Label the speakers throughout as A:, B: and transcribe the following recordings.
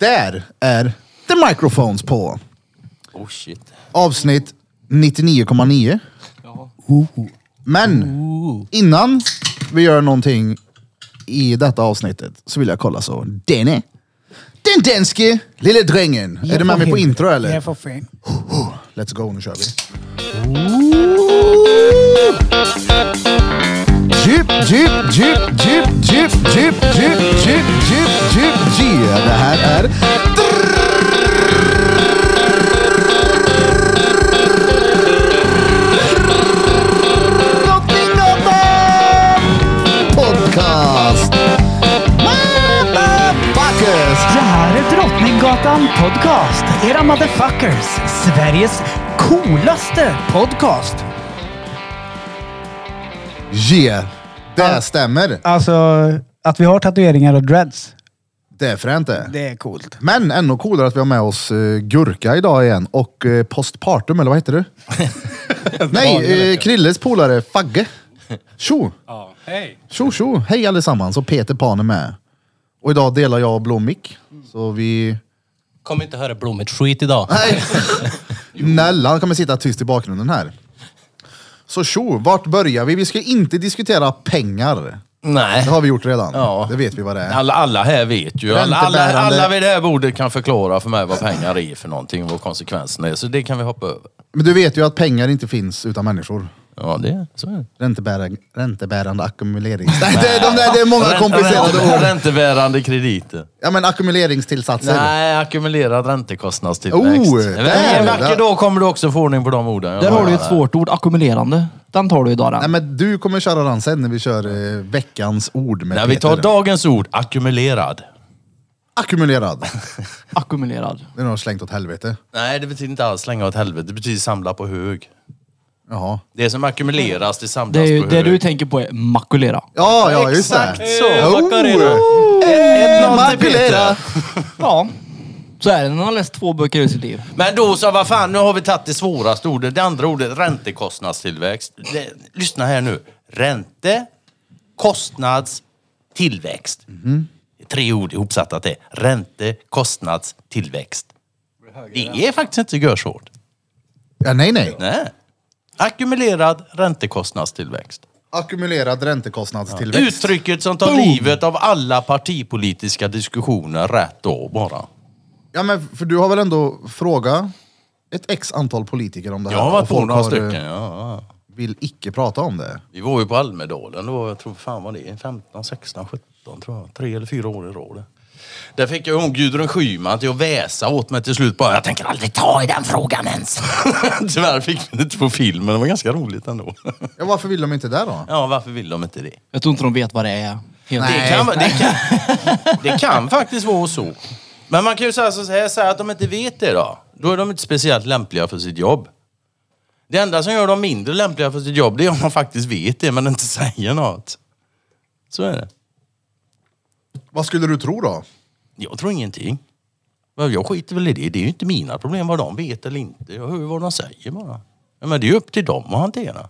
A: Där är The Microphones på.
B: Oh shit.
A: Avsnitt 99,9. Men innan vi gör någonting i detta avsnittet så vill jag kolla så Danny. Den danske lille drängen. Är du med mig på intro eller?
C: Ja, för fan.
A: Let's go, nu kör vi. Jeep, jeep, jeep, jeep, jeep, jeep, jeep, jeep, jeep, jeep, yeah. Det här är... Drottninggatan Podcast. Motherfuckers.
C: Det här är Drottninggatan Podcast. Era motherfuckers. Sveriges coolaste podcast.
A: Yeah, det stämmer.
C: Alltså, att vi har tatueringar och dreads.
A: Det är fränt det.
C: Det är coolt.
A: Men ännu coolare att vi har med oss eh, Gurka idag igen och eh, postpartum, eller vad heter du? Nej, eh, Krilles polare Fagge. Tjo!
D: Ja, hej!
A: Tjo tjo! Hej allesammans! Och Peter Pan är med. Och idag delar jag och Blå mick. Så vi...
B: Kommer inte höra blommigt skit idag.
A: Nej! Nellan kommer sitta tyst i bakgrunden här. Så tjo, vart börjar vi? Vi ska inte diskutera pengar.
B: Nej.
A: Det har vi gjort redan.
D: Ja.
A: Det vet vi vad det är.
D: Alla, alla här vet ju. Alla, alla,
A: Räntebärande.
D: alla vid det här bordet kan förklara för mig vad pengar är för någonting och vad konsekvenserna är. Så det kan vi hoppa över.
A: Men du vet ju att pengar inte finns utan människor.
D: Ja, det så är det.
A: Räntebärande, räntebärande ackumulering. Nej, det, är de där, det är många komplicerade
D: Ränte-
A: ord.
D: Räntebärande krediter.
A: Ja men ackumuleringstillsatser.
D: Nej, ackumulerad räntekostnadstillväxt.
A: Oh,
D: Men
A: där,
D: en vacker
A: där.
D: dag kommer du också få ordning på de orden. Jag
E: Där har
D: lovar
E: du ett
D: dig.
E: svårt ord, ackumulerande. Den tar du idag
A: Nej
E: den.
A: men du kommer köra den sen när vi kör eh, veckans ord med
D: När vi
A: Peter.
D: tar dagens ord, ackumulerad.
A: Ackumulerad.
E: Ackumulerad.
A: Det är nog slängt åt helvete.
D: Nej, det betyder inte alls slänga åt helvete. Det betyder samla på hög.
A: Jaha.
D: Det som ackumuleras, Mm. det samlas
E: Det, är ju,
D: på
E: det
D: hög.
E: du tänker på är makulera.
A: Ja, ja just
D: Exakt
A: det. Oh. Eh,
D: så. Macarena.
A: Makulera.
E: Ja. Så är det när man har läst två böcker i sitt liv.
D: Men då så, vad fan, nu har vi tagit det svåraste ordet. Det andra ordet, räntekostnadstillväxt. Det, lyssna här nu. Ränte, kostnadstillväxt. Det är Tre ord ihopsatta till. Ränte, kostnadstillväxt. Det är faktiskt inte så görsvårt.
A: Ja, nej nej.
D: Nej. Ackumulerad räntekostnadstillväxt.
A: Ackumulera räntekostnadstillväxt.
D: Uttrycket som tar livet av alla partipolitiska diskussioner rätt då bara.
A: Ja men för du har väl ändå fråga ett x antal politiker om det här?
D: Jag har varit
A: och
D: på
A: folk
D: några
A: har, eh,
D: stycken. Ja.
A: Vill icke prata om det.
D: Vi var ju på Almedalen, då, jag tror fan var det 15, 16, 17 tror jag. Tre eller fyra år i rad. Där fick jag hon Gudrun Schyman till att väsa åt mig till slut bara, jag tänker aldrig ta i den frågan ens. Tyvärr fick vi det inte på film, men det var ganska roligt ändå.
A: Ja, varför vill de inte det då?
D: ja, varför vill de inte det?
E: Jag tror inte de vet vad det är. Helt
A: Nej.
D: Det kan, det, kan, det kan faktiskt vara så. Men man kan ju säga så här, säga att de inte vet det då. Då är de inte speciellt lämpliga för sitt jobb. Det enda som gör dem mindre lämpliga för sitt jobb, det är om man faktiskt vet det men inte säger något. Så är det.
A: Vad skulle du tro då?
D: Jag tror ingenting. Men jag skiter väl i det. Det är ju inte mina problem vad de vet eller inte. Jag hör ju vad de säger bara. Ja, Men det är ju upp till dem att hantera.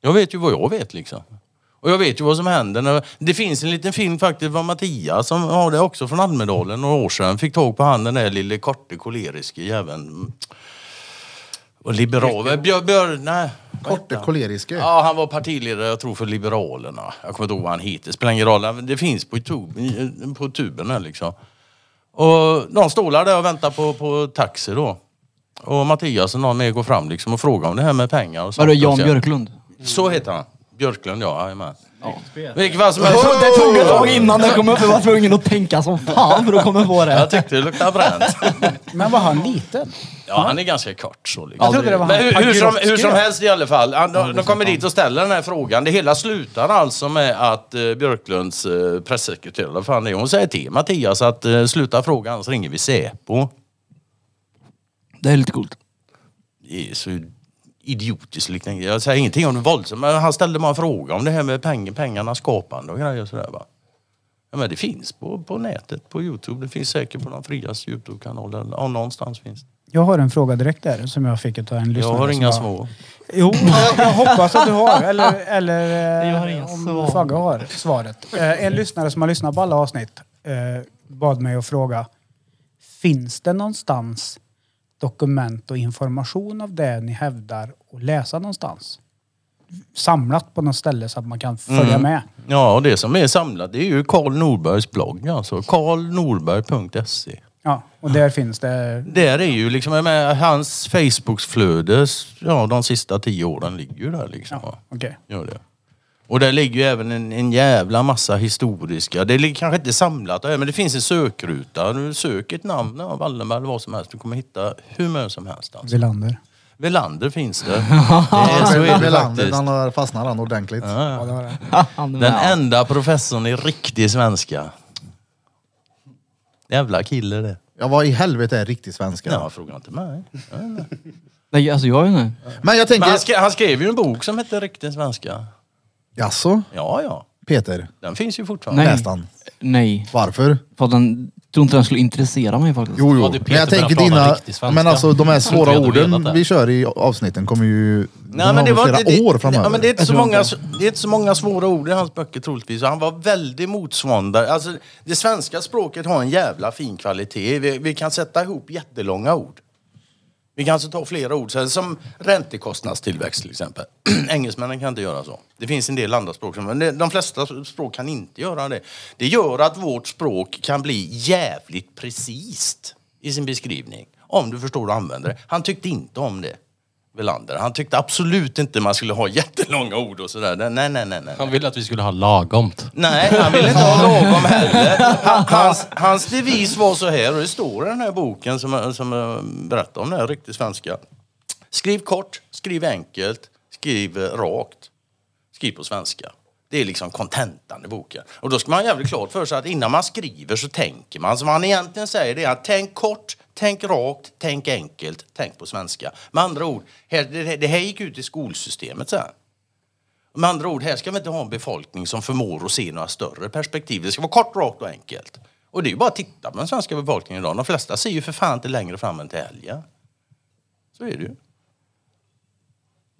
D: Jag vet ju vad jag vet liksom. Och jag vet ju vad som händer. När... Det finns en liten film faktiskt från Mattias som har det också från Almedalen några år sedan. Fick tag på han den där lille korte koleriske jäveln. Och liberal... Björ... Björ... Nej. vad
A: Korte
D: heter han?
A: koleriske?
D: Ja, han var partiledare, jag tror, för Liberalerna. Jag kommer inte ihåg vad han heter. Spelar ingen roll. men Det finns på, tub- på tuben här liksom. Och de står där och väntar på, på taxi då. Och Mattias och någon mer går fram liksom och frågar om det här med pengar och sånt.
E: Vadå, Jan
D: Och så-
E: Björklund?
D: Så heter han. Björklund, ja. Jajamän. Vilket fall som helst.
A: Oh!
E: Det tog ett tag innan det kom upp. Jag var tvungen att tänka som fan för att komma på
D: Jag
E: det.
D: tyckte det luktade bränt.
C: Men var han liten?
D: Ja, han är ganska kort så. Liksom.
E: Jag trodde det var
D: Men
C: han
D: hur, hur, som,
C: Pagrotsky
D: hur som
C: då.
D: helst i alla fall. Han, de, de kommer dit och ställer den här frågan. Det hela slutar alltså med att eh, Björklunds eh, pressekreterare, vad fan det är, hon säger till Mattias att eh, sluta fråga annars ringer vi Säpo.
E: Det är lite coolt.
D: Det är så idiotiskt liknande. Jag säger ingenting om det våldsamma, men han ställde bara en fråga om det här med peng, pengarnas skapande och grejer och sådär va. Ja, men det finns på, på nätet, på Youtube. Det finns säkert på de frias Youtube-kanal. eller- Ja, någonstans finns det.
C: Jag har en fråga direkt där som jag fick av en lyssnare.
D: Jag har
C: som
D: inga
C: bara-
D: små.
C: Jo, jag, jag hoppas att du har. Eller, eller eh,
E: Jag har inga
C: om
E: svar.
C: Fagge har svaret. Eh, En lyssnare som har lyssnat på alla avsnitt eh, bad mig att fråga, finns det någonstans dokument och information av det ni hävdar och läsa någonstans? Samlat på något ställe så att man kan följa
D: Mm.
C: med.
D: Ja, och det som är samlat det är ju Karl Norbergs blogg alltså. karlnorberg.se
C: Ja, och där finns det.
D: E. Där är ju liksom, jag menar, hans Facebooks flöde, ja de sista tio åren ligger ju där liksom.
C: Ja,
D: va.
C: okej.
D: Gör det. Och där ligger ju även en, en jävla massa historiska, det ligger kanske inte samlat där, men det finns en sökruta. Du söker ett namn, ja, Wallenberg eller vad som helst, du kommer hitta hur mycket som helst. Alltså.
C: Villander.
D: Velander finns det. det är, så är det
A: Velander,
D: faktiskt.
A: han har fastnat han ordentligt.
C: Ja, det var det.
E: Han är
D: Den
E: med.
D: enda professorn i riktig svenska. Jävla kille det.
A: Jag var i helvete är riktig svenska.
D: Ja, fråga inte mig.
E: Nej, alltså jag vet inte.
A: Men jag tänker...
D: Men han, skrev, han skrev ju en bok som hette Riktig svenska.
A: Jaså?
D: Ja, ja.
A: Peter?
D: Den finns ju fortfarande.
E: Nej.
A: Läste han?
E: Nej,
A: Varför?
E: för att den tror inte den skulle intressera mig faktiskt.
A: Jo, jo.
B: Ja, det är Peter
A: men jag tänker
B: börjar prata
A: dina...
B: riktig svenska.
A: Men alltså de här
B: Jag
A: svåra
B: tror inte jag hade
A: orden
B: vetat det.
A: vi kör i avsnitten kommer ju... de
D: Nej,
A: har
D: men det
A: väl
D: var
A: flera
D: inte, det,
A: år framöver.
D: Ja, men det, är inte så
E: tror
D: många, det är inte så många svåra ord i hans böcker troligtvis. Han var väldigt motståndare. Alltså, det svenska språket har en jävla fin kvalitet. Vi, vi kan sätta ihop jättelånga ord. Vi kan alltså ta flera ord, så här, som räntekostnadstillväxt till exempel. Engelsmännen kan inte göra så. Det finns en del andra språk, som, men det- de flesta språk kan inte göra det. Det gör att vårt språk kan bli jävligt precist i sin beskrivning. Om du förstår och använder det. Han tyckte inte om det, Velander. Han tyckte absolut inte man skulle ha jättelånga ord och sådär. Nej, nej, nej. nej, nej.
B: Han ville att vi skulle ha lagomt.
D: Nej, han ville inte ha lagom heller. Han- Hans, hans devis var så här, och det står i den här boken som, jag- som jag berättar om, den här riktigt svenska. Skriv kort, skriv enkelt, skriv eh, rakt. Skriv på svenska. Det är liksom kontentan i boken. Och då ska man ha jävligt klart för sig att innan man skriver så tänker man. Så vad han egentligen säger det är att tänk kort, tänk rakt, tänk enkelt, tänk på svenska. Med andra ord, här, det, det här gick ut i skolsystemet sen. Med andra ord, här ska vi inte ha en befolkning som förmår att se några större perspektiv. Det ska vara kort, rakt och enkelt. Och det är ju bara att titta på den svenska befolkningen idag. De flesta ser ju för fan inte längre fram än till helgen. Så är det ju.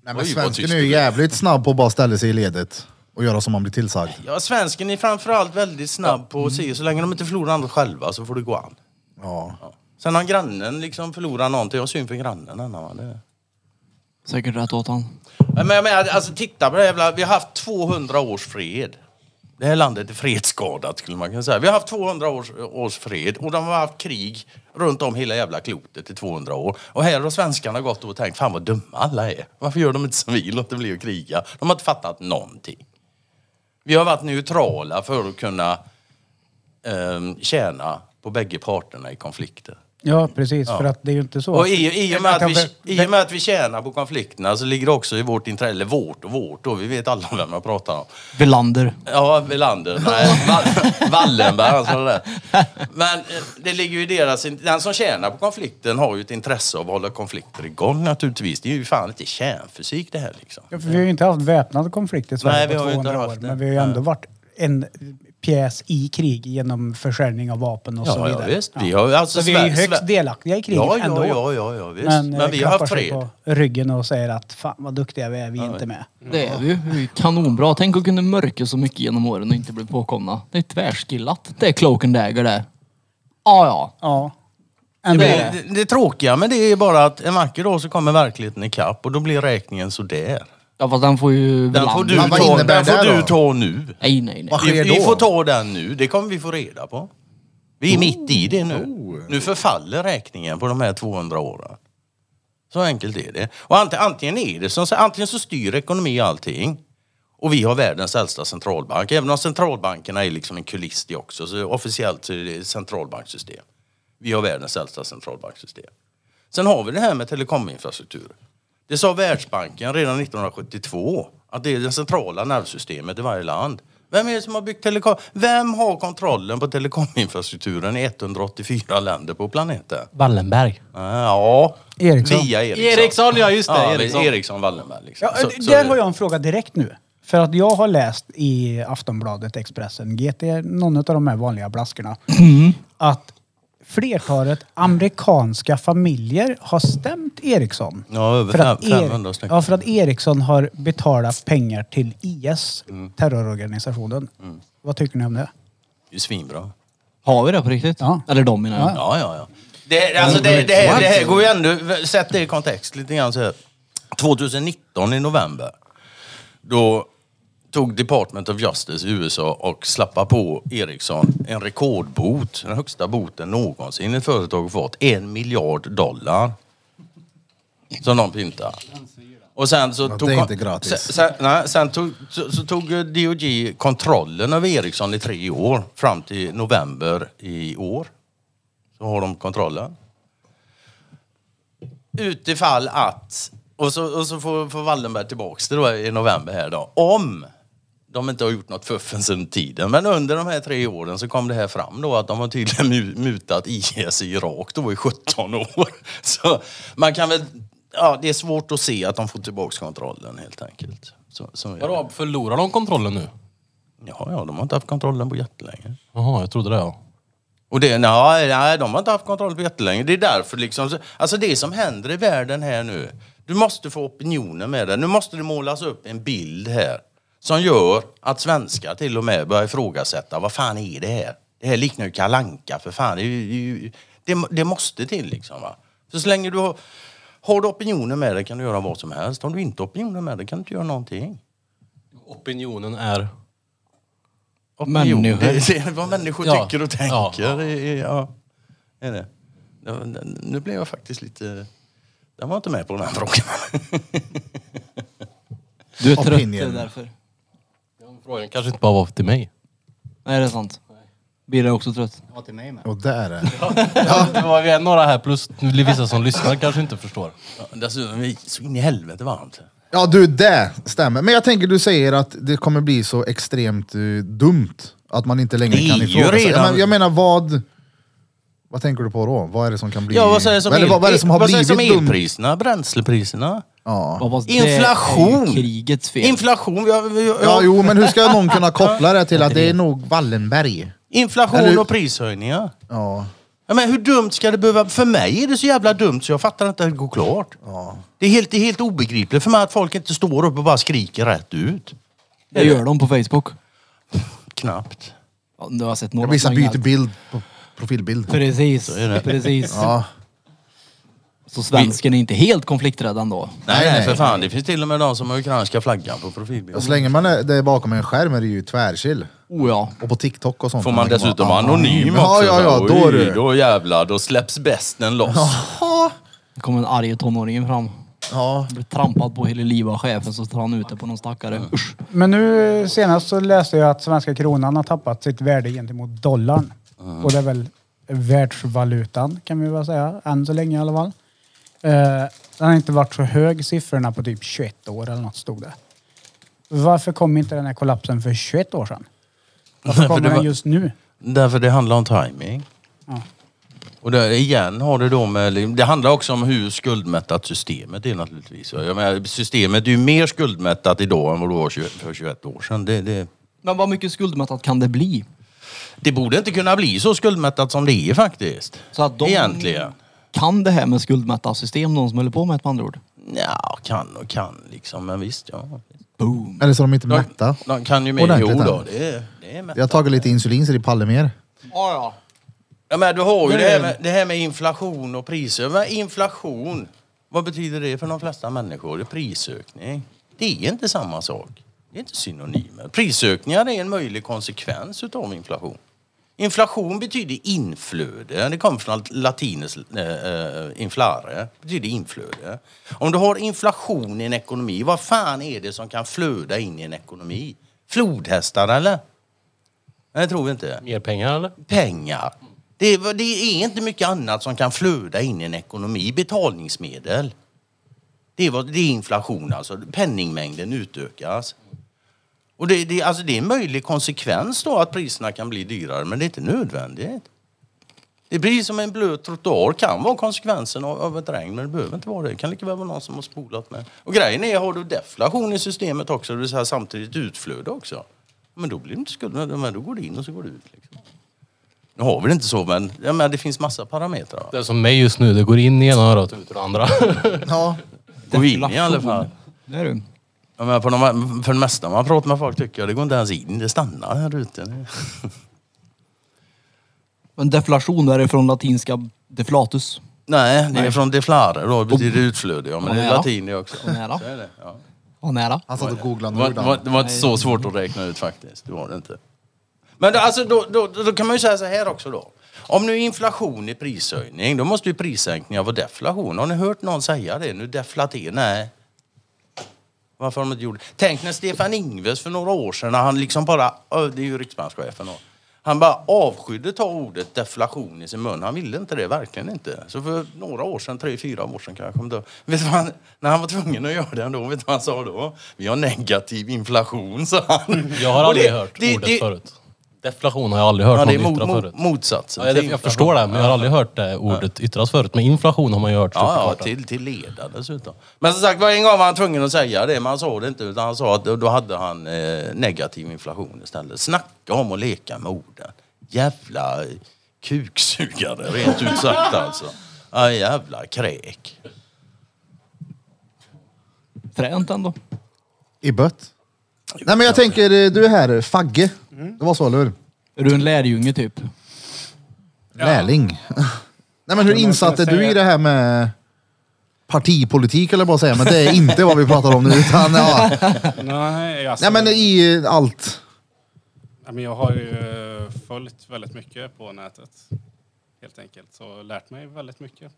A: Nej, men
D: Oj, vad
A: svensken
D: tyst
A: är
D: du
A: ju jävligt snabb på att bara ställa sig i ledet och göra som man blir tillsagd.
D: Ja, svensken är framförallt väldigt snabb på att se. Så länge de inte förlorar något själva så får det gå an.
A: Ja.
D: Ja. Sen har grannen liksom förlorar någonting, jag har syn för grannen. Anna, va? Det...
E: Säkert rätt åt han.
D: Men, men, men alltså titta på det här jävla, vi har haft 200 års fred. Det här landet är fredsskadat skulle man kunna säga. Vi har haft 200 års, års fred och de har haft krig runt om hela jävla klotet i 200 år. Och här har svenskarna gått och tänkt, fan vad dumma alla är. Varför gör de inte som vi, låter bli att kriga? De har inte fattat någonting. Vi har varit neutrala för att kunna eh, tjäna på bägge parterna i konflikter.
C: Ja, precis. För att det är ju inte så.
D: Och i, i, och med
C: Jag
D: att
C: kan
D: vi,
C: väl-
D: I och med att vi tjänar på konflikterna så ligger det också i vårt intresse, eller vårt och vårt och vi vet alla vem jag pratar om.
E: Velander.
D: Ja, Welander. Nej, Wall- Wallenberg, han sa det där. Men eh, det ligger ju i deras... in- Den som tjänar på konflikten har ju ett intresse av att hålla konflikter igång naturligtvis. Det är ju fan inte kärnfysik det här liksom.
C: Ja, för vi har ju inte haft väpnad konflikt i Sverige
D: Nej, vi
C: på
D: har ju inte
C: 200 år.
D: haft det.
C: Men vi har ju ändå varit en pjäs i krig genom försäljning av vapen och så
D: Ja, ja
C: vidare.
D: visst. Vi har ju alltså...
C: Så vi är ju
D: Sver-
C: högst
D: Sver-
C: delaktiga i kriget
D: ja, ja,
C: ändå.
D: ja, ja, ja, visst.
C: Men,
D: Men,
C: eh,
D: vi har
C: klappar
D: haft
C: sig
D: fred.
C: på ryggen och säger att fan vad duktiga vi är, vi är inte med.
E: Det är vi ju. Vi är Kanonbra. Tänk att kunna mörka så mycket genom åren och inte bli påkomna. Det är tvärskillat. Det är cloak and dagger det. Ja, ja.
C: Ja. Ändå är
D: Det,
C: det.
D: det, det tråkiga men det är bara att en vacker dag så kommer verkligheten ikapp och då blir räkningen sådär.
E: Ja fast den får ju
D: Den får
E: Velander.
D: du
A: Men vad
D: ta,
A: innebär
D: den får
A: det
D: du
A: då?
D: ta nu.
E: Nej, nej, nej.
A: Vad
D: Vi,
A: sker
D: vi
A: då?
D: får ta den nu. Det kommer vi få reda på. Vi är mitt i det nu.
A: Oh.
D: Nu förfaller räkningen på de här 200 åren. Så enkelt är det. Och ant- antingen är det som så, antingen så styr ekonomi allting. Och vi har världens äldsta centralbank. Även om centralbankerna är liksom en kuliss det också. Så officiellt så är det centralbanksystem. Vi har världens äldsta centralbanksystem. Sen har vi det här med telekominfrastruktur. Det sa Världsbanken redan 1972 att det är det centrala nervsystemet i varje land. Vem är det som har byggt telekom? Vem har kontrollen på telekominfrastrukturen i 184 länder på planeten?
B: Wallenberg.
D: Ja,
C: Ericsson.
D: via Ericsson.
B: Ericsson, ja, just det,
D: Ja,
B: Ericsson.
D: Ericsson. Ericsson Wallenberg. Liksom.
C: Ja, där har jag en fråga direkt nu. För att jag har läst i Aftonbladet, Expressen, GT, någon av de här vanliga blaskorna. Att flertalet amerikanska familjer har stämt Ericsson.
D: Ja, över
C: För att
D: fem- 500 stycken.
C: Ja, för att Ericsson har betalat pengar
D: Mm.
C: till IS, terrororganisationen. Vad tycker ni om det?
D: Det är svinbra.
E: Har vi det på riktigt?
C: Ja.
E: Eller de menar jag.
D: Ja, ja, ja. Det, alltså, det, det, här, det här går ju ändå... Sätt det i kontext lite grann. Så här. 2019 i november, då tog Department of Justice i USA och slappa på Ericsson en rekordbot, den högsta boten någonsin ett företag fått, en miljard dollar. Som de pyntar. Och sen så
A: det
D: tog...
A: är inte gratis.
D: Sen, sen, nej, sen tog, så, så tog eh, DOJ kontrollen över Ericsson i tre år, fram till november i år. Så har de kontrollen. Utifall att, och så, och så får, får Wallenberg tillbaks det då i november här då, om de inte har gjort något fuffen sedan tiden. Men under de här tre åren så kom det här fram då att de har tydligen mu- mutat IS i Irak då i 17 år. Så man kan väl, ja det är svårt att se att de får tillbaks kontrollen helt enkelt. Så, så är det.
B: Vadå, förlorar de kontrollen nu?
D: Ja, ja, de har inte haft kontrollen på jättelänge.
B: Jaha, jag trodde det ja.
D: Och det, nej, nej, de har inte haft kontroll på jättelänge. Det är därför liksom, alltså det som händer i världen här nu, du måste få opinionen med det. Nu måste det målas upp en bild här som gör att svenskar till och med börjar ifrågasätta, vad fan är det här? Det här liknar ju Kalle Anka för fan. Det, är ju- det, är ju- det, det måste till liksom. Va? För så länge du har, har du opinionen med dig kan du göra vad som helst. Om du inte har opinionen med dig kan du inte göra någonting.
B: Opinionen är...
D: Opinion.
E: Människor.
D: Det, det är vad människor
B: Ja.
D: tycker och tänker.
B: Ja.
D: Det är- ja. Är det? Ja, men Nu blev jag faktiskt lite... Jag var inte med på den här frågan.
E: Du är trött, det är
A: Opinion.
E: därför.
B: Frågan kanske inte bara var till mig.
E: Nej, det är sant. Birre är också trött.
F: Ja, till mig med.
A: Och där är det.
B: Det var ju några här plus vissa som lyssnar kanske inte förstår.
D: Ja, Dessutom är det så in i helvete varmt.
A: Ja du, det stämmer. Men jag tänker du säger att det kommer bli så extremt eh, dumt att man inte längre
D: Det är
A: kan
D: ju
A: ifrågasätta.
D: redan-
A: Men jag menar vad... Vad tänker du på då? Vad är det som kan bli...
D: Ja, vad säger som,
A: Eller vad, vad är det som har
D: vad säger
A: blivit
D: som
A: dumt?
D: elpriserna, bränslepriserna?
A: Ja.
E: Fast
D: Inflation.
E: Det är ju krigets fel.
D: Inflation. Vi har, vi har,
A: ja, jo men hur ska någon kunna koppla det till att det är nog Wallenberg?
D: Inflation
A: Eller-
D: och prishöjningar.
A: Ja.
D: Ja, men hur dumt ska det behöva... För mig är det så jävla dumt så jag fattar inte att det går klart. Det, är helt, det är helt obegripligt för mig att folk inte står upp och bara skriker rätt ut.
E: det gör de på Facebook.
D: Knappt.
E: Ja, du har sett några.
A: Vissa
E: sådana
A: byter bild, på profilbild.
E: Precis,
D: det.
E: precis.
A: Ja.
E: Så svensken är inte helt konflikträdd ändå.
D: Nej,
A: Nej,
D: nej,
A: nej.
D: för fan. Det finns till och med de som har ukrainska flaggan på profilbilden.
A: Och så länge man är, det är bakom en skärm är det ju tvärchill.
E: Oh ja.
A: Och på TikTok och sånt.
D: Får man
A: kan
D: dessutom
A: vara
D: vara anonym
A: ja,
D: också.
A: Ja, ja,
D: så,
A: då
D: oj,
A: du.
D: då jävlar, då släpps besten loss.
E: Det kom en arg tonåring fram.
A: Ja.
E: Blev trampad på hela livet av chefen så tar han ut det på någon stackare.
D: Mm.
E: Usch.
C: Men nu senast så läste jag att svenska kronan har tappat sitt värde gentemot dollarn.
D: Mm.
C: Och det är väl världsvalutan kan vi väl säga, än så länge i alla fall. Eh, den har inte varit så hög siffrorna på typ 21 år eller något stod det. Varför kom inte den här kollapsen för 21 år sedan? Varför
D: För
C: kommer
D: det
C: den
D: var-
C: just nu?
D: Därför det handlar om timing.
C: Ja.
D: Och där igen har det då med... Det handlar också om hur skuldmättat systemet är naturligtvis. Jag menar, systemet är ju mer skuldmättat idag än vad det var 20 för 21 år sedan. Det, det,
E: Men vad mycket skuldmättat kan det bli?
D: det borde inte kunna bli så skuldmättat som det är faktiskt.
E: Så att de-
D: Egentligen.
E: Kan det här med skuldmätta system någon som håller på med ett med andra ord?
D: Ja, kan och kan liksom. Men visst, ja.
E: Boom.
A: Eller så de inte mätta.
D: De kan ju mer. Jo
A: Ordentligt,
D: då,
A: eller?
D: det är, det är mättat.
A: Jag har tagit lite insulin så det pallar mer.
E: Ja, ja.
D: Ja, men du har ju
E: Det
D: det,
E: är-
D: här med, det här med inflation och priser. Men inflation, vad betyder det för de flesta människor? Det är prisökning. Det är inte samma sak. Det är inte synonymer. Prisökningar är en möjlig konsekvens utav inflation. Inflation betyder inflöde. Det kommer från latinets eh, eh, inflare. Det betyder inflöde. Om du har inflation i en ekonomi, vad fan är det som kan flöda in i en ekonomi? Flodhästar eller? Nej, det tror vi inte
B: Mer pengar eller?
D: pengar. Det är, det är inte mycket annat som kan flöda in i en ekonomi. Betalningsmedel. Det är, vad, det är inflation alltså. Penningmängden utökas. Och det, det, alltså det är en möjlig konsekvens då att priserna kan bli dyrare, men det är inte nödvändigt. Det blir som en blöt trottoar, kan vara konsekvensen av, av ett regn, men det behöver inte vara det. Det kan lika väl vara någon som har spolat med. Och grejen är, har du deflation i systemet också, det vill säga samtidigt utflöde också, men då blir det inte skuld, men då går det in och så går det ut. Liksom. Nu har vi det inte så, men, ja, men det finns massa parametrar. va?
B: Det är som mig just nu, det går in i ena örat och ut ur det andra.
A: Ja.
D: Gå in i alla fall.
E: Det är du.
D: Ja, men på de, för det mesta man pratar med folk tycker jag, det går inte ens in, det stannar här ute.
E: Men deflation är från latinska deflatus.
D: Nej, det är från deflare då. Det betyder utflöde. Ja, men det är
E: Ja.
D: latin det också.
E: Och nära.
D: Så är det. Ja.
E: Ja, nära.
A: Han satt och
D: Det,
A: googlade
D: var,
A: nu.
D: det, var, det var inte så svårt att räkna ut faktiskt. Det var det inte. Men då, alltså, då, då, då kan man ju säga så här också då. Om nu inflation är prishöjning, då måste ju prissänkningar vara deflation. Har ni hört någon säga det? Nu deflat det? Nej. Varför har de inte gjort det? Tänk när Stefan Ingves för några år sedan, när han liksom bara, ö, det är ju riksbankschefen då. Han bara avskydde ta ordet deflation i sin mun. Han ville inte det, verkligen inte. Så för några år sedan, tre, fyra år sedan kanske, kom det, vet du vad han, när han var tvungen att göra det ändå, vet du vad han sa då? Vi har negativ inflation, sa han.
B: Jag har
D: Och
B: aldrig
D: det-
B: hört
D: det-
B: ordet
D: det-
B: förut. Deflation har jag aldrig hört
D: Ja, det är
B: någon
D: mot,
B: yttra
D: mot,
B: förut.
D: motsatsen.
B: Ja, jag,
D: till
B: jag förstår det, men jag har aldrig hört det ordet yttras förut. Men inflation har man ju hört.
D: Ja,
B: såklart.
D: ja till, till leda dessutom. Men som sagt, var en gång var han tvungen att säga det, men han sa det inte. Utan han sa att då, då hade han eh, negativ inflation istället. Snacka om att leka med orden. Jävla eh, kuksugare, rent ut sagt alltså. Ja, jävla kräk.
E: Fränt ändå.
A: I bött. Nej men jag tänker, eh, du är här, Fagge. Det var så, eller hur?
E: Är du en lärjunge typ?
A: Lärling. Nej men hur
C: måste
A: insatt är
C: jag
A: du
C: säga.
A: i det här med partipolitik eller bara säga, men det är inte vad vi pratar om nu utan ja.
F: Nej, alltså,
A: Nej men i eh, allt.
F: nej, men jag har ju eh, följt väldigt mycket på nätet. Helt enkelt. Så lärt mig väldigt mycket.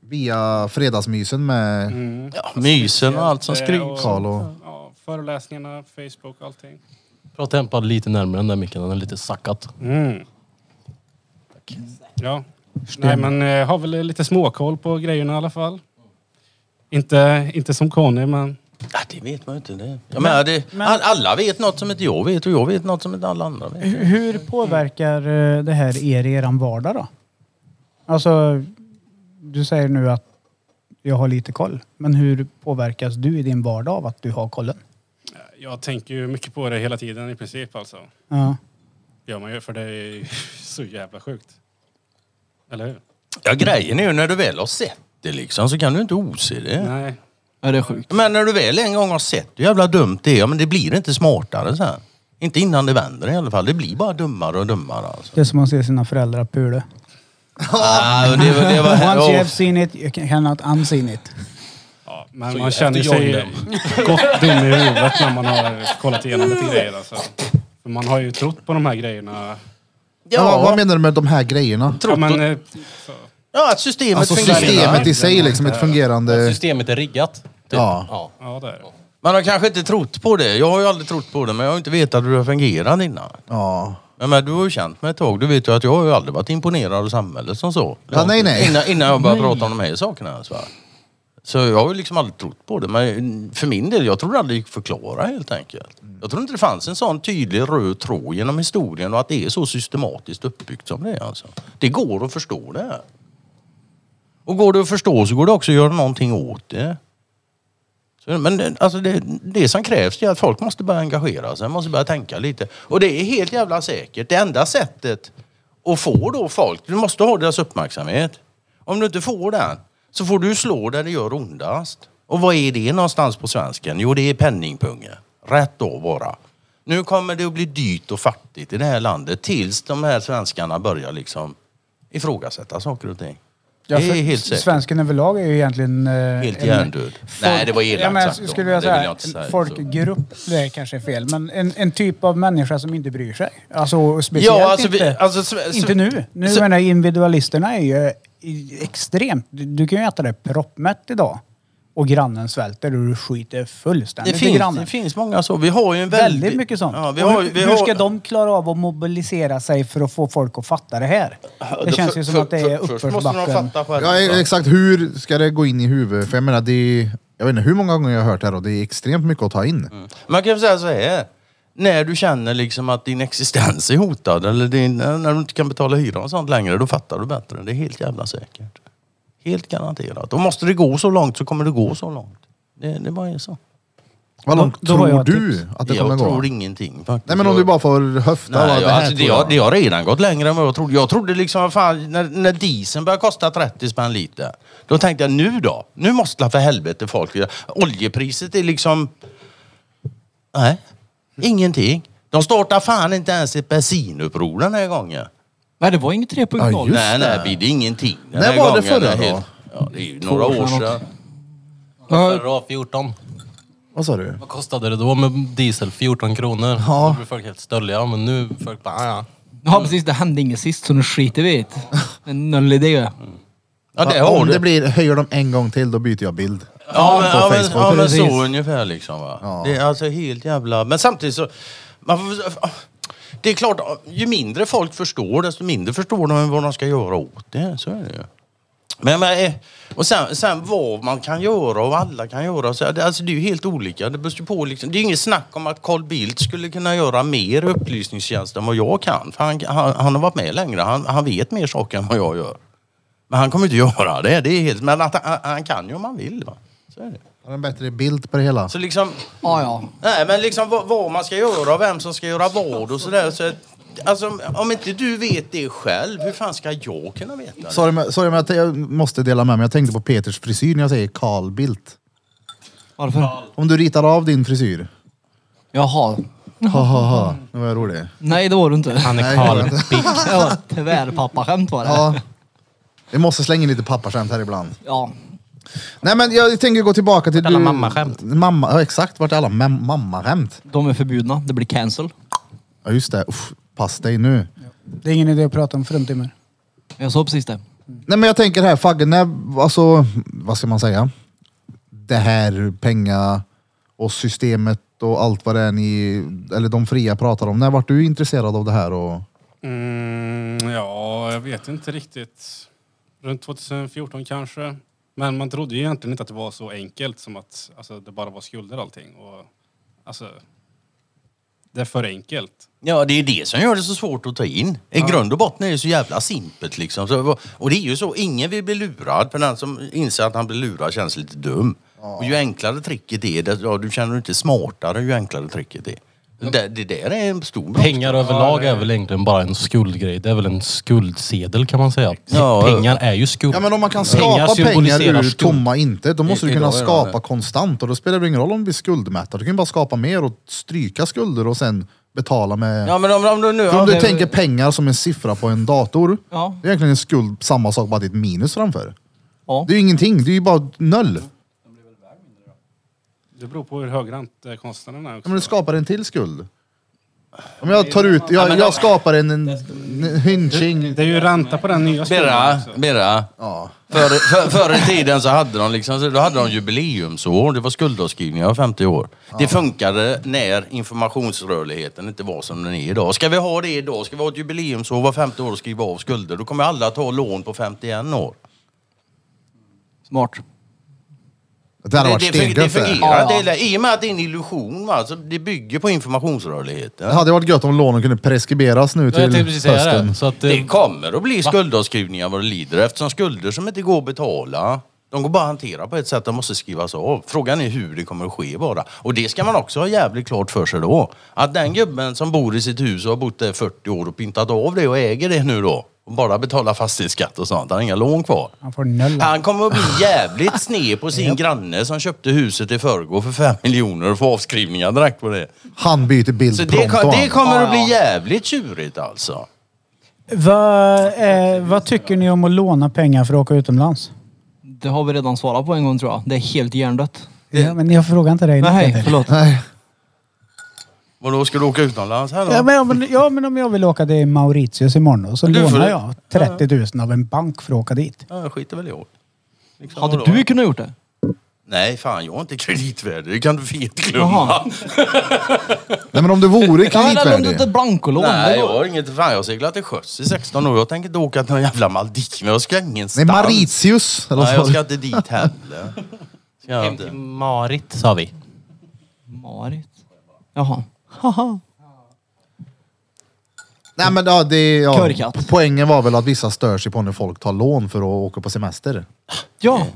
A: Via fredagsmysen med
D: Ja, mysen och allt som skrivs.
A: Karl och...
F: Eh, Ja, föreläsningarna, Facebook, allting.
B: Prata tempat lite närmare den där micken, den är lite sackat.
F: Mm. Ja. Nej, men jag har väl lite småkoll på grejerna i alla fall. Inte, inte som Conny, men...
D: Ja, det vet man ju inte. Det. Jag menar, det, all- alla vet något som inte jag vet och jag vet något som inte alla andra vet.
C: Hur- Hur påverkar eh, det här er i eran vardag då? Alltså, du säger nu att jag har lite koll. Men hur påverkas du i din vardag av att du har kollen?
F: Jag tänker ju mycket på det hela tiden i princip alltså.
C: Ja.
F: Gör man ju, för det är ju så jävla sjukt. Eller hur?
D: Ja, grejen är ju när du väl har sett det liksom så kan du inte ose det.
F: Nej.
E: Ja, det är sjukt.
D: Men när du väl en gång har sett hur jävla dumt det är, ja, men det blir inte smartare sen. Inte innan det vänder i alla fall. Det blir bara dummare och dummare alltså.
C: Det är som att se sina föräldrar pula.
D: Ah, det, var- det var,
C: Once you
D: ja,
C: have seen it, you cannot unseen it.
F: Ja, men
B: Så
F: man
B: efter
F: känner
B: jag
F: sig gott dum i huvudet när man har kollat igenom lite grejer alltså. För man har ju trott på de här grejerna.
A: Men vad, vad
D: ja,
A: menar du med de här grejerna?
F: Ja, men, eh, så.
D: ja, att systemet
A: Alltså
D: fungerar.
A: systemet i sig liksom, ett fungerande...
B: Systemet är riggat. Typ.
A: Ja.
F: ja, det är det.
D: Man har kanske inte trott på det. Jag har ju aldrig trott på det, men jag har ju inte vetat hur det fungerar innan.
A: Ja.
D: Ja, men du har ju känt mig ett tag. Du vet ju att jag har ju aldrig varit imponerad av samhället som så.
A: Ja, nej, nej.
D: Innan, innan jag började prata om de här sakerna. ens, va. Så jag har ju liksom aldrig trott på det. Men mm, för min del, jag trodde aldrig det gick att förklara helt enkelt. Jag tror inte det fanns en sån tydlig röd tråd genom historien och att det är så systematiskt uppbyggt som det är. Alltså. Det går att förstå det. här. Och går det att förstå så går det också att göra någonting åt det. Så, Men det- alltså det, det som krävs är att folk måste börja engagera sig, måste börja tänka lite. Och det är helt jävla säkert. Det enda sättet att få då folk, du måste ha deras uppmärksamhet. Om du inte får den så får du slå där det gör ondast. Och vad är det någonstans på svensken? Jo, det är penningpungen. Rätt då bara. Nu kommer det att bli dyrt och fattigt i det här landet tills de här svenskarna börjar liksom ifrågasätta saker och ting. det
C: för
D: är helt säkert.
C: Svensken överlag är ju egentligen... eh,
D: Helt
C: en-
D: hjärndöd. Nej, det var elakt
C: ja, men, jag
D: sagt då,
C: Skulle
D: men
C: jag
D: det vill
C: säga,
D: jag inte säga, alltså.
C: en
D: så.
C: folkgrupp, det är kanske är fel, men en, en typ av människa som inte bryr sig. Alltså och speciellt
D: Ja, alltså,
C: inte,
D: vi, alltså, sve-
C: inte nu. Nu
D: sve-
C: menar jag, individualisterna är ju i- extremt... Du, du kan ju äta dig proppmätt idag och grannen svälter och du skiter
D: Det
C: fullständigt i
D: finns,
C: grannen.
D: det finns många så. Vi har ju en väldigt...
C: Väldigt, mycket sånt.
D: Ja, vi
C: Och
D: har,
C: hur,
D: vi har,
C: hur ska de klara av att mobilisera sig för att få folk att fatta det här? Det känns ju som att det är
D: Först måste de
C: uppförsbacken.
D: fatta själva.
A: Ja, e- exakt hur ska det gå in i huvudet? För jag menar, det är, jag vet inte hur många gånger jag har hört det här och det är extremt mycket att ta in.
D: Mm. Man kan ju säga så här. När du känner liksom att din existens är hotad eller din, när du inte kan betala hyran och sånt längre, då fattar du bättre. Det är helt jävla säkert. Helt garanterat. Och måste det gå så långt så kommer det gå så långt. Det, det bara är så.
A: Vad
C: Då-
A: långt
C: då har
A: tror
C: jag
A: du
C: tips.
A: att det kommer
D: jag
A: gå?
D: tror ingenting faktiskt.
A: Nej men om
D: Jag-
A: du bara får höfta.
D: Nej,
A: vad
D: jag,
A: det här
D: alltså, det,
A: tror jag.
D: har, det har redan gått längre än vad jag trodde. Jag trodde liksom, vad fan, när, när dieseln började kosta 30 spänn liter. Då tänkte jag, nu då? Nu måste la för helvete folk... Oljepriset är liksom... Nej, ingenting. De startar fan inte ens ett bensinuppror den här gången.
E: Nej, det var inget 3.0.
A: Ja, just.
D: Nej, nej, bidde ingenting. Den
A: När
D: här
A: var det
D: gången
A: förra
D: är
A: då?
D: helt- Ja, det är ju några
E: år sedan
D: år sedan.
E: något. Ja,
B: Ferrari 14.
A: Vad sa du?
B: Vad kostade det då med diesel? 14 kronor.
A: Ja.
B: Då blir folk helt stölliga. Men nu folk bara, "Ah, ja.
E: ja, precis. Det hände inget sist, så nu skiter vi i det. Det är Noll idé.
D: Ja, det
A: Om
D: har
A: det
D: du.
A: blir, höjer de en gång till, då byter jag bild.
D: Ja, men,
A: på
D: ja, men,
A: Facebook.
D: ja, men
E: Precis.
D: så ungefär liksom. Va? Det är alltså helt jävla... Men samtidigt så... Man får, det är klart, ju mindre folk förstår, desto mindre förstår de vad de ska göra åt det. Så är det ju. Men, men, eh, och sen, sen vad man kan göra och vad alla kan göra. Så, det- alltså, det är ju helt olika. Det, beror ju på, liksom, det är ju inget snack om att Carl Bildt skulle kunna göra mer upplysningstjänst än vad jag kan. För han, han, han har varit med längre. Han, han vet mer saker än vad jag gör. Men han kommer inte göra det. det är helt, men att, han, han kan ju om han vill. Va? Så är det.
A: Har en bättre bild på det hela.
D: Så liksom,
E: Ja, ja.
D: nej men liksom vad, vad man ska göra och vem som ska göra vad och sådär. Så, alltså om- om inte du vet det själv, hur fan ska jag kunna veta det?
A: Sorry, men- sorry men att jag måste dela med mig. Jag tänkte på Peters frisyr när jag säger Carl Bildt.
E: Varför?
A: Om du ritar av din frisyr.
E: Jaha.
A: Ha ha ha. Nu var jag rolig.
E: Nej, det var du inte.
B: Han är
A: Nej,
B: Carl Bildt.
E: Det var ett tvärpappaskämt var det.
A: Ja. Vi måste slänga in lite pappaskämt här ibland.
E: Ja.
A: Nej men jag tänker gå tillbaka till...
B: Vart är alla mammaskämt?
A: Mamma, ja, exakt. Vart är alla mam- mammaskämt?
E: De är förbjudna. Det blir cancel.
A: Ja just det. Uff, pass dig nu.
C: Det är ingen idé att prata om fruntimmer.
E: Jag sa precis det.
A: Nej men jag tänker här, Fagge, när, alltså vad ska man säga? Det här penga och systemet och allt vad det är ni, eller de fria pratar om. När vart du intresserad av det här? Och,
F: Mm, ja, jag vet inte riktigt. Runt 2014 kanske. Men man trodde ju egentligen inte att det var så enkelt som att alltså, det bara var skulder och allting. Och, alltså, det är för enkelt.
D: Ja, det är det som gör det så svårt att ta in. I grund och botten är det så jävla simpelt liksom. Så, och det är ju så, ingen vill bli lurad. För den som inser att han blir lurad känns lite dum. Och ju enklare tricket är, desto, ja, du känner dig inte smartare ju enklare tricket är. Det, det där är en stor bromskloss.
B: Pengar överlag är väl egentligen bara en skuldgrej. Det är väl en skuldsedel kan man säga.
D: Ja,
B: pengar är ju skuld.
A: ja men om man kan skapa pengar,
B: symboliserar
A: ur
B: skuld.
A: tomma intet, då måste
D: I-
A: du kunna
D: idag är det
A: skapa
D: det.
A: konstant och då spelar det ingen roll om du blir skuldmättad. Du kan ju bara skapa mer och stryka skulder och sen betala med...
D: Ja men om, om du nu...
A: För om du
E: det-
A: tänker pengar som en siffra på en dator,
E: Ja.
A: det är egentligen en skuld, samma sak bara att det är ett minus framför.
E: Ja.
A: Det är ju ingenting, det är ju bara noll.
F: Det beror på hur hög räntekostnaden är
A: Ja,
F: också.
A: men du skapar en till skuld. Om jag tar ut, jag, jag skapar en, en, en hynching.
F: Det är ju ränta på den nya skulden
D: Birra,
F: också.
D: Birra.
A: Ja.
D: Förr, för, förr i tiden så hade de liksom, så då hade de jubileumsår, det var skuldavskrivningar var 50 år. Det funkade när informationsrörligheten inte var som den är idag. Ska vi ha det idag, ska vi ha ett jubileumsår var 50 år och skriva av skulder, då kommer alla ta lån på 51 år.
E: Smart.
A: Det hade varit
D: det, det, det E.
A: stengött det.
D: fungerar
E: Ja.
D: inte, i och med att det är en illusion va, så det bygger på informationsrörligheten.
A: Det hade varit gött om lånen kunde preskriberas nu
B: Ja, jag
A: till
B: tänkte precis säga
A: hösten.
B: det. Så att, eh,
D: Det
E: Ehm,
D: kommer att bli skuldavskrivningar vad det lider eftersom skulder som inte går att betala de går bara att hantera på ett sätt, de måste skrivas av. Frågan är hur det kommer att ske bara. Och det ska man också ha jävligt klart för sig då. Att den gubben som bor i sitt hus och har bott där 40 år och pyntat av det och äger det nu då och bara betalar fastighetsskatt och sånt, han har inga lån kvar.
C: Han får noll.
D: Han kommer att bli jävligt sned på sin granne som köpte huset i förrgår för 5 miljoner och får avskrivningar direkt på det.
A: Han byter
D: Så
A: bild
D: det,
A: prompt
D: kom-
A: och
D: det
A: allt.
D: kommer
E: Ja,
D: att bli
E: ja.
D: jävligt tjurigt alltså.
C: Vad, eh, vad tycker ni om att låna pengar för att åka utomlands?
E: Det har vi redan svarat på en gång tror jag. Det är helt hjärndött.
C: Ja, men jag frågar inte dig.
E: Nej,
C: Peter.
E: förlåt.
A: Nej.
D: Vadå, ska du åka utomlands här då?
C: Ja men, om- ja men om jag vill åka till Mauritius imorgon då, så
D: Du får-
C: lånar jag 30 000 av en bank för att åka dit.
D: Ja, jag skiter väl i år. Liksom,
E: Hade
D: vadå?
E: du kunnat gjort det?
D: Nej, fan jag är inte kreditvärdig. Det kan du fet glömma.
E: Jaha.
A: Nej men om du vore
E: Ja, men om du
A: kreditvärdig.
E: inte blankolån.
D: Nej,
E: det
D: jag
E: går.
D: har inget. Fan, jag har seglat till sjöss i 16 år. Jag tänker inte åka till någon jävla Maldiverna. Jag ska
A: Nej,
D: ingenstans.
A: Mauritius. Eller
D: Nej, jag
A: så.
D: ska inte dit heller. Ska jag
B: Hem till
D: inte.
B: Marit sa vi.
E: Marit. Jaha. Haha.
A: Nej men ja, det, ja,
E: Körkatt.
A: poängen var väl att vissa stör sig på när folk tar lån för att åka på semester.
E: Ja.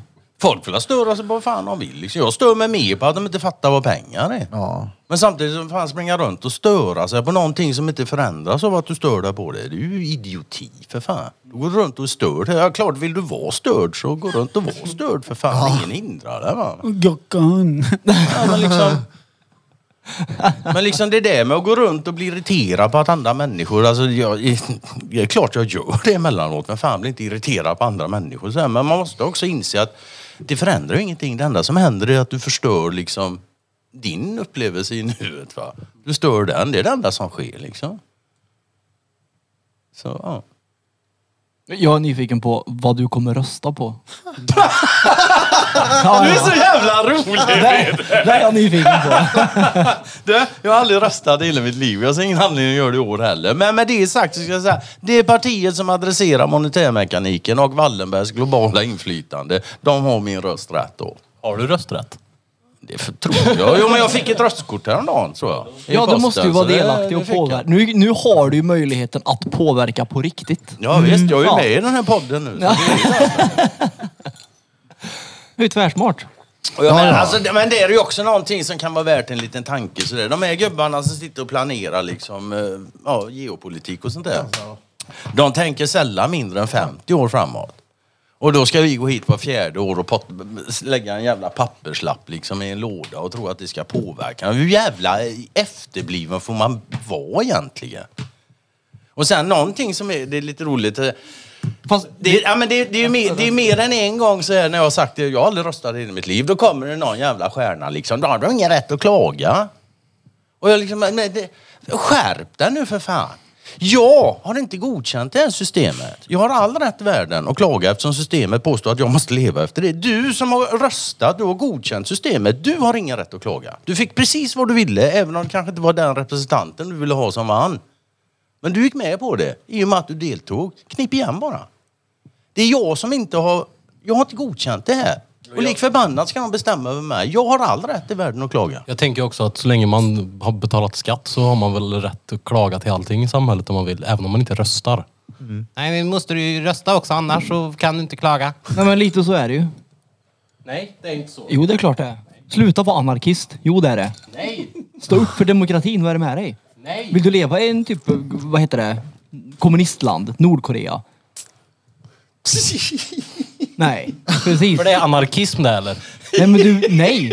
D: Folk får störa sig på vad fan de vill. Liksom. Jag stör mig mer på att de inte fattar vad pengar är.
A: Ja.
D: Men samtidigt som fan springa runt och störa sig på någonting som inte förändras av att du stör dig på det. Det är ju idioti för fan. Du går runt och är störd. Ja, klart vill du vara störd så gå runt och vara störd för fan. Ingen hindrar det va.
C: Gockan.
D: Ja, men liksom, Men liksom det där med att gå runt och bli irriterad på att andra människor, alltså jag, det är klart jag gör det emellanåt, men fan blir inte irriterad på andra människor. Så här, men man måste också inse att det förändrar ju ingenting. Det enda som händer är att du förstör liksom din upplevelse i nuet. Va? Du stör den, det är det enda som sker liksom. Så, ja.
E: Jag är nyfiken på vad du kommer rösta på.
D: Du är så jävla rolig!
E: Det är jag nyfiken på.
D: Du, jag har aldrig röstat i hela mitt liv. Jag ser ingen anledning att göra det i år heller. Men med det sagt så ska jag säga, det är partiet som adresserar monetärmekaniken och Wallenbergs globala inflytande. De har min röst rätt då.
B: Har du rösträtt?
D: Det för, tror jag. Jo, men jag fick ett röstkort häromdagen tror jag. I
E: Ja, du
D: posten,
E: måste ju
D: så
E: vara
D: det-
E: delaktig
D: det
E: och
D: fick jag.
E: påverka. Nu, nu har du ju möjligheten att påverka på riktigt.
D: Ja visst, jag är ju
E: Ja.
D: med i den här podden nu.
E: Mm, Ja.
D: Så det är ju-
E: Det är ju tvärsmart.
D: Och jag menar, alltså, det- men det är ju också någonting som kan vara värt en liten tanke. Sådär. De här gubbarna som sitter och planerar liksom, eh, ja, geopolitik och sånt där. De tänker sällan mindre än 50 år framåt. Och då ska vi gå hit på fjärde år och pot- lägga en jävla papperslapp liksom i en låda och tro att det ska påverka. Hur jävla efterbliven får man vara egentligen? Och sen någonting som är, det är lite roligt. eh,
E: Fast
D: det, ja, men det, det, är ju mer, det är ju mer än en gång så här när jag har sagt det, jag har aldrig röstat i hela mitt liv. Då kommer det någon jävla stjärna liksom. Då har du ingen rätt att klaga. Och jag liksom, nej, det, skärp dig nu för fan. Jag har inte godkänt det här systemet. Jag har all rätt i världen att klaga eftersom systemet påstår att jag måste leva efter det. Du som har röstat, du har godkänt systemet. Du har ingen rätt att klaga. Du fick precis vad du ville, även om det kanske inte var den representanten du ville ha som vann. Men du gick med på det i och med att du deltog. Knip igen bara. Det är jag som inte har... Jag har inte godkänt det här. Och lik förbannat ska de bestämma över mig. Jag har all rätt i världen att klaga.
B: Jag tänker också att så länge man har betalat skatt så har man väl rätt att klaga till allting i samhället om man vill, även om man inte röstar.
G: Mm. Nej, men måste du ju rösta också annars så kan du inte klaga.
E: Nej men lite så är det ju.
G: Nej, det är inte så.
E: Jo det är klart det är. Sluta vara anarkist. Jo det är det.
G: Nej,
E: Stå upp för demokratin, vad är det med dig?
G: nej.
E: Vill du leva i en typ, vad heter det, kommunistland, Nordkorea? Nej, precis.
B: För det är anarkism det eller?
E: Nej men du, nej.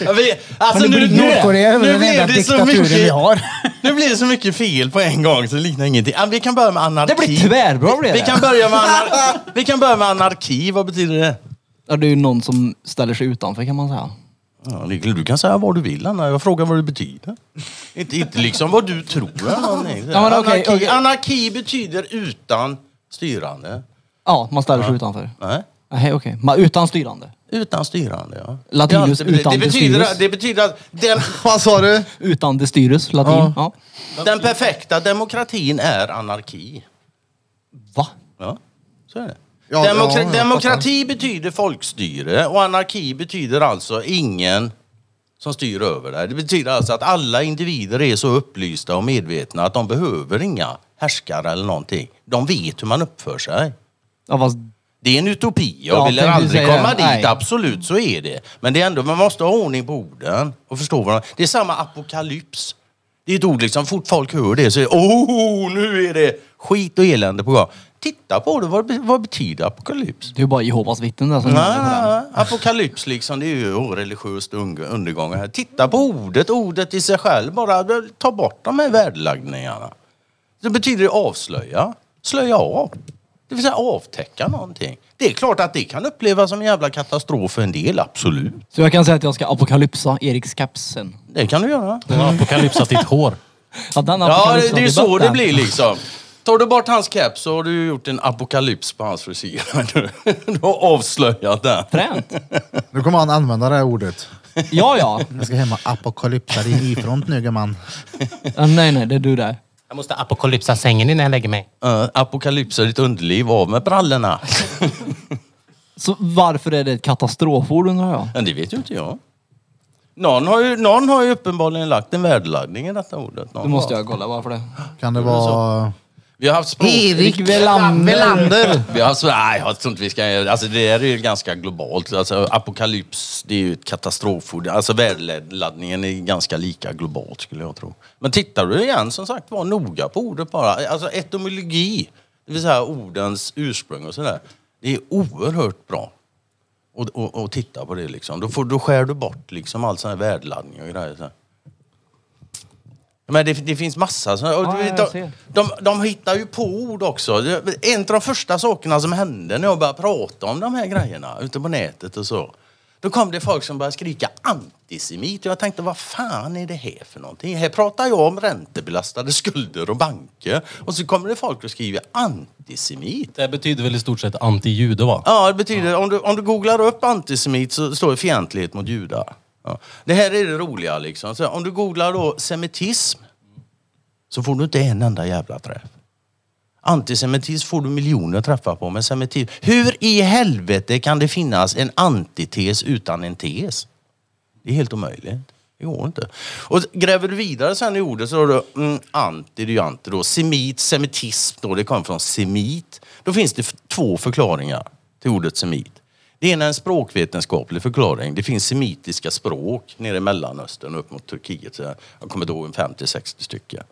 D: Jag vet- Alltså,
C: Men det blir- Nordkorea är väl
D: nu
C: den
D: blev
C: enda
D: det så
C: diktaturen
D: mycket-
C: vi har.
D: Nu blir det så mycket fel på en gång så det liknar ingenting. Ah, Vi kan börja med anarki.
E: Det blir tvärbra blir det.
D: vi kan, börja med anar- vi kan börja med anarki. Vad betyder det?
E: Ja, det är ju någon som ställer sig utanför kan man säga.
D: Ja, det- du kan säga vad du vill Anna. Jag frågar vad det betyder. Inte, inte liksom vad du tror. Ja, nej.
E: Ja, men okej,
D: anarki,
E: okej.
D: anarki betyder utan styrande.
E: Ja, man ställer sig utanför.
D: Nej.
E: Nej okej, Man- utan styrande.
D: Utan styrande, ja.
E: Latinus
D: det, det,
E: utan
D: betyder,
E: destyrus.
D: det betyder att den,
A: Vad sa du?
E: Utan de styrus, latin. Ja.
D: den perfekta demokratin är anarki.
E: Va?
D: Ja, så är det.
A: Ja,
D: Demokra-
A: ja, jag
D: demokrati betyder folkstyre och anarki betyder alltså ingen som styr över det. Det betyder alltså att alla individer är så upplysta och medvetna att de behöver inga härskare eller någonting. De vet hur man uppför sig.
E: Ja, fast,
D: Det är en utopi. Jag
E: Ja,
D: vill
E: tänkte
D: aldrig
E: säga det.
D: komma dit.
E: Nej.
D: Absolut, så är det. Men det är ändå, man måste ha ordning på orden och förstå vad de- Det är samma apokalyps. Det är ett ord liksom, fort folk hör det så är det, oh, nu är det skit och elände på gång. Titta på det, vad, be- vad betyder apokalyps?
E: det är ju bara Jehovas vittnen där som
D: Nej,
E: gäller för den.
D: nej, apokalyps liksom, det är ju oh, religiöst un- undergång här. Titta på ordet, ordet i sig själv bara, ta bort de här värdeladdningarna. Det betyder ju avslöja, slöja av. Det vill säga avtäcka någonting. Det är klart att det kan upplevas som en jävla katastrof för en del, absolut.
E: Så jag kan säga att jag ska apokalypsa Erik Skepsen.
D: Det kan du göra.
B: Den har apokalypsat ditt hår.
E: Ja, den
D: Ja, det,
E: apokalypsen
D: det är ju
E: har
D: så
E: dött
D: det
E: den.
D: blir liksom. Tar du bort hans keps så har du ju gjort en apokalyps på hans frisyr. Du har avslöjat den.
E: Fränt.
A: Nu kommer han använda det här ordet.
E: Ja, ja.
A: Jag ska hem och apokalypsa din ifrån nu gumman.
E: Ja, Nej, nej, det är du där.
G: Jag måste apokalypsa sängen innan jag lägger mig.
D: Uh, apokalypsa ditt underliv, av med brallorna.
E: Så varför är det ett katastroford undrar jag?
D: Men det vet ju inte jag. Någon har ju, någon har ju uppenbarligen lagt en värdeladdning i detta ordet. Någon
E: Då måste
D: har.
E: jag kolla varför det.
A: Kan det vara...
D: Vi har haft språk...
E: Erik Velander.
A: Velander.
D: Vi har haft, nej, jag tror inte vi ska... Alltså det här är ju ganska globalt. Alltså, apokalyps, det är ju ett katastroford. Alltså värdeladdningen är ganska lika globalt skulle jag tro. Men tittar du igen, som sagt var noga på ordet bara. Alltså etymologi, det vill säga ordens ursprung och sådär. Det är oerhört bra. Och, och, och titta på det liksom. Då, får, då skär du bort liksom all sån här värdeladdning och grejer. Så här. Men det, det finns massa. såna- Och,
E: Ja,
D: du vet,
E: jag
D: de,
E: ser.
D: de, de hittar ju på ord också. Det- En av de första sakerna som hände när jag började prata om de här grejerna ute på nätet och så. Då kom det folk som började skrika antisemit och jag tänkte vad fan är det här för någonting? Här pratar jag om räntebelastade skulder och banker och så kommer det folk och skriver antisemit.
B: Det betyder väl i stort sett anti-jude va?
D: Ja, det betyder, om du, om du googlar upp antisemit så står det fientlighet mot judar. Ja. Det här är det roliga liksom. Så om du googlar då semitism så får du inte en enda jävla träff. Antisemitism får du miljoner träffar på, men semitism... Hur i helvete kan det finnas en antites utan en tes? Det är helt omöjligt. Det går inte. Och gräver du vidare sen i ordet så har du mm, anti, det är ju anti då. Semit, semitism då, det kommer från semit. Då finns det f- två förklaringar till ordet semit. Det ena är en språkvetenskaplig förklaring. Det finns semitiska språk nere i Mellanöstern upp mot Turkiet. Så jag kommer då ihåg en 50-60 stycken.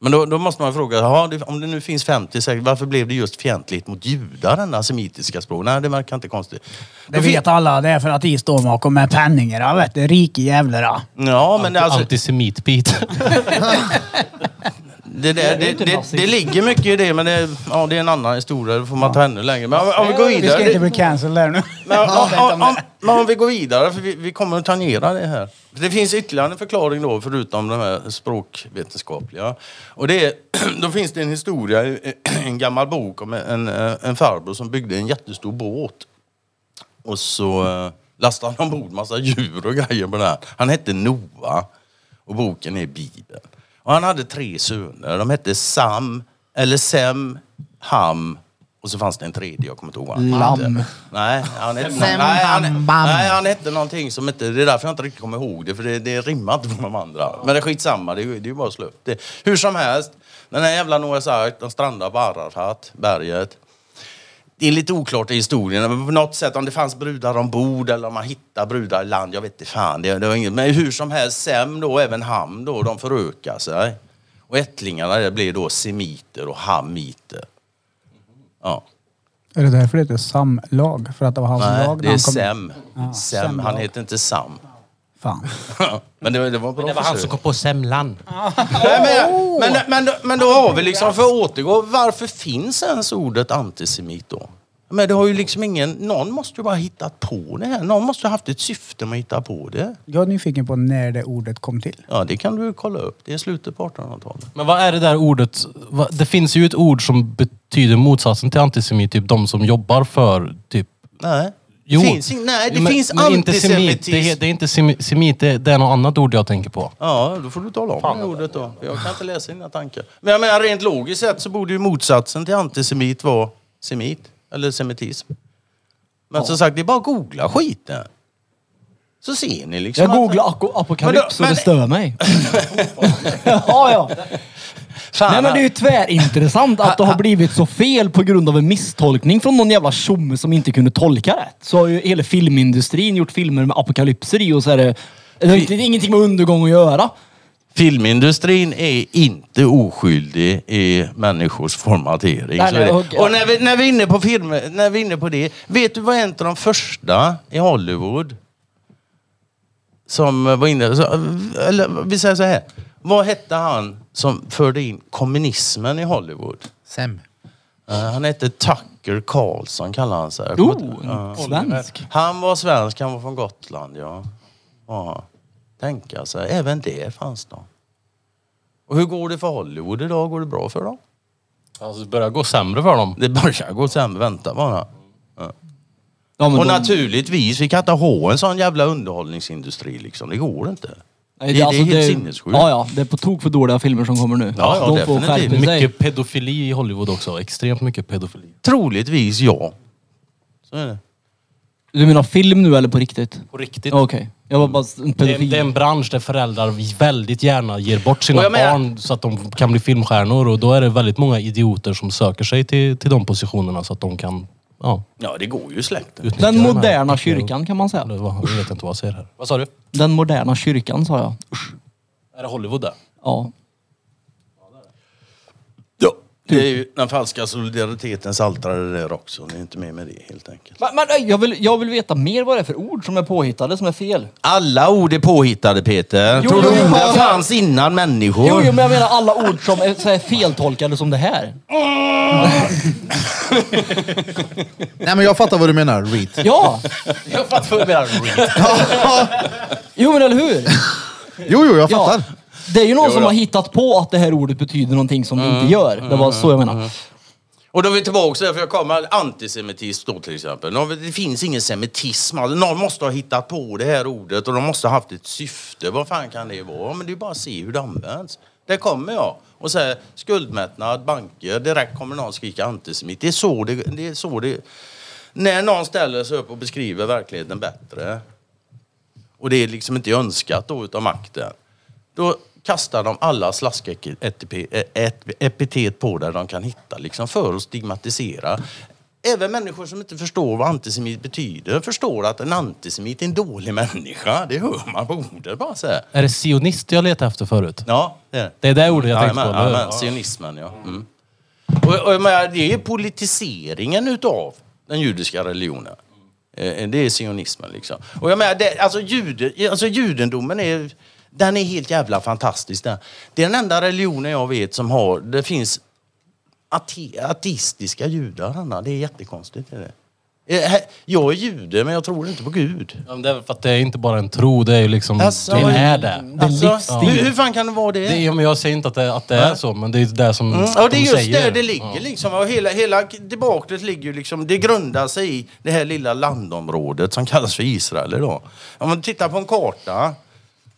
D: Men då, då måste man fråga, jaha, det, om det nu finns 50 säkert, varför blev det just fientligt mot judar, denna semitiska språk? Nej, det verkar inte konstigt.
C: Det
D: Då fin-
C: vet alla, det är för att de står bakom med penningar, vet du. Rike jävlar.
D: Ja, men det, alltså,
B: Antisemit-Pete.
D: Det, där, det, det,
E: inte
D: det,
E: nazism.
D: det ligger mycket i det, men det, ja, det är en annan historia. Det får man ta ännu längre. Men om, om vi går
C: Vi ska
D: vidare...
C: inte bli cancelled där nu.
D: Men om, om, om, men om vi går vidare, för vi, vi kommer att tangera det här. Det finns ytterligare en förklaring då, förutom de här språkvetenskapliga. Och det är, då finns det en historia, i en gammal bok om en, en farbror som byggde en jättestor båt. Och så eh, lastade han ombord massa djur och grejer på den. här. Han hette Noa och boken är Bibeln. Och han hade tre söner. De hette Sam, eller Sem, Ham och så fanns det en tredje, jag kommer inte ihåg vad han
C: Lam.
D: hette. Nej, han hette, nej, han, nej, han hette någonting som inte... Det är därför jag inte riktigt kommer ihåg det, för det, det rimmar inte på de andra. Men det är skitsamma, det är ju det är ju bara att slå upp det. Hur som helst, den här jävla Noahs ark, den strandade på Arafat, berget. Det är lite oklart i historien, men på något sätt om det fanns brudar ombord eller om man hittar brudar i land, jag vet inte fan. Det, det var inget. Men hur som helst, Sem då, även Ham då, de förökar sig. Och ättlingarna det blir då semiter och hamiter. Ja.
C: Är det därför det heter samlag? För att det var hans
D: Nej,
C: lag? när
D: det är
C: han kom-
D: Sem.
C: Ja,
D: Sem, han heter inte Sam.
C: Fan.
D: men det, var- det var bra
G: Det var han
D: försök.
G: som kom på semlan.
D: Nej, men, men, men, men, men då har vi liksom, för att återgå, varför finns ens ordet antisemit då? Men det har ju liksom ingen, någon måste ju bara ha hittat på det här. Någon måste ha haft ett syfte med att hitta på det.
C: Jag är nyfiken på när det ordet kom till.
D: Ja, det kan du kolla upp. Det är slutet på 1800-talet.
B: Men vad är det där ordet? vad- Det finns ju ett ord som betyder motsatsen till antisemit. Typ de som jobbar för typ...
D: Nej.
B: Jo.
D: Finns, ing- nej, det
B: Men-
D: finns
B: men inte semit.
D: antisemitism.
B: Det, är- det är inte semi- semit, det, det är något annat ord jag tänker på.
D: Ja, då får du tala om det ordet då. För jag kan inte läsa dina tankar. Men jag menar, rent logiskt sett så borde ju motsatsen till antisemit vara semit. Eller semitism. Men som sagt, det är bara att googla skiten. Så ser ni liksom.
E: Jag
D: att-
E: googlade ako- apokalyps
D: Men då-
E: och det
D: men-
E: stör mig. ja, ja.
D: Fan,
E: Nej men det är ju tvärintressant att det har blivit så fel på grund av en misstolkning från någon jävla tjomme som inte kunde tolka rätt. Så har ju hela filmindustrin gjort filmer med apokalypser i och så är det... Det har inte- det är ingenting med undergång att göra.
D: Filmindustrin är inte oskyldig i människors formatering.
E: Nej,
D: så är det.
E: nej, okej.
D: Och när vi, när, vi är inne på film, när vi är inne på det, vet du vad en av de första i Hollywood som var inne... Så, eller vi säger så här. Vad hette han som förde in kommunismen i Hollywood?
G: Sem.
D: Eh, han hette Tucker Carlson kallar han sig. Jag kommer inte-
E: Oh, en svensk.
D: han var svensk, han var från Gotland, ja. ja. Tänka sig, även det fanns då. Och hur går det för Hollywood idag? Går det bra för dem?
B: Alltså det börjar gå sämre för dem.
D: Det börjar gå sämre, vänta bara.
E: Ja, men
D: Och
E: de-
D: naturligtvis, vi kan inte ha en sån jävla underhållningsindustri liksom. Det går inte.
E: Nej,
D: det- det är
E: alltså,
D: helt sinnessjukt.
E: Ja, ja. Det är på tok för dåliga filmer som kommer nu.
D: Ja, ja,
E: de får
D: definitivt.
E: skärpa sig.
B: Mycket pedofili i Hollywood också. Extremt mycket pedofili.
D: Troligtvis ja. Så är det.
E: Du menar film nu eller på riktigt?
B: På riktigt.
E: Ja, Okej. Jag var bara en
B: Det är,
E: pedofil.
B: det är en bransch där föräldrar väldigt gärna ger bort sina
D: Och jag menar-
B: barn så att de kan bli filmstjärnor. Och då är det väldigt många idioter som söker sig till, till de positionerna så att de kan ja,
D: Ja, det går ju i släkten.
B: utnyttja
E: Den
B: här-
E: moderna kyrkan kan man säga.
B: Eller vad- Jag vet inte vad jag säger här. Vad sa du?
E: Den moderna kyrkan sa jag.
B: Är det Hollywood där?
D: Ja.
E: Ja.
D: Det är ju den falska solidaritetens altare där också. Ni är inte med med det helt enkelt.
E: Men, men ej, jag, vill, jag vill veta mer vad det är för ord som är påhittade, som är fel.
D: Alla ord är påhittade Peter.
E: Jo,
D: Tror du
E: jo,
D: orden
E: fan.
D: fanns innan människor?
E: Jo, jo, men jag menar alla ord som är så här feltolkade som det här.
A: Nej men jag fattar vad du menar, reet.
E: Ja!
D: Jag fattar vad du menar.
E: Jo, men eller hur?
A: Jo, jo, jag fattar.
E: Det är ju någon
D: Jo Mm.
E: som
D: då.
E: har hittat på att det här ordet betyder någonting som det inte gör. Det var så jag
D: Mm.
E: menar.
D: Och då är vi tillbaka där, för jag kommer antisemitism då till exempel. Nå, Det finns ingen semitism. Alltså, Någon måste ha hittat på det här ordet och de måste ha haft ett syfte. Vad fan kan det vara? Men det är bara att se hur det används. Där kommer jag och säger skuldmättnad, banker. Direkt kommer någon skrika antisemit. Det är så det, det är. Så det. När någon ställer sig upp och beskriver verkligheten bättre och det är liksom inte önskat då utav makten. Då kastar de alla slasketipetet på där de kan hitta liksom för att stigmatisera. Även människor som inte förstår vad antisemit betyder förstår att en antisemit är en dålig människa. Det hör man på ordet bara så här.
B: Är det sionist jag letade efter förut?
D: Ja, det är det.
B: Det är det ordet jag tänkte på.
D: Jajamän,
B: eller hur?
D: jajamän, sionismen, ja. Mm. Och, och, jag menar, det är politiseringen utav den judiska religionen. Eh, Det är sionismen liksom. Och jag menar, det, alltså, jude, alltså judendomen är, den är helt jävla fantastisk. Den. Det är den enda religionen jag vet som har, det finns ate, ateistiska judar, Hanna. Det är jättekonstigt. Är det? Eh, he- Jag är jude, men jag tror inte på Gud.
B: Ja, men det är för att det är inte bara en tro, det är ju liksom...
D: Alltså,
B: det
D: vad-
B: Mm. är det.
D: Alltså, hur, hur fan kan det vara det?
B: det är, men jag säger inte att det, att det är så, men det är ju det som
D: Mm, ja, det är
B: de
D: just
B: säger.
D: där det ligger liksom. Och hela, hela debaklet ligger ju liksom, det grundar sig i det här lilla landområdet som kallas för Israel idag. Om man tittar på en karta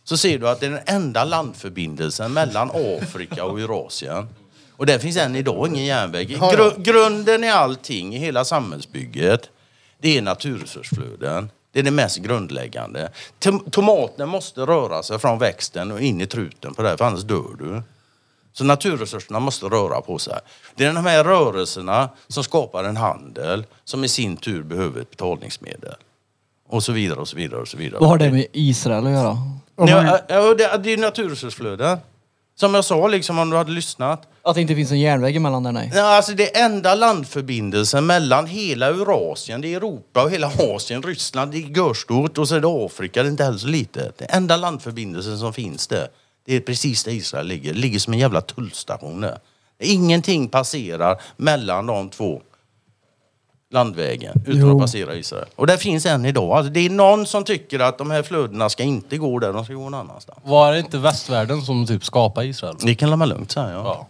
D: så ser du att det är den enda landförbindelsen mellan Afrika och Eurasien. Och där finns än idag ingen järnväg. Gru grunden i allting, i hela samhällsbygget, det är naturresursflöden. Det är det mest grundläggande. Tom- tomaten måste röra sig från växten och in i truten på det här, för annars dör du. Så naturresurserna måste röra på sig. Det är de här rörelserna som skapar en handel som i sin tur behöver ett betalningsmedel. Och så vidare och så vidare och så vidare.
E: Vad har det med Israel att göra?
D: Ja, ja, det, det är ju naturresursflöden. Som jag sa liksom om du hade lyssnat.
E: Att det inte finns en järnväg emellan där, nej.
D: Ja, Alltså det enda landförbindelsen mellan hela Eurasien, det är Europa och hela Asien, Ryssland, det är görstort och så är det Afrika, det är inte heller så litet. Det enda landförbindelsen som finns där, det är precis där Israel ligger. Det ligger som en jävla tullstation där. Ingenting passerar mellan de två landvägen utan att passera Israel. Och det finns än idag. Alltså det är någon som tycker att de här flödena ska inte gå där, de ska gå någon annanstans.
B: Var det inte västvärlden som typ skapade Israel?
D: Det kan man lugnt säga. Ja.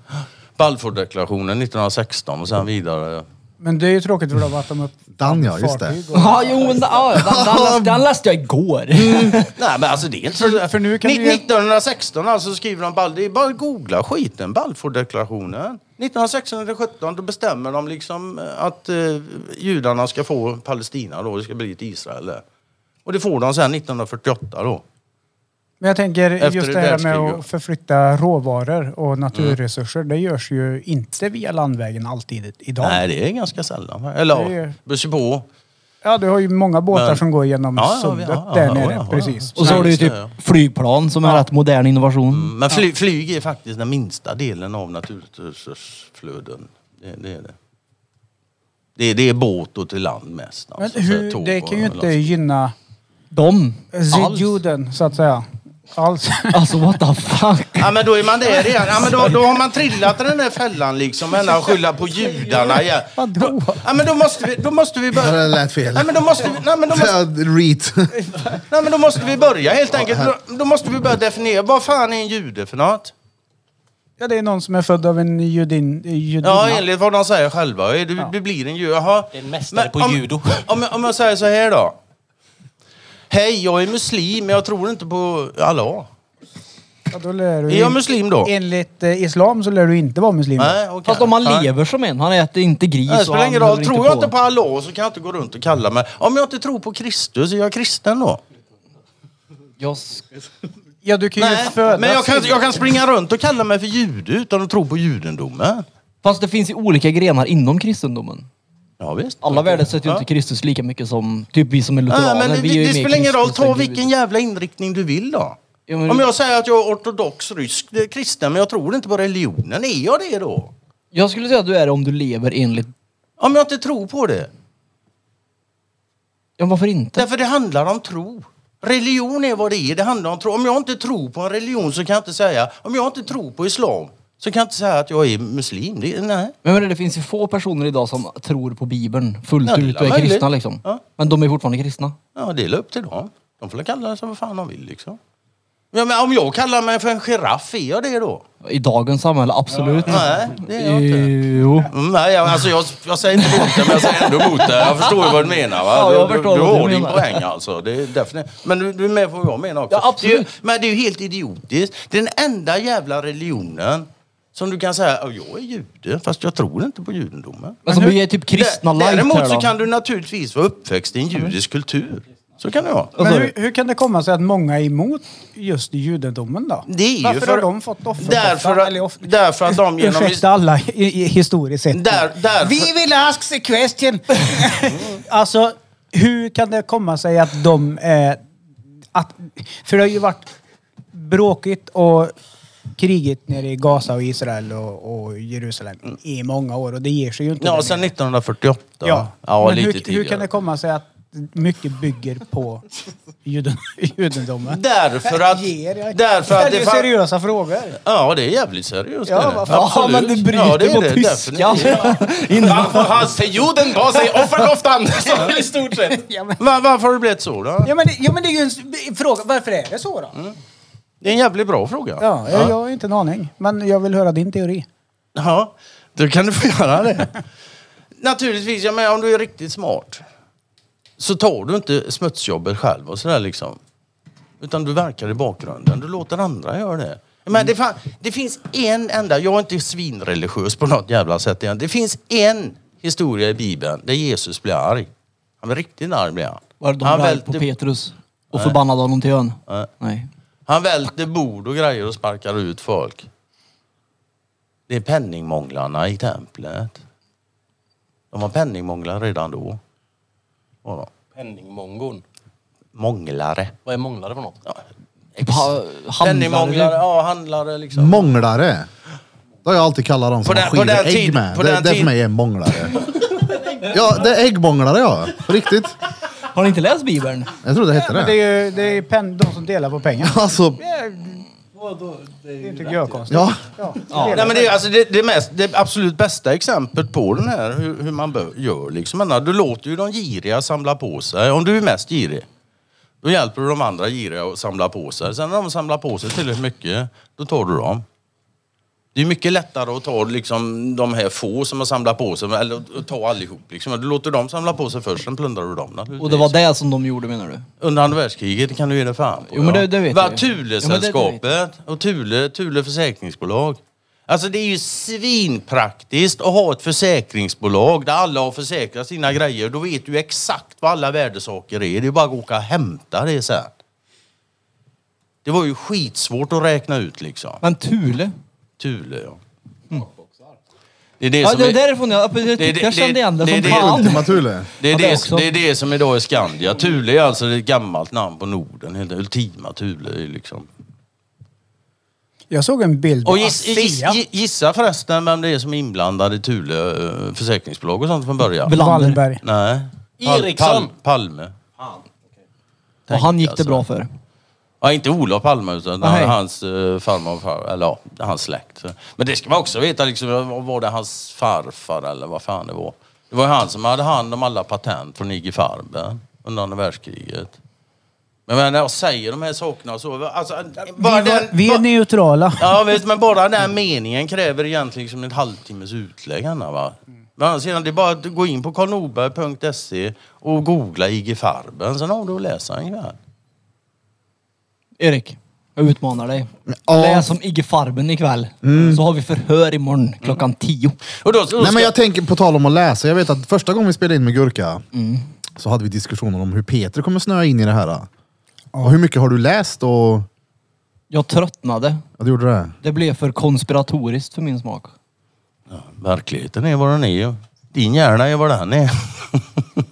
D: Balfourdeklarationen 1916 och sen vidare.
C: Men det är ju tråkigt för då att de upp...
A: Dan, Mm, ja, just det.
C: fartyg och-
E: Ja, jo, men ja, den, den, läste, den läste jag igår.
D: Nej men alltså det är inte
C: För- för nu kan
D: Ni-
C: du ju-
D: 1916 alltså skriver de Bal... Det är bara att googla skiten. Balfourdeklarationen. 1916 eller 17 då bestämmer de liksom eh, att eh, judarna ska få Palestina då. Det ska bli ett Israel. Och det får de sen 1948 då.
C: Men jag tänker
D: Efter
C: just det här med
D: världskriget.
C: att förflytta råvaror och naturresurser. Det görs ju inte via landvägen alltid idag.
D: Nej det är ganska sällan. Eller
C: Det
D: ja,
C: är-
D: beror sig på.
C: Ja, du har ju många båtar
D: Men-
C: som går genom
D: Ja, ja,
C: sundet
D: ja, ja,
C: där
D: ja,
C: nere.
D: ja, ja.
C: Precis.
E: Och så har du ju
D: just det, Mm.
E: typ flygplan som är rätt modern innovation.
D: Men fly, flyg är faktiskt den minsta delen av naturresursflöden. Det, det är det. Det är, det är båt och till land mest.
C: Men
D: Alltså, så här
C: hur,
D: tåg
C: det
D: och
C: kan ju inte
D: lastbil.
C: gynna
E: De.
C: Alltså,
E: Alls.
C: juden så att säga. Alls.
E: Alltså what the fuck.
D: Ja men då är man där igen. Ja, men då, då har man trillat i den där fällan liksom. Än att skylla på judarna igen.
C: Vadå?
D: Ja men då måste vi, då måste vi
A: Ja, Det
D: börja.
A: lät fel.
D: Nej men då måste vi, nej men då måste,
A: Reet.
D: nej, men då måste vi börja helt enkelt. Då, då måste vi börja definiera. Vad fan är en jude för något?
C: Ja, det är någon som är född av en judin, judinna.
D: Ja, enligt vad de säger själva. Är Du, du blir en jude. Jaha.
G: Det är en mästare på
D: om,
G: judo.
D: Om, jag- om jag säger så här då. Hej, jag är muslim, men jag tror inte på Allah.
C: Ja, då lär du
D: Är jag muslim då?
C: Enligt eh, islam så lär du inte vara muslim.
D: Nej, okej.
E: Fast om man
D: Nej.
E: lever som en. Han äter inte
D: Nej,
E: gris.
D: det
E: och
D: Äh, spelar
E: han
D: ingen roll.
E: håller
D: Tror jag inte på Allah så kan jag inte gå runt och kalla mig... Om jag inte tror på Kristus, är jag kristen då?
E: Jag sk-
C: Ja, du kan ju
D: Nej,
C: födas.
D: men jag kan, Alltså, jag kan springa runt och kalla mig för jude utan att tro på judendomen.
E: Fast det finns ju olika grenar inom kristendomen.
D: Ja, visst.
E: Alla värdesätter ju inte Kristus lika mycket som typ vi som är lutheraner.
D: Nej, men det,
E: vi är ju
D: det
E: mer
D: spelar ingen roll.
E: kristna
D: Ta
E: än Gud.
D: vilken jävla inriktning du vill då.
E: Ja, men-
D: Om jag säger att jag är ortodox rysk det är kristen men jag tror inte på religionen, är jag det då?
E: Jag skulle säga att du är det om du lever enligt...
D: Om jag inte tror på det.
E: Ja, varför inte?
D: Därför det handlar om tro. Religion är vad det är. Det handlar om tro. Om jag inte tror på en religion så kan jag inte säga... Om jag inte tror på islam så kan jag inte säga att jag är muslim. Det, nej.
E: Men jag menar, det finns ju få personer idag som tror på Bibeln fullt
D: Ja, det är
E: ut och är
D: möjligt.
E: kristna liksom.
D: Ja.
E: Men de är fortfarande kristna.
D: Ja, det är upp till dem. De får kalla sig vad fan de vill liksom. Ja, men om jag kallar mig för en giraff, är jag det då?
E: I dagens samhälle, absolut.
D: Nej, det är jag inte.
E: Jo.
D: Mm, Nej, jag, alltså jag, jag säger inte emot det, men jag säger ändå emot det. Jag förstår ju vad du menar. Va?
E: Ja, jag
D: du,
E: förstår
D: du,
E: vad
D: du
E: du
D: har din
E: menar.
D: poäng alltså. Det är definitivt. Men du, du är med på vad jag menar också.
E: Ja, absolut.
D: Det är, ju- men det är ju helt idiotiskt. Den enda jävla religionen som du kan säga, "Ja, jag är jude, fast jag tror inte på judendomen.
E: Men som är typ kristna
D: Dä-
E: light
D: Däremot
E: här,
D: så
E: då.
D: kan du naturligtvis vara uppväxt i en judisk kultur. Så kan det vara.
E: Vad
C: Men
E: sa
C: hur, hur kan det komma sig att många är emot just judendomen då?
D: Det är ju
C: Varför
D: för-
C: har de fått offer?
D: Därför,
C: Eller
D: att-
C: off-
D: därför att de genom...
C: Ursäkta alla i, i, historiskt sett.
D: Där, där,
C: Vi vill ask the question! alltså, hur kan det komma sig att de... Eh, att, för det har ju varit bråkigt och krigigt nere i Gaza och Israel och, och Jerusalem i många år och det ger sig ju inte.
D: Ja,
C: där
D: sedan
C: nere.
D: 1948.
C: ja.
D: ja
C: Men
D: lite
C: hur, hur
D: tidigare.
C: kan det komma sig att mycket bygger på juden, judendomen?
D: Därför att...
C: Ger jag-
D: Därför att
C: Ställer
D: det
C: ju
D: fan-
C: seriösa frågor.
D: Ja, det är jävligt seriöst.
C: Ja,
D: det är det.
C: vad fan.
E: Ja,
D: Absolut.
E: men du bryter
D: Ja, det är
E: på
D: det,
E: tyskan.
D: definitivt.
G: Varför har juden på sig offerkoftan? Så I stort sett.
D: Va- Varför har det blivit så då?
C: Ja men, det, ja men det är ju en s- fråga, varför är det så då?
D: Mm. Det är en jävligt bra fråga.
C: Ja, jag, jag har inte en aning. Men jag vill höra din teori.
D: Ja, då kan du få göra det. Naturligtvis, jag menar om du är riktigt smart så tar du inte smutsjobbet själv och sådär liksom. Utan du verkar i bakgrunden. Du låter andra göra det. Men det, fan, det finns en enda, jag är inte svinreligiös på något jävla sätt igen. Det finns en historia i Bibeln där Jesus blir arg. Han blir riktigt arg blir han.
E: Var de
D: han,
E: där på
D: välte,
E: Petrus och förbannade honom till ön?
D: Nej.
E: Nej.
D: han välter bord och grejer och sparkar ut folk. Det är penningmånglarna i templet. De var penningmånglare redan då. Var de?
B: Penningmongon.
D: Månglare.
B: Vad är månglare för något?
E: Typ ha,
D: Penningmånglare,
E: handlare.
D: ja handlare liksom.
A: Månglare. Det har jag alltid kallat dem som
D: den-
A: man
D: på
A: skiver
D: den
A: ägg
D: tid-
A: med.
D: på
A: Det,
D: den
A: det för
D: tid-
A: mig är en månglare. ja, det är äggmånglare ja. På riktigt.
E: Har ni inte läst Bibeln?
A: Jag tror det hette
C: Men det
A: det.
C: är ju det är ju pen, de som delar på pengar.
A: Alltså,
C: Det
D: Mm.
C: tycker jag är konstigt.
A: ja.
D: Nej, men det, är alltså det, det, mest, det absolut bästa exemplet på den här, hur, hur man bör, gör. Liksom. Men, Du låter ju de giriga samla på sig. Om du är mest girig, då hjälper du de andra giriga att samla på sig. Sen när de samlar på sig tillräckligt mycket, då tar du dem. Det är mycket lättare att ta liksom, de här få som har samlat på sig, eller att ta allihop. Liksom. Du låter dem samla på sig först, sen plundrar du dem. naturligtvis.
E: Och det var det som de gjorde menar du?
D: Under andra världskriget, det kan du ge dig fan på.
E: Jo, men det- det vet jag
D: Va,
E: ju. Jo, men
D: Thule-sällskapet och Thule, Thule försäkringsbolag. Alltså det är ju svinpraktiskt att ha ett försäkringsbolag där alla har försäkrat sina grejer. Då vet du exakt vad alla värdesaker är. Det är bara att åka och hämta det sen. Det var ju skitsvårt att räkna ut liksom.
E: Men Thule?
D: Thule ja. Det är det
E: Mm. Ja,
D: som
E: det är
D: är...
E: därifrån jag... Jag,
D: det-
E: tyckte jag kände igen det
D: det-
E: som
D: det-
E: fan.
A: Ultima Thule.
D: Det
E: Ja,
D: är
E: det
D: det,
E: också.
D: det är det som idag är Skandia. Thule är alltså ett gammalt namn på Norden. helt- Ultima Thule är liksom...
C: Jag såg en bild
D: Och
C: på
D: giss, giss,
C: Asea.
D: gi- gissa förresten vem det är som är inblandad i Thule eh, försäkringsbolag och sånt från början?
E: Bla-
C: Wallenberg.
D: Nej.
G: Eriksson.
D: Palme.
E: Och han gick det
D: Tänk,
E: bra
D: alltså.
E: för.
D: Ja, inte Olof Palme utan
E: Nej.
D: hans eh, farmor och far, eller ja, hans släkt. Men det ska man också veta, liksom, vad var det hans farfar eller vad fan det var? Det var ju han som hade hand om alla patent från IG Farben under andra världskriget. Men när jag säger de här sakerna så... Alltså, bara
C: Vi,
D: den-
C: var, vi
D: bara-
C: är neutrala.
D: Ja visst, men bara den här meningen kräver egentligen liksom en halvtimmes utlägg Anna, va? Men annars sedan, det är bara att gå in på karlnorberg.se och googla IG Farben, sen har du att läsa en kväll.
E: Erik, jag utmanar dig.
A: Ja.
E: Läs om Igge Farben ikväll. Så har vi förhör imorgon klockan tio.
D: Och då, då ska,
A: Nej men jag tänker, på tal om att läsa, jag vet att första gången vi spelade in med Gurka
D: Mm.
A: så hade vi diskussioner om hur Peter kommer snöa in i det här. Och hur mycket har du läst och...
E: Jag tröttnade.
A: Ja, du gjorde det?
E: Det blev för konspiratoriskt för min smak.
D: Verkligheten är vad den är. Din hjärna är vad den är.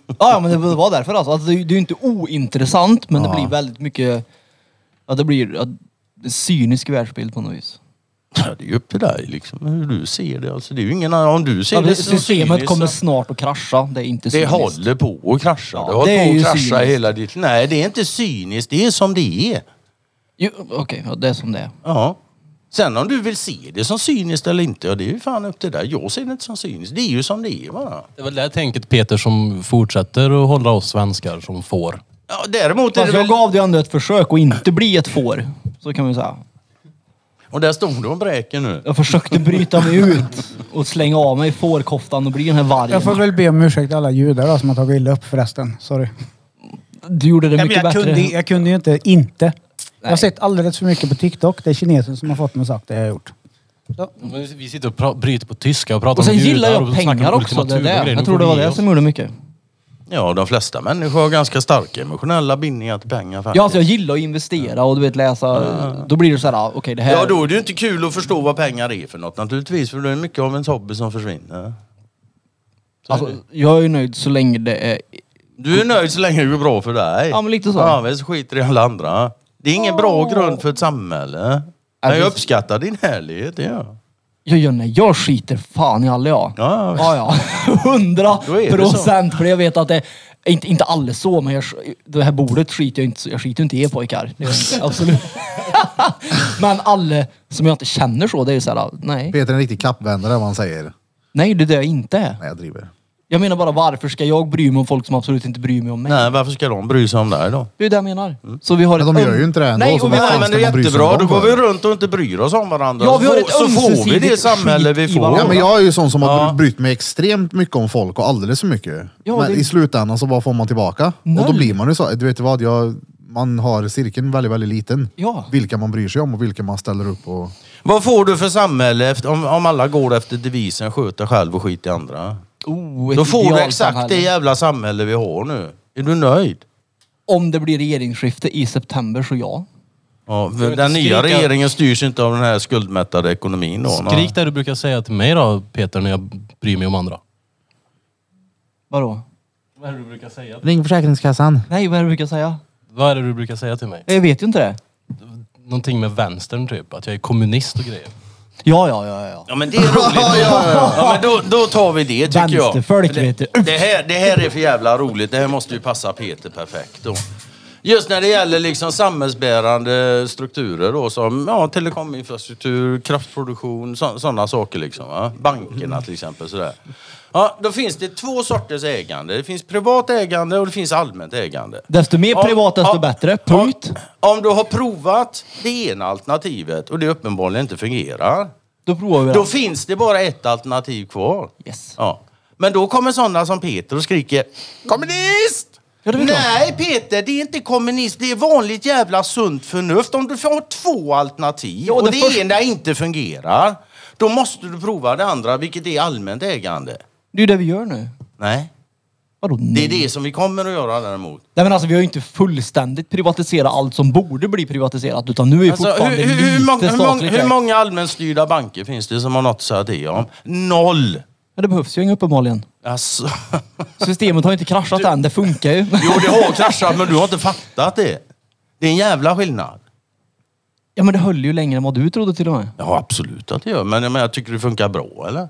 E: Ja, ja, men det var därför alltså. alltså det är ju det är ju inte ointressant, men det blir väldigt mycket... Ja, det blir ja, en cynisk världsbild på något vis.
D: Ja, det är ju upp till dig liksom, hur du ser det. Alltså, det är ju ingen annan. Om du ser
E: Ja,
D: det,
E: det,
D: som
E: systemet
D: cyniskt,
E: kommer
D: så-
E: snart att krascha. Det är inte
D: Det
E: cyniskt.
D: håller på att krascha.
E: Ja,
D: det håller
E: det är
D: på
E: ju
D: att krascha
E: cyniskt.
D: hela ditt... Nej, det är inte cyniskt. Det är som det är.
E: Jo, Okej, ja, det är som det är.
D: Ja. Sen om du vill se det som cyniskt eller inte, ja, det är ju fan upp till dig. Jag ser det inte som cyniskt. Det är ju som det är bara.
B: Det är väl det tänket Peter som fortsätter att hålla oss svenskar som får.
D: Ja, däremot är det
E: Fast jag
D: väl...
E: gav det ändå ett försök och inte bli ett får. Så kan man ju säga.
D: Och där stod du och bräker nu.
E: Jag försökte bryta mig ut och slänga av mig fårkoftan och bli den här vargen.
C: Jag får väl be om ursäkt alla judar då, som har tagit illa upp förresten. Sorry.
E: Du gjorde det
C: Ja, men
E: mycket
C: jag,
E: bättre.
C: kunde, jag kunde ju inte inte. Jag har
E: Nej.
C: sett alldeles för mycket på TikTok. Det är kinesen som har fått mig att sagt det jag har gjort.
B: Vi sitter och pra- bryter på tyska och pratar
E: Och sen
B: om
E: gillar
B: judar
E: jag
B: och snackar
E: pengar
B: om
E: också. Det är
B: ultimatum och
E: det.
B: grejer. Nu
E: Jag
B: får
E: tror det
B: vi
E: var
B: ge
E: det
B: oss.
E: som gjorde mycket.
D: Ja, de flesta människor har ganska starka emotionella bindningar till pengar faktiskt.
E: Ja, alltså jag gillar att investera och du vet läsa. Då blir det så här, ah, okej det här.
D: Ja, då är det ju inte kul att förstå vad pengar är för något naturligtvis, för då är det mycket av ens hobby som försvinner.
E: alltså, jag är ju nöjd så länge det är...
D: Du är nöjd så länge det går bra för dig.
E: Ja, men lite så.
D: Ja, men så skiter i alla andra. Det är ingen bra grund för ett samhälle. Men jag
E: visst.
D: uppskattar din härlighet, det gör jag.
E: Jag, gör, nej, jag skiter fan i alla jag.
D: Ja, ja.
E: Ja, ja. Hundra
D: Då är det
E: procent. För jag vet att det... Inte, inte alls så, men jag, det här bordet skiter jag inte Jag skiter inte i er pojkar. Det gör jag inte, Absolut. men alla som jag inte känner så, det är ju så här, nej.
A: Peter är en riktig kappvändare vad han säger.
E: Nej, det är det jag inte är.
A: Nej, jag driver.
E: Jag menar bara varför ska jag bry mig om folk som absolut inte bryr mig om mig?
D: Nej, Mm. varför ska de bry sig om dig då?
E: Det är ju det jag menar. Så vi har
A: Men
E: ett
A: de
E: öm-
A: gör ju inte det ändå.
E: Nej,
A: så
E: och vi
A: vad
E: har-
A: fan
D: Nej, men det
A: ska
D: är
A: man bry sig om
D: jättebra. Då
A: dem
D: går
A: för?
D: vi runt och inte bryr oss om varandra.
E: Ja, vi har
D: Så-
E: ett
D: så får vi det
E: ömsesidigt
D: samhälle vi
E: skit i
D: får.
E: varandra.
A: Ja, men jag är ju sån som har
D: Ja.
A: brytt mig extremt mycket om folk och alldeles för mycket.
E: Ja,
A: men
E: det-
A: i slutändan så vad får man tillbaka? Och
E: Noll.
A: då blir man ju så, du vet vad, jag, man har cirkeln väldigt, väldigt liten.
E: Ja.
A: Vilka man bryr sig om och vilka man ställer upp och...
D: Vad får du för samhälle efter, om, om alla går efter devisen sköt dig själv och skit i andra?
E: Oh, ett
D: Då får du exakt
E: idealsamhälle.
D: det jävla samhälle vi har nu. Är du nöjd?
E: Om det blir regeringsskifte i september så ja.
D: Ja,
B: vet
D: för
B: inte,
D: den nya
B: skrika-
D: regeringen styrs inte av den här skuldmättade ekonomin då. nej.
B: Skrik det du brukar säga till mig då Peter när jag bryr mig om andra.
E: Vadå?
B: Vad är det du brukar säga?
A: Ring Försäkringskassan.
E: Nej, vad är det du brukar säga?
B: Vad är det du brukar säga till mig?
E: Jag vet ju inte det.
B: Någonting med vänstern typ, att jag är kommunist och grejer.
E: Ja, ja, ja, ja.
D: Ja men det är roligt. ja, men då, då tar vi det tycker jag.
E: Vänsterfolk, vet du.
D: Det här, det här är för jävla roligt. Det här måste ju passa Peter perfekt då. Just när det gäller liksom samhällsbärande strukturer då som ja, telekominfrastruktur, kraftproduktion, sådana saker liksom. Va? Bankerna till exempel sådär. Ja, då finns det två sorters ägande. Det finns privat ägande och det finns allmänt ägande.
E: Desto mer
D: Ja,
E: privat, desto
D: ja,
E: bättre. Punkt.
D: Om, om du har provat det ena alternativet och det uppenbarligen inte fungerar.
E: Då provar vi det.
D: Då finns det bara ett alternativ kvar.
E: Yes.
D: Ja. Men då kommer sådana som Peter och skriker Kommunist!
E: Ja, det är väl klart.
D: Nej Peter, det är inte kommunist. Det är vanligt jävla sunt förnuft. Om du får ha två alternativ
E: Ja,
D: och
E: det
D: det,
E: först-
D: ena inte fungerar, då måste du prova det andra, vilket är allmänt ägande.
E: Det är ju det vi gör nu.
D: Nej,
E: Vadå nej?
D: det är det som vi kommer att göra däremot.
E: Nej men alltså vi har ju inte fullständigt privatiserat allt som borde bli privatiserat utan nu är
D: Alltså, hur,
E: fortfarande
D: hur, hur, många,
E: lite
D: hur, många,
E: statligt
D: hur
E: ägt.
D: många allmänstyrda banker finns det som har något att säga till om? Noll!
E: Men det behövs ju inget uppenbarligen.
D: Alltså.
E: Systemet har ju inte kraschat än, det funkar ju.
D: Jo, det har kraschat, men du har inte fattat det. Det är en jävla skillnad.
E: Ja men det höll ju längre än vad du trodde till och med.
D: Ja, absolut att det gör. Men jag, menar, jag tycker det funkar bra, eller?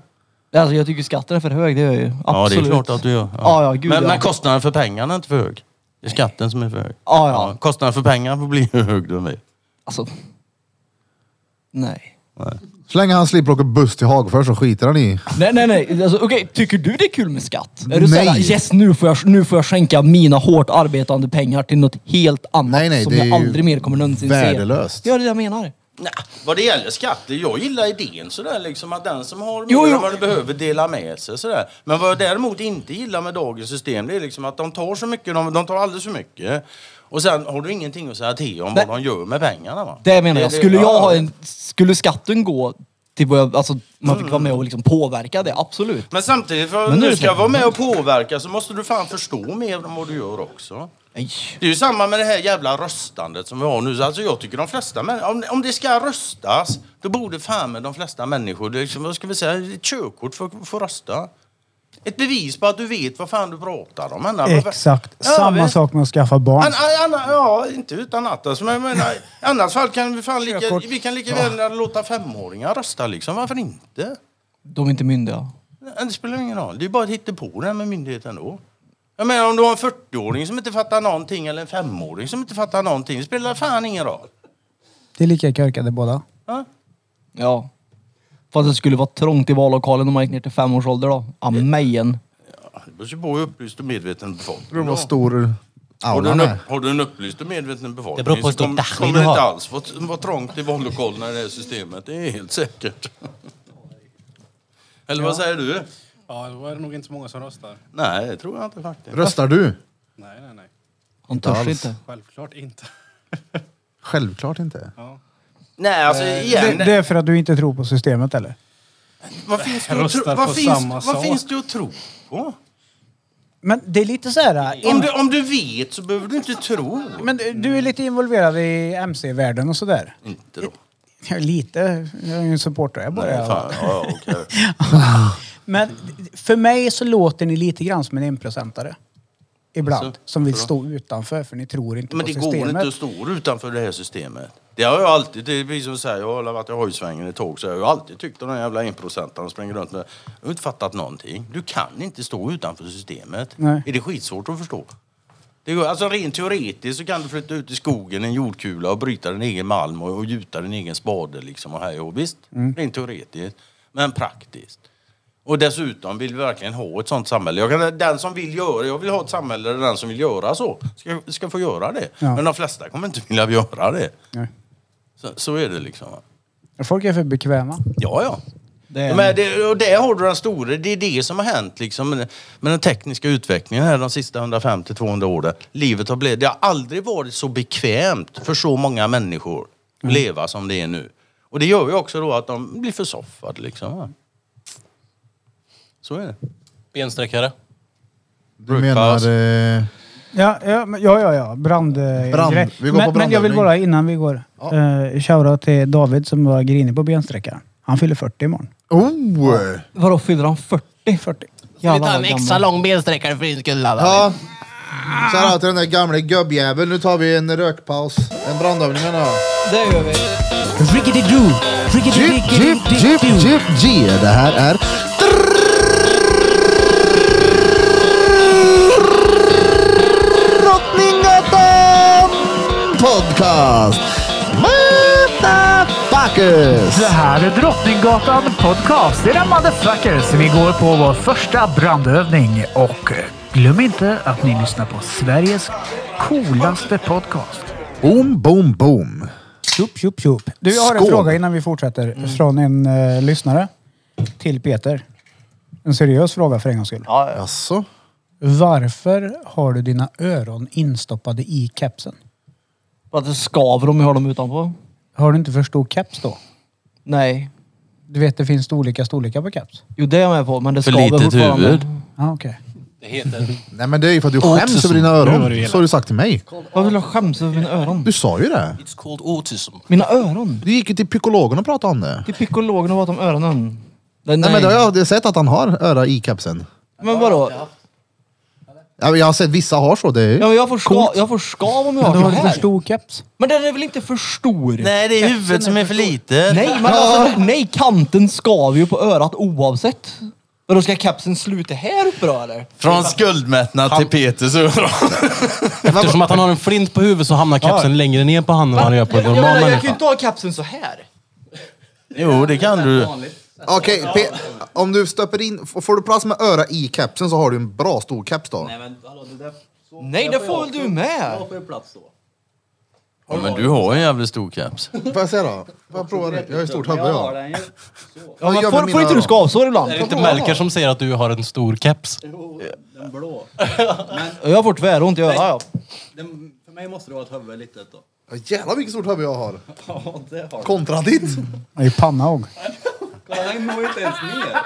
E: Alltså jag tycker skatten är för hög, det gör jag ju.
D: Ja, det
E: Absolut.
D: är klart att du gör.
E: Ja, ja, gud
D: men,
E: ja.
D: men kostnaden för pengarna är inte för hög. Det är skatten som är för hög.
E: Ja, ja.
D: kostnaden för pengarna får bli hur hög du vill.
E: Alltså. Nej.
A: Så länge han slipper åka buss till Hagfors så skiter han i.
E: Nej, nej, nej. Alltså, okej, tycker du det är kul med skatt? Är du såhär,
A: Nej.
E: yes nu får, jag, nu får jag skänka mina hårt arbetande pengar till något helt annat
A: Nej, nej,
E: som
A: det är
E: jag
A: ju
E: aldrig mer kommer någonsin
A: värdelöst.
E: se? Ja, det är det jag menar.
D: Nej, vad det gäller skatter, jag gillar idén sådär liksom att den som har mer
E: Jo, jo.
D: än vad du behöver dela med sig sådär. Men vad jag däremot inte gillar med dagens system det är liksom att de tar så mycket, de, de tar alldeles för mycket. Och sen har du ingenting att säga till om
E: Nej.
D: vad de gör med pengarna va?
E: Det menar jag. Skulle
D: ja.
E: jag ha en... Skulle skatten gå till vad jag... Alltså, man fick vara med och liksom påverka det, absolut.
D: Men samtidigt, för
E: Men nu
D: om
E: är det
D: du ska
E: säkert-
D: vara med och påverka så måste du fan förstå mer om vad du gör också.
E: Nej.
D: Det är ju samma med det här jävla röstandet som vi har nu. Alltså jag tycker de flesta män, om, om det ska röstas, då borde fan med de flesta människor, det är liksom, vad ska vi säga, ett körkort för att få rösta. Ett bevis på att du vet vad fan du pratar om. Anna.
C: Exakt.
D: Ja,
C: Samma
D: visst.
C: sak med att skaffa barn.
D: An, an, an, ja, inte utan att. Alltså, men jag menar, I annars fall kan vi, fan lika,
C: Körkort.
D: vi kan lika väl låta femåringar rösta. Liksom. Varför inte?
E: De är inte myndiga.
D: Det spelar ingen roll. Det är bara att hitta på det här med myndigheten då. Jag menar om du har en 40-åring som inte fattar någonting eller en 5-åring som inte fattar någonting. Det spelar fan ingen roll.
C: Det är lika korkade båda.
D: Ja?
E: Ja. Fast det skulle vara trångt i vallokalen om man gick ner till fem års ålder då. Amen.
D: Det beror ju på hur upplyst och medveten befolkningen
A: Det var
D: är.
A: stor
D: Har du,
A: aulan
D: en,
A: där.
D: upp- har du en upplyst och medveten
B: Det
D: befolkning
B: beror på
D: så
B: hur stor
D: kom-
B: dachshund
D: kommer
B: du
D: det inte
B: har.
D: alls vara vara trångt i vallokalerna i det här systemet. Det är helt säkert. Eller vad säger du?
F: Ja, då är det nog inte så många som röstar.
D: Nej, det tror jag inte faktiskt.
A: Röstar du?
F: Nej, nej, nej.
E: Han törs
A: alls.
E: inte.
F: Självklart inte.
A: Självklart inte.
D: Nej, alltså
F: Eh,
C: Det,
D: igen.
C: det är för att du inte tror på systemet eller?
D: vad finns det att tro,
F: röstar
D: vad
F: på
D: finns,
F: samma
D: vad
F: sak.
D: finns det att tro på?
C: Men det är lite så här... eh,
D: Om du, om du vet så behöver du inte tro.
C: Men du- du är lite involverad i MC-världen och sådär?
D: Inte då.
C: Ja, Lite. Jag är ju en supporter. Jag bara.
D: Nej, fan, ja, okej.
C: Men för mig så låter ni lite grann som en enprocentare. Ibland.
D: Alltså,
C: som vill stå utanför för ni tror inte
D: Men
C: på
D: det
C: systemet.
D: går inte att stå utanför det här systemet. Det har jag alltid, det är precis som säger, jag har varit i hojsvängen i tåg så jag har ju alltid tyckt att den jävla enprocentaren springer runt med. Jag har inte fattat någonting. Du kan inte stå utanför systemet.
C: Nej.
D: Är det skitsvårt att förstå? Det går, alltså rent teoretiskt så kan du flytta ut i skogen en jordkula och bryta din egen malm och, och gjuta din egen spade liksom och här och visst, rent teoretiskt. Men praktiskt. Och dessutom vill vi verkligen ha ett sånt samhälle. Jag kan, den som vill göra, jag vill ha ett samhälle där den som vill göra så ska, ska få göra det.
C: Ja.
D: Men de flesta kommer inte vilja göra det.
C: Nej.
D: Så, så är det liksom. va.
C: Folk är för bekväma.
D: Ja, ja.
E: Det är-
D: Men det, och det har du den store. Det är det som har hänt liksom, med, med den tekniska utvecklingen här de sista 150-200 åren. Livet har blivit... Det har aldrig varit så bekvämt för så många människor att leva som det är nu. Och det gör ju också då att de blir försoffade liksom. va. Så är det.
B: Bensträckare.
A: Du menar... Eh,
C: Ja, ja, men- ja, ja. ja. Brand, eh,
A: Brand.
C: grej.
A: Vi går på
C: men, men jag vill
A: brandövning.
C: bara innan vi går. Ja. shoutout till David som var grinig på bensträckan. Han fyller 40 imorgon.
A: oh!
E: Vadå, fyller han 40?
C: 40.
B: Vi
E: Jävlar
B: tar
E: vad
B: en extra
E: gammal.
B: lång bensträckare för din skull. Ja.
A: Ja. Shoutout till den där gamle gubbjäveln. Nu tar vi en rökpaus. En brandövning menar jag.
E: Det gör vi.
C: Rickety-doo!
A: Jip, jip, jip,
C: Rickety-rickety-doo!
A: jip, G. Det här är... Drottninggatan Podcast! Motherfuckers!
H: Det här är Drottninggatan Podcast. Era motherfuckers. Vi går på vår första brandövning. Och eh, glöm inte att ni lyssnar på Sveriges coolaste podcast.
A: Boom, boom, boom.
C: Tjup, tjup, tjup. Du, jag har en
A: Skål. Mm.
C: fråga innan vi fortsätter. Från en eh, lyssnare till Peter. En seriös fråga för en gångs skull.
A: Jaså?
C: Varför har du dina öron instoppade i kepsen?
E: För att det skaver om jag har dem utanpå.
C: Har du inte för stor keps då?
E: Nej.
C: Du vet, det finns olika storlekar på keps.
E: Jo, det är jag med på, men det
D: För
E: skaver
D: litet
E: fortfarande.
D: huvud.
C: Ja, okej.
B: Det heter...
A: Nej men det är ju för att du skäms över dina öron. Så har du sagt till mig.
E: Vad vill jag skäms över mina öron?
A: Du sa ju det.
B: It's called autism.
E: Mina öron?
A: Du gick ju till psykologen och pratade om det.
E: Till psykologen och prata om öronen. Nej,
A: Nej men det har jag det har sett att han har öra i kepsen.
E: Men vadå?
A: Ja, men Jag har sett vissa har så. Det är ju...
E: Ja, men jag, får ska, jag får skav om jag har
C: Du
E: så
C: har du för
E: här.
C: stor keps.
E: Men den är väl inte för stor?
D: Nej, det är huvudet som är för litet.
E: Nej, men alltså, nej, kanten skaver ju på örat oavsett. Men då ska kepsen sluta här uppe då eller?
D: Från skuldmättnad till Peters öron.
B: Eftersom att han har en flint på huvudet så hamnar kepsen längre ner på handen än han gör på en
E: jag, menar,
B: normal
E: jag kan ju
B: människa.
E: inte ha kepsen så här.
D: Jo, det kan du.
A: Okej, Pe- om du stöper in, f- får du plats med öra i kepsen så har du en bra stor keps då.
E: Nej, det får väl du med?
D: Ja, men du har en jävligt stor keps.
A: Får jag se då? Får jag prova det? Jag har ju stort huvud jag.
E: Ja, men
A: gör med
E: får, får
A: mina
E: inte du
A: öron?
E: skavsår ibland?
B: Det är inte Melker som säger att du har en stor keps.
E: Jag får tväront i örat ja.
I: För mig måste det vara ett huvud litet då.
A: Ja, Jävlar vilket stort huvud jag har. Kontra ditt.
C: I panna och.
I: Kolla, han når inte ens ner.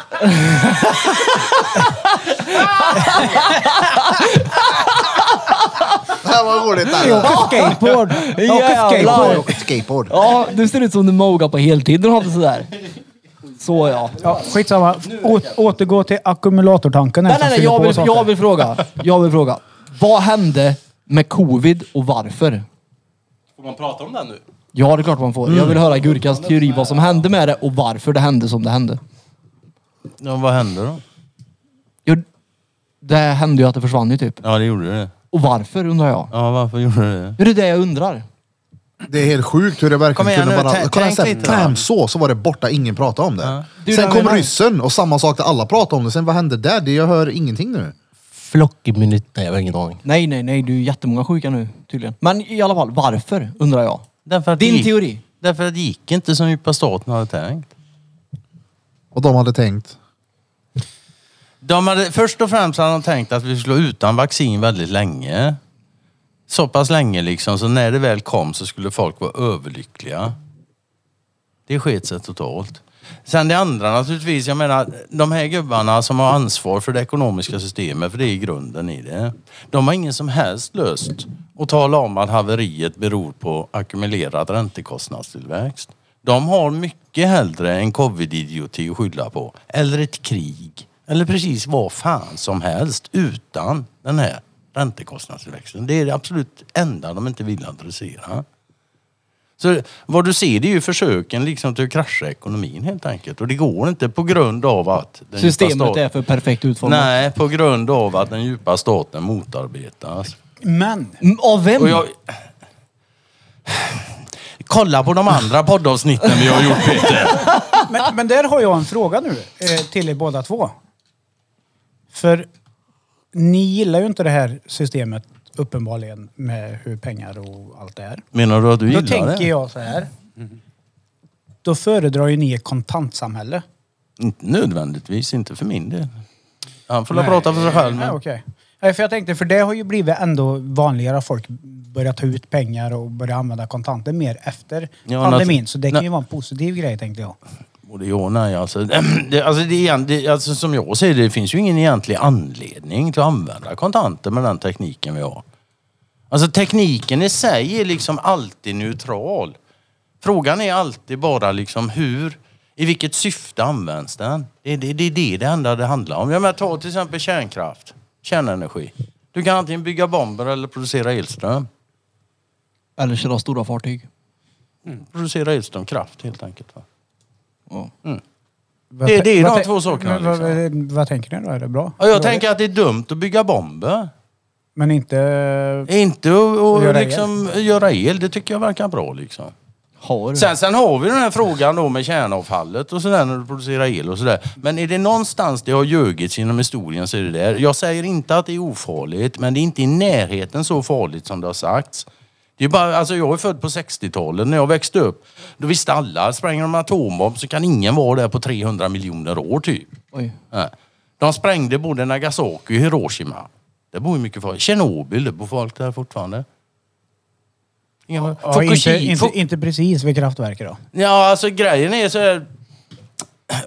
A: Det här var roligt. Där.
C: Jag åker skateboard! Jag åker
E: Jävlar.
A: Jag har
C: skateboard!
A: åkt skateboard.
E: Ja, du ser ut som du mogar på heltid när du har det sådär. Så ja.
C: Ja, skitsamma. Å, återgå till ackumulatortanken. här
E: Nej,
C: som
E: nej, nej.
C: fyller
E: Jag
C: på
E: vill,
C: saker.
E: jag vill fråga. Jag vill fråga. Vad hände med covid och varför?
D: Får man prata om den nu?
E: Ja, det är klart man får. Jag vill
C: Mm.
E: höra Gurkans teori vad som hände med det och varför det hände som det hände.
D: Ja, vad hände då?
E: Jo, det hände ju att det försvann ju typ.
D: Ja, det gjorde det.
E: Och varför undrar jag?
D: Ja, varför gjorde det det?
E: Det är det jag undrar.
A: Det är helt sjukt hur det verkligen
D: Kom igen
A: kunde
D: nu,
A: bara...
D: tä-
A: kolla
D: tänk
A: sen,
D: lite,
A: bam,
D: va?
A: så, så var det borta, ingen pratade om det.
E: Du,
A: sen
E: jag
A: kom
E: menar-
A: ryssen och samma sak, där alla pratade om det. Sen vad hände där? Det, jag hör ingenting nu.
B: Flockimmunitet. Nej, jag har ingen aning.
E: Nej, nej, nej. Du är jättemånga sjuka nu tydligen. Men i alla fall, varför undrar jag?
D: Därför att det
E: Din
D: gick-
E: teori.
D: Därför att det gick inte som djupa staten hade tänkt.
A: Och de hade tänkt,
D: De hade, först och främst hade de tänkt att vi skulle vara utan vaccin väldigt länge. Så pass länge liksom, så när det väl kom så skulle folk vara överlyckliga. Det sket sig totalt. Sen det andra naturligtvis, jag menar de här gubbarna som har ansvar för det ekonomiska systemet, för det är grunden i det. De har ingen som helst löst att tala om att haveriet beror på ackumulerad räntekostnadstillväxt. De har mycket hellre en covid-idioti att skylla på, eller ett krig, eller precis vad fan som helst utan den här räntekostnadstillväxten. Det är det absolut enda de inte vill adressera. Så vad du ser det är ju försöken liksom till att krascha ekonomin helt enkelt. Och det går inte på grund av att... Den djupa
E: Systemet
D: sta-
E: är för perfekt utformat.
D: Nej, på grund av att den djupa staten motarbetas.
C: Men,
E: Mm, Av vem?
D: Och jag... Kolla på de andra poddavsnitten vi har gjort Peter.
C: men, men där har jag en fråga nu eh, till er båda två. För ni gillar ju inte det här systemet uppenbarligen med hur pengar och allt det är.
D: Menar du att du
C: Då
D: gillar
C: tänker
D: det?
C: jag så här. Då föredrar ju ni ett kontantsamhälle.
D: Inte nödvändigtvis, inte för min del. Han får väl prata för sig själv.
C: Ja,
D: Men...
C: okej. Nej, För jag tänkte, för det har ju blivit ändå vanligare att folk börjar ta ut pengar och börjar använda kontanter mer efter
D: Ja,
C: pandemin.
D: nat-
C: Så det kan ju
D: na-
C: vara en positiv grej tänkte jag.
D: Både ja och nej. Alltså, det, alltså, det, är en- det, alltså, som jag ser det, det finns ju ingen egentlig anledning till att använda kontanter med den tekniken vi har. Alltså tekniken i sig är liksom alltid neutral. Frågan är alltid bara liksom hur, i vilket syfte används den? Det är det, det, är det, det enda det handlar om. Jag menar, ta till exempel kärnkraft, kärnenergi. Du kan antingen bygga bomber eller producera elström.
E: Eller köra stora fartyg.
D: Producera elström, kraft helt enkelt. Va?
E: Ja.
D: Det- det är ju
C: Vad
D: de
C: tän-
D: två sakerna, liksom.
C: Men Vad, vad, vad tänker ni då? Är det bra?
D: Ja, Jag
C: Dåligt?
D: tänker att det är dumt att bygga bomber.
C: Men inte...
D: Inte att och
C: Göra el. Mm.
D: liksom göra el, det tycker jag verkar bra liksom.
E: Har
D: Sen, sen har vi den här frågan då med kärnavfallet och sådär när du producerar el och sådär. Men är det någonstans det har ljugits inom historien så är det där. Jag säger inte att det är ofarligt, men det är inte i närheten så farligt som det har sagts. Det är bara, alltså jag är född på 60-talet. När jag växte upp, då visste alla, spränger de en atombomb så kan ingen vara där på 300 miljoner år typ.
E: Oj.
D: Nej. De sprängde både Nagasaki och Hiroshima. Det bor ju mycket folk. Tjernobyl, det bor folk där fortfarande. Inga,
C: Ja, inte,
D: Fukushima-
C: inte, inte precis vid kraftverket då.
D: Ja, alltså grejen är så här.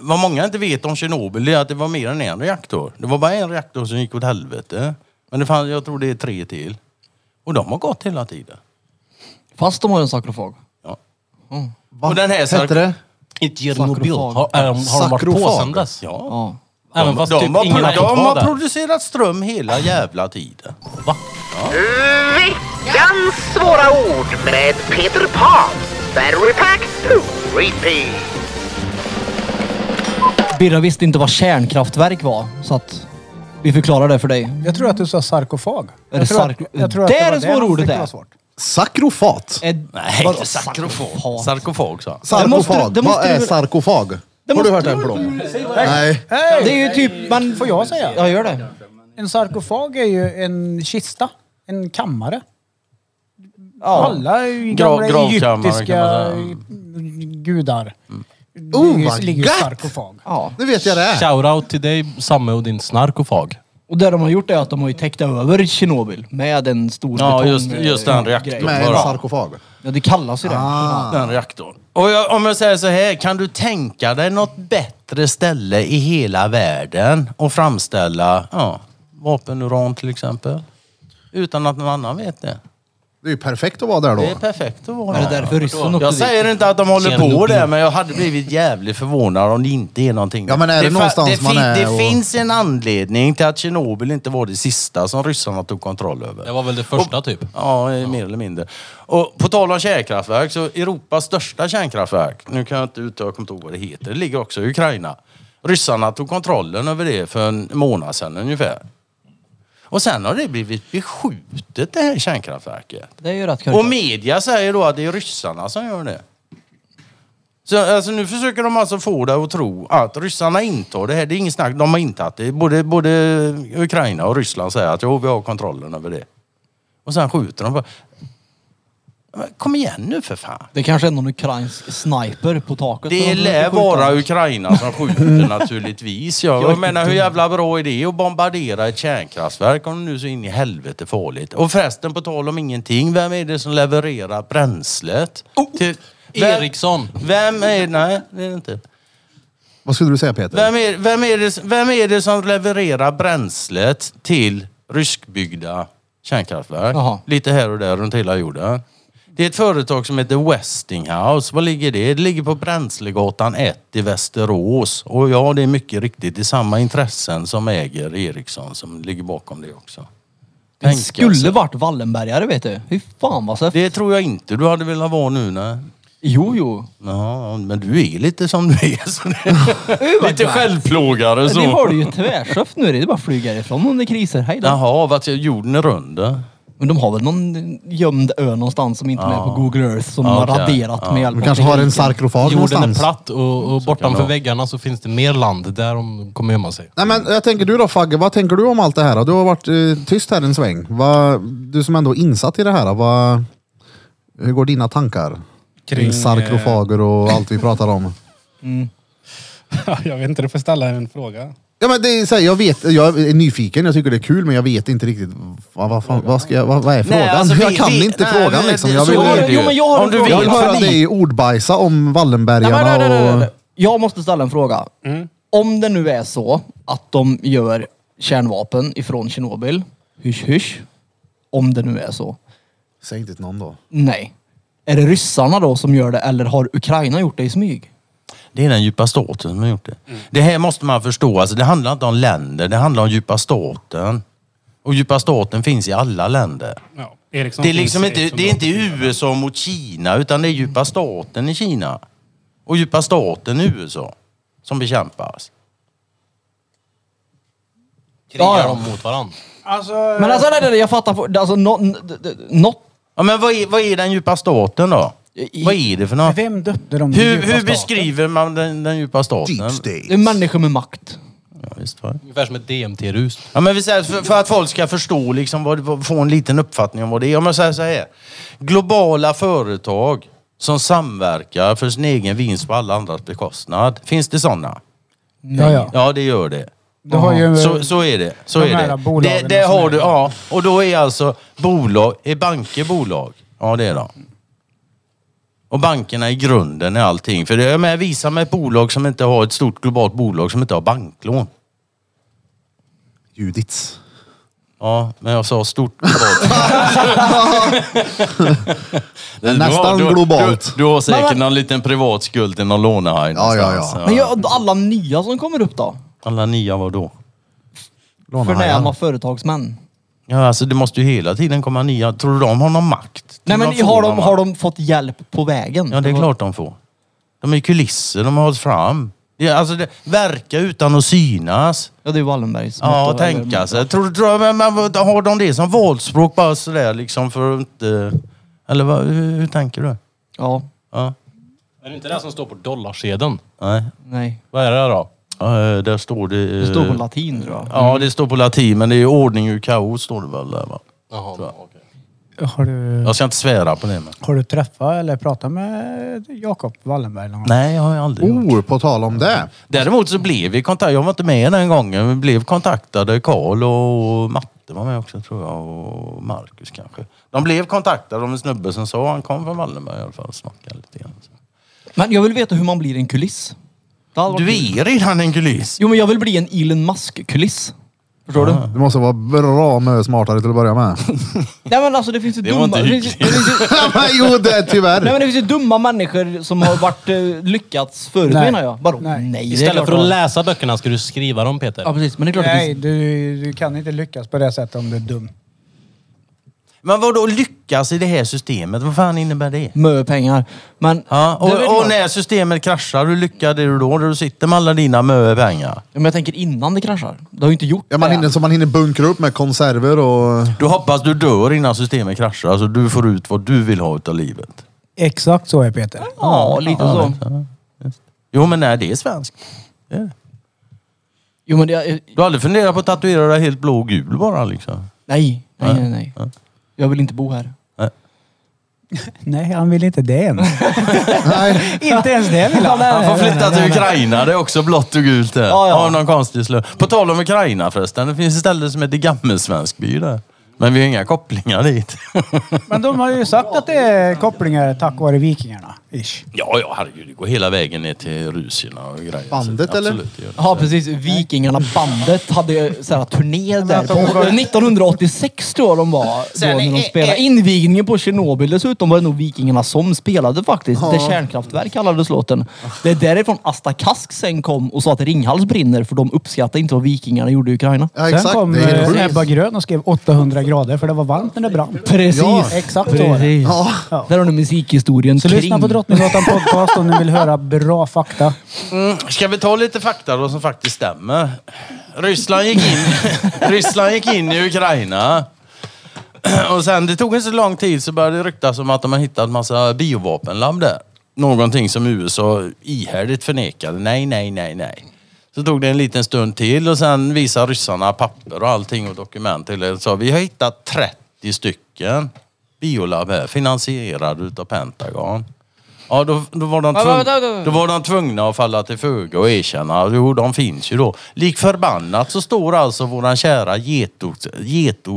D: Vad många inte vet om Tjernobyl det är att det var mer än en reaktor. Det var bara en reaktor som gick åt helvete. Men det fanns, jag tror det är tre till. Och de har gått hela tiden.
E: Fast de har en sakrofag.
D: Ja.
A: vad
D: Och den här-
A: hette det?
B: Inte
E: Tjernobyl.
B: Har, är de, har de varit på
A: Sakrofager.
B: sen dess?
D: Ja.
E: Ja.
B: Även fast
D: de
B: typ
D: har,
B: ingen
D: pro-
B: har
D: de
B: fått vara
D: har
B: där.
D: producerat ström hela jävla tiden.
J: Veckans svåra ord med Peter Pan. Battery Pack 2 Repeat.
E: Birra visste inte vad kärnkraftverk var. Så att vi förklarar det för dig.
C: Jag tror att du sa sarkofag.
E: Är
C: jag
E: det
C: tror att-
E: sarko-
C: jag tror att
E: Där
C: var
E: är svårordet
C: de
E: är.
C: fick svårt.
A: Sakrofat?
E: Är-
D: Nej,
E: vadå
D: inte sakrofag.
E: sakrofat?
D: Sarkofag sa han.
A: Sarkofag.
E: Det måste du- det
A: vad
E: måste
A: är
E: du-
A: sarkofag? Har du
E: måste
A: hört
E: du-
A: den Blom? Nej.
E: Det är ju typ... Man,
C: Får jag säga?
E: Ja, gör det.
C: En sarkofag är ju en kista. En kammare.
E: Ja.
C: Alla i gamla
D: gravkammare kan man
C: egyptiska
D: säga.
C: gudar.
A: Oh,
C: ligger,
A: vad
C: ligger i
A: gött!
C: sarkofag.
E: ja.
A: Nu vet jag det är.
B: Shoutout till dig, Samme och din snarkofag.
E: Och det de har gjort är att de har ju täckt över Tjernobyl med en stor
D: Ja,
E: betong-
D: just- just den reaktorn.
E: grej.
A: Med en
D: Bara.
A: sarkofag.
E: Ja, det kallas ju det.
C: Ah.
D: Den reaktorn. Och jag, om jag säger så här, kan du tänka dig något bättre ställe i hela världen att framställa ja, vapenuran till exempel? Utan att någon annan vet det.
A: Det är ju perfekt att vara där då.
D: Det är perfekt att vara
E: Är det därför ryssen åkte
D: Jag
E: dit?
D: säger inte att de håller
B: Tjena,
D: på
B: Lucky.
D: det, men jag hade blivit jävligt förvånad om det inte är någonting.
A: Ja, men är det
D: fa-
A: någonstans
D: det
A: man är
D: Det
A: och-
D: finns en anledning till att Tjernobyl inte var det sista som ryssarna tog kontroll över.
B: Det var väl det första typ.
D: Ja, eh, mer eller mindre. Och på tal om kärnkraftverk, så Europas största kärnkraftverk, nu kan jag inte uttala, jag kommer inte ihåg vad det heter, det ligger också i Ukraina. Ryssarna tog kontrollen över det för en månad sedan ungefär. Och sen har det blivit beskjutet det här kärnkraftverket.
E: Det är ju rätt
D: Och
E: korkat.
D: media säger då att det är ryssarna som gör det. Så alltså, nu försöker de alltså få dig att tro att ryssarna inte har det här. Det är inget snack, de har inte haft det. Både, både Ukraina och Ryssland säger att jo, vi har kontrollen över det. Och sen skjuter de på... Men Kom igen nu för fan.
E: Det kanske är någon ukrainsk sniper på taket.
D: Det
E: som
D: lär
E: skjuter.
D: vara Ukraina som skjuter naturligtvis. Jag,
E: Jag är
D: jag menar
E: inte
D: hur
E: dum.
D: jävla bra är det att bombardera ett kärnkraftverk om det nu är så in i helvete farligt. Och förresten på tal om ingenting, vem är det som levererar bränslet? Till, Oh! vem,
B: Eriksson.
D: vem är Nej, det är det inte.
A: Vad skulle du säga Peter?
D: Vem är, vem, är det, vem är det som levererar bränslet till ryskbyggda kärnkraftverk?
E: Jaha.
D: Lite här och där runt hela jorden. Det är ett företag som heter Westinghouse. Var ligger det? Det ligger på Bränslegatan 1 i Västerås. Och ja, det är mycket riktigt. Det är samma intressen som äger Ericsson som ligger bakom det också.
E: Det
D: Tänka
E: skulle
D: sig.
E: varit Wallenbergare vet du. Fy fan vad säkert.
D: Det tror jag inte du hade velat vara nu. Nej.
E: Jo, jo.
D: Ja, men du är lite som du är. Så det
E: vad
D: lite
E: nice.
D: självplågare. Så.
E: Ni har det ju tvärsöft nu. Det är bara att flyga ifrån om det är kriser. Hej då.
D: Jaha, vart jorden är rund? eh?
E: Men de har väl någon gömd ö någonstans som inte är med på Google Earth som
D: Ja,
E: har
D: okej.
E: raderat med hjälp
A: Du
E: av
A: kanske har en
E: tekniken.
A: sarkofag
B: Jorden är
A: någonstans?
B: platt och, och
D: kan det
B: bortanför
D: vara.
B: väggarna så finns det mer land där de kommer gömma sig.
A: Nej men jag tänker du då Fagge, vad tänker du om allt det här? då? Du har varit eh, tyst här en sväng. Vad, du som ändå är insatt i det här, vad, hur går dina tankar?
F: Kring,
A: Kring sarkofager och allt vi pratar om.
F: jag vet inte, du får ställa en fråga.
A: Ja men det är så här, jag vet, jag är nyfiken, jag tycker det är kul men jag vet inte riktigt vad, vad, fan, vad, ska jag, vad, vad är frågan?
D: alltså,
A: jag
D: vi-
A: kan
D: vi-
A: inte
D: nej,
A: frågan
D: men
A: liksom.
D: det-
A: Jag
D: så
A: vill,
D: är
E: Ja,
D: det ju.
E: jo, men jag har
D: Om
E: en
D: du
E: fråga.
A: jag
D: vet
A: vill
E: för
A: höra
D: lite-
A: dig ordbajsa om
E: Nej,
A: Wallenbergarna
E: nej, nej, nej, nej,
A: och...
E: nej. Jag måste ställa en fråga.
D: Mm.
E: Om det nu är så att de gör kärnvapen ifrån Tjernobyl, hysch hysch. Om det nu är så.
A: Säg inte till någon då.
E: Nej. Är det ryssarna då som gör det eller har Ukraina gjort det i smyg?
D: Det är den djupa staten som har gjort det. Det här måste man förstå. Alltså, det handlar inte om länder, det handlar om djupa staten. Och djupa staten finns i alla länder.
F: Ja, Eriksson
D: Det är, liksom
F: finns i
D: inte, det är inte USA mot Kina, utan det är djupa staten i Kina. Och djupa staten i USA som bekämpas.
B: Krigar
E: Ja, ja.
B: de mot varandra?
C: Alltså,
E: Men alltså, nej, nej, nej, jag fattar. Alltså, nå- n- d- d- något...
D: Ja, men vad är, vad är den djupa staten då?
E: I-
D: Vad är det för något?
C: vem döpte de
D: Hur, hur beskriver man den, den djupa
A: Typ
D: staten?
E: det är människor med makt.
D: Ja, visst, va?
B: Ungefär som ett DMT-rus.
D: Ja, men vi säger, för, för att folk ska förstå, liksom, vad, vad, få en liten uppfattning om vad det är. Om jag säger så här. Globala företag som samverkar för sin egen vinst på alla andras bekostnad. Finns det sådana?
C: Ja, ja.
D: Ja, det gör det.
C: Du har ju...
D: Så, så är det. Så
C: De
D: är
C: här
D: det.
C: bolagen
D: det, det
C: som är-
D: har du, ja. Och då är alltså bolag, är banker bolag? Ja, det är de. Och bankerna i grunden är allting. För det är med, visa mig ett bolag som inte har ett stort globalt bolag som inte har banklån.
A: Judits.
D: Ja, men jag sa stort globalt. Du
A: Nästan
D: har- du-
A: globalt.
D: Du, du har säkert
E: Men-
D: någon liten privat skuld till någon lånehaj
A: Ja, ja, ja.
D: någonstans.
E: Men jag, alla nya som kommer upp då?
D: Alla nya vadå?
E: Förnäma företagsmän.
D: Ja, alltså det måste ju hela tiden komma nya. Tror du de har någon makt? Tror
E: Nej
D: du
E: men
D: får
E: har de,
D: någon
E: har
D: makt?
E: de fått hjälp på vägen?
D: Ja, det är
E: var-
D: klart de får. De är kulisser, de har hållit fram. Det, är- alltså det, verka utan att synas.
E: Ja, det är Wallenbergs.
D: Ja, alltså.
E: motto, eller-
D: tänka sig. Tror, du- tror, jag- men, men, vad- har de det som valspråk bara sådär liksom för att inte... Eller vad, hur, hur tänker du?
E: Ja,
D: Ja,
B: Är det inte det som står på dollarsedeln?
D: nej.
E: nej.
B: Vad är det då?
D: Ja, eh, där står det...
E: Det står på
D: eh,
E: latin tror jag.
D: Ja, det står på latin, men det är ordning ur kaos står det väl där va?
B: Jaha, okej.
C: Har du,
D: Jag ska inte svära på det men...
C: har du träffat eller pratat med Jakob Wallenberg någon gång?
D: Nej, jag har jag aldrig gjort.
A: Oh, på tal om det.
D: Däremot så blev vi kontaktade, jag var inte med den gången, men blev kontaktade, Karl och Matte var med också tror jag, och Marcus kanske. De blev kontaktade av en snubbe som sa, han kom från Wallenberg i alla fall, och snackade lite grann.
E: Men jag vill veta hur man blir en kuliss. Det hade
D: Du
E: varit kul.
D: är redan en kuliss!
E: Jo men jag vill bli en Elon Musk-kuliss. Förstår du?
A: Du måste vara bra mycket smartare till att börja med.
E: Nej men alltså det finns ju
D: Det var
E: dumma...
D: inte
E: Det finns ju, det finns ju,
A: Men jo, det är
E: nej men
A: tyvärr.
E: det finns ju dumma människor som har varit eh, lyckats förut
C: Nej.
E: menar jag. Bara,
C: Nej.
E: nej. nej det är
B: Istället
E: klart
B: för att
E: det var-
B: läsa böckerna ska du skriva dem Peter.
E: Ja precis, men det är klart det
C: Nej,
E: finns...
C: du, du kan inte lyckas på det sättet om du är dum.
D: Men vad då lyckas i det här systemet? Vad fan innebär det?
E: Mö pengar. Men...
D: Ja,
E: Det vet
D: och, och
E: man.
D: när systemet kraschar, hur lyckad är du då? Där du sitter med alla dina möe pengar.
E: Ja, Men jag tänker innan det kraschar. Det har ju inte gjort
A: Ja, man
E: det.
A: hinner, så man hinner bunkra upp med konserver och...
D: Du hoppas du dör innan systemet kraschar, så du får ut vad du vill ha utav livet.
C: Exakt så är Peter.
E: Ja, lite så.
D: Jo, men nej, det är svenskt. Det är det.
E: Jo men det...
D: Du har aldrig funderat på att tatuera dig helt blå och gul bara liksom?
E: Nej, nej, nej. nej. Jag vill inte bo här.
C: Nej, han vill inte det än.
A: Nej.
C: inte ens det vill han.
D: Han får flytta till Ukraina, det är också blått och gult där.
E: Ja, ja.
D: Av någon konstig slö. På tal om Ukraina förresten, det finns ett ställe som heter Gammelsvenskby där. Men vi har inga kopplingar dit.
C: Men de har ju sagt att det är kopplingar tack vare vikingarna. Ish.
D: Ja, ja, herregud. Det går hela vägen ner till Rusierna och grejer.
A: Bandet,
D: Så,
A: eller?
D: absolut, det gör det.
E: Ja precis, Vikingarna bandet hade så här, turné där.
C: alltså, hon
E: På,
C: var-
E: 1986 tror jag de var. Då, när de
C: eh,
E: spelade. Invigningen på Tjernobyl dessutom var det nog Vikingarna som spelade faktiskt. Det kärnkraftverk kallades låten. Det är därifrån Asta Kask sen kom och sa att Ringhals brinner för de uppskattade inte vad Vikingarna gjorde i Ukraina.
A: Ja,
C: Sen
A: exakt.
C: kom
A: Det är helt
C: eh,
A: sjukt.
C: Ebba Grön och skrev 800 grader för det var varmt när det brann.
E: Precis!
A: Ja,
C: exakt så var det.
E: Precis.
A: Ja.
E: Där har du musikhistorien
C: Så
E: kring.
C: lyssna på Drottninggatan podcast om ni vill höra bra fakta.
D: Ska vi ta lite fakta då som faktiskt stämmer? Ryssland gick in, Ryssland gick in i Ukraina. Och sen, det tog inte så lång tid så började det ryktas om att de har hittat massa biovapenlabb där. Någonting som USA ihärdigt förnekade. Nej, nej, nej, nej. Så tog det en liten stund till och sen visade ryssarna papper och allting och dokument till er. Så vi har hittat 30 stycken biolabb här, finansierade utav Pentagon. Ja, då, då, var de
E: Ja,
D: tvung,
E: vänta, vänta,
D: då
E: vänta.
D: var de tvungna att falla till föga och erkänna. Jo, de finns ju då. Lik förbannat så står alltså våran kära getost,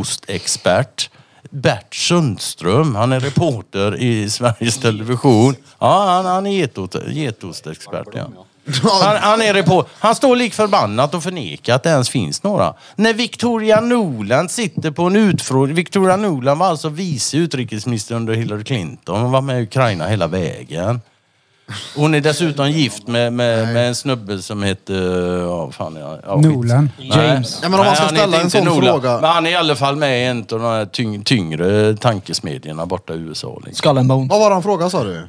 D: getostexpert Bert Sundström, han är reporter i Sveriges Television. Ja, han, han är getot, getostexpert. Ja. Han, han är reporter. Han står lik förbannat och förnekar att det ens finns några. När Victoria Nuland sitter på en utfrågning. Victoria Nuland var alltså vice utrikesminister under Hillary Clinton. Hon var med i Ukraina hela vägen. Hon är dessutom gift med, med, med en snubbe som heter... Ja, fan, ja, ja, skit.
C: Nolan.
E: James.
A: Ja, men om man ska
D: han heter
A: ställa en
D: inte
A: sån
D: Nolan.
A: fråga.
D: Men han är i alla fall med i en av de här tyng, tyngre tankesmedjorna borta i USA. Liksom.
E: Skull and Bones.
A: Vad var det han frågade sa du?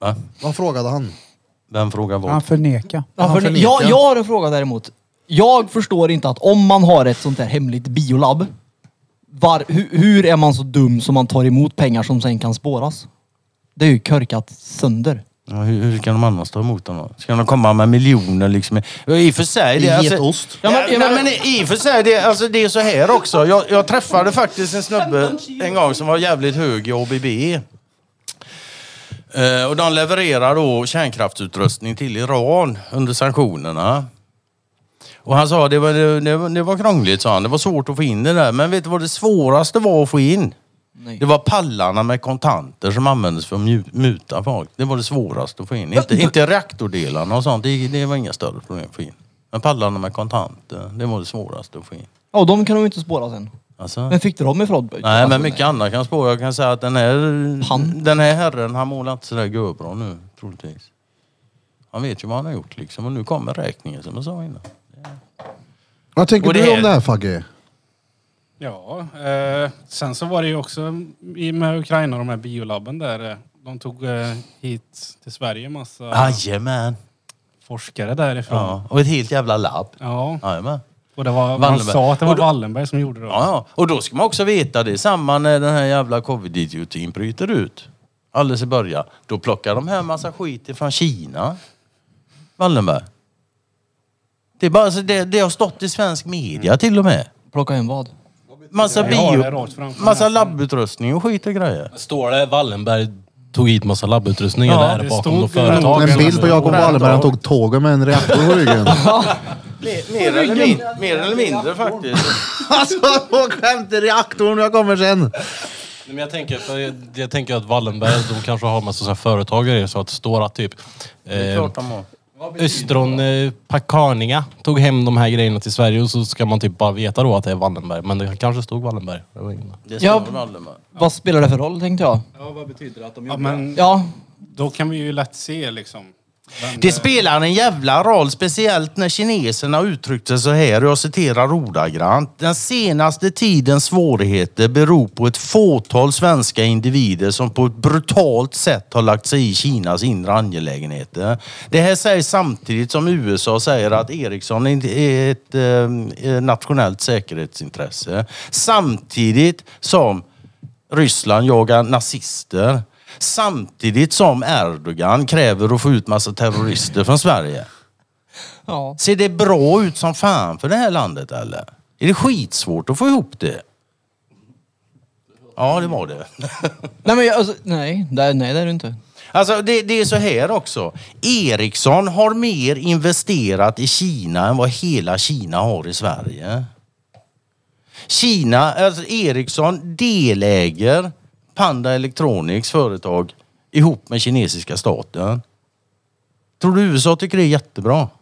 D: Va?
A: Vad frågade han?
D: Vem frågar vad?
C: Han förnekar.
E: Ja,
A: Han
E: för
A: förnekar.
E: jag, jag har en fråga däremot. Jag förstår inte att om man har ett sånt här hemligt biolabb, var, hur, hur är man så dum som man tar emot pengar som sen kan spåras? Det är ju körkat sönder.
D: Ja, hur, hur kan de annars ta emot dem då? Ska de komma med miljoner liksom? Ja, I och för sig... Det,
A: I
D: är alltså-
A: getost.
D: Ja, men,
E: Ja, men-
D: nej, men i och för sig, det, alltså, det är så här också. Jag, jag träffade faktiskt en snubbe en gång som var jävligt hög i ABB. Eh, och de levererar då kärnkraftsutrustning till Iran under sanktionerna. Och han sa det var, det, det, var- det var krångligt, sa han. Det var svårt att få in det där. Men vet du vad det svåraste var att få in?
E: Nej.
D: Det var pallarna med kontanter som användes för att mju- muta folk. Det var det svåraste att få in. Inte, inte reaktordelarna och sånt. Det, det var inga större problem att få in. Men pallarna med kontanter, det var det svåraste att få in.
E: Ja, och de kan de ju inte spåra sen.
D: Alltså.
E: Men fick du dem ifrån?
D: Nej, men mycket annat kan spåra. Jag kan säga att den här,
E: Han?
D: den här herren, han målar inte sådär gubbra nu, troligtvis. Han vet ju vad han har gjort liksom. Och nu kommer räkningen som jag sa innan.
A: Vad tänker
D: Och det
A: du
D: är-
A: om det här Fagge?
F: Ja, eh, sen så var det ju också i med Ukraina, de här biolabben där. eh, De tog eh, hit till Sverige massa
D: Jajamän!
F: forskare därifrån. Ja.
D: Ja, och ett helt jävla labb. Jajamän.
F: och det var, man
D: Wallenberg.
F: sa att det var
D: Och då-
F: Wallenberg som gjorde det.
D: Ja, ja. Och då ska man också veta det. Samma när den här jävla covid-idiotin bryter ut. Alldeles i början. Då plockar de här massa skit från Kina. Wallenberg. Det, är bara, så det, det har stått i svensk media till och med.
E: Plocka hem vad?
D: Massa
F: Jag har det
D: bio,
F: rakt framför
D: massa
F: näsan.
D: labbutrustning och skit och grejer.
B: Står det Wallenberg tog hit massa labbutrustning
D: Ja,
B: eller är det
F: det
B: bakom
F: stod
B: något företag?
A: En bild på Jakob Wallenberg, han tog tåget med en reaktor på ryggen.
D: Mer, eller, mindre, mer eller mindre faktiskt.
A: alltså, på skämt i reaktorn, jag kommer sen.
B: Nej, men jag, tänker, för jag, jag tänker att Wallenberg, de kanske har massa sådana företag och grejer, så att det står att typ...
D: Det är
B: Eh,
D: klart de har.
B: Östron eh, Pakaninga tog hem de här grejerna till Sverige och så ska man typ bara veta då att det är Wallenberg. Men det kanske stod Wallenberg. Det var ingen-
D: Det
E: Ja.
D: står Wallenberg.
E: Vad spelar det för roll tänkte jag?
I: Ja, vad betyder det att de
F: Ja,
I: gjorde det?
F: men
E: Ja,
F: då kan vi ju lätt se liksom. vem
D: Det spelar en jävla roll, speciellt när kineserna uttryckte så här, och jag citerar ordagrant. Den senaste tidens svårigheter beror på ett fåtal svenska individer som på ett brutalt sätt har lagt sig i Kinas inre angelägenheter. Det här sägs samtidigt som USA säger att Ericsson är ett eh, nationellt säkerhetsintresse. Samtidigt som Ryssland jagar nazister. Samtidigt som Erdogan kräver att få ut massa terrorister från Sverige.
E: ja.
D: Ser det bra ut som fan för det här landet eller? Är det skitsvårt att få ihop det? Ja, det var det.
E: Nej, men jag, alltså, nej, där, nej, det är det inte.
D: Alltså det, det är så här också. Ericsson har mer investerat i Kina än vad hela Kina har i Sverige. Kina, alltså Ericsson deläger Panda Electronics företag ihop med kinesiska staten. Tror du USA tycker det är jättebra?
E: Fast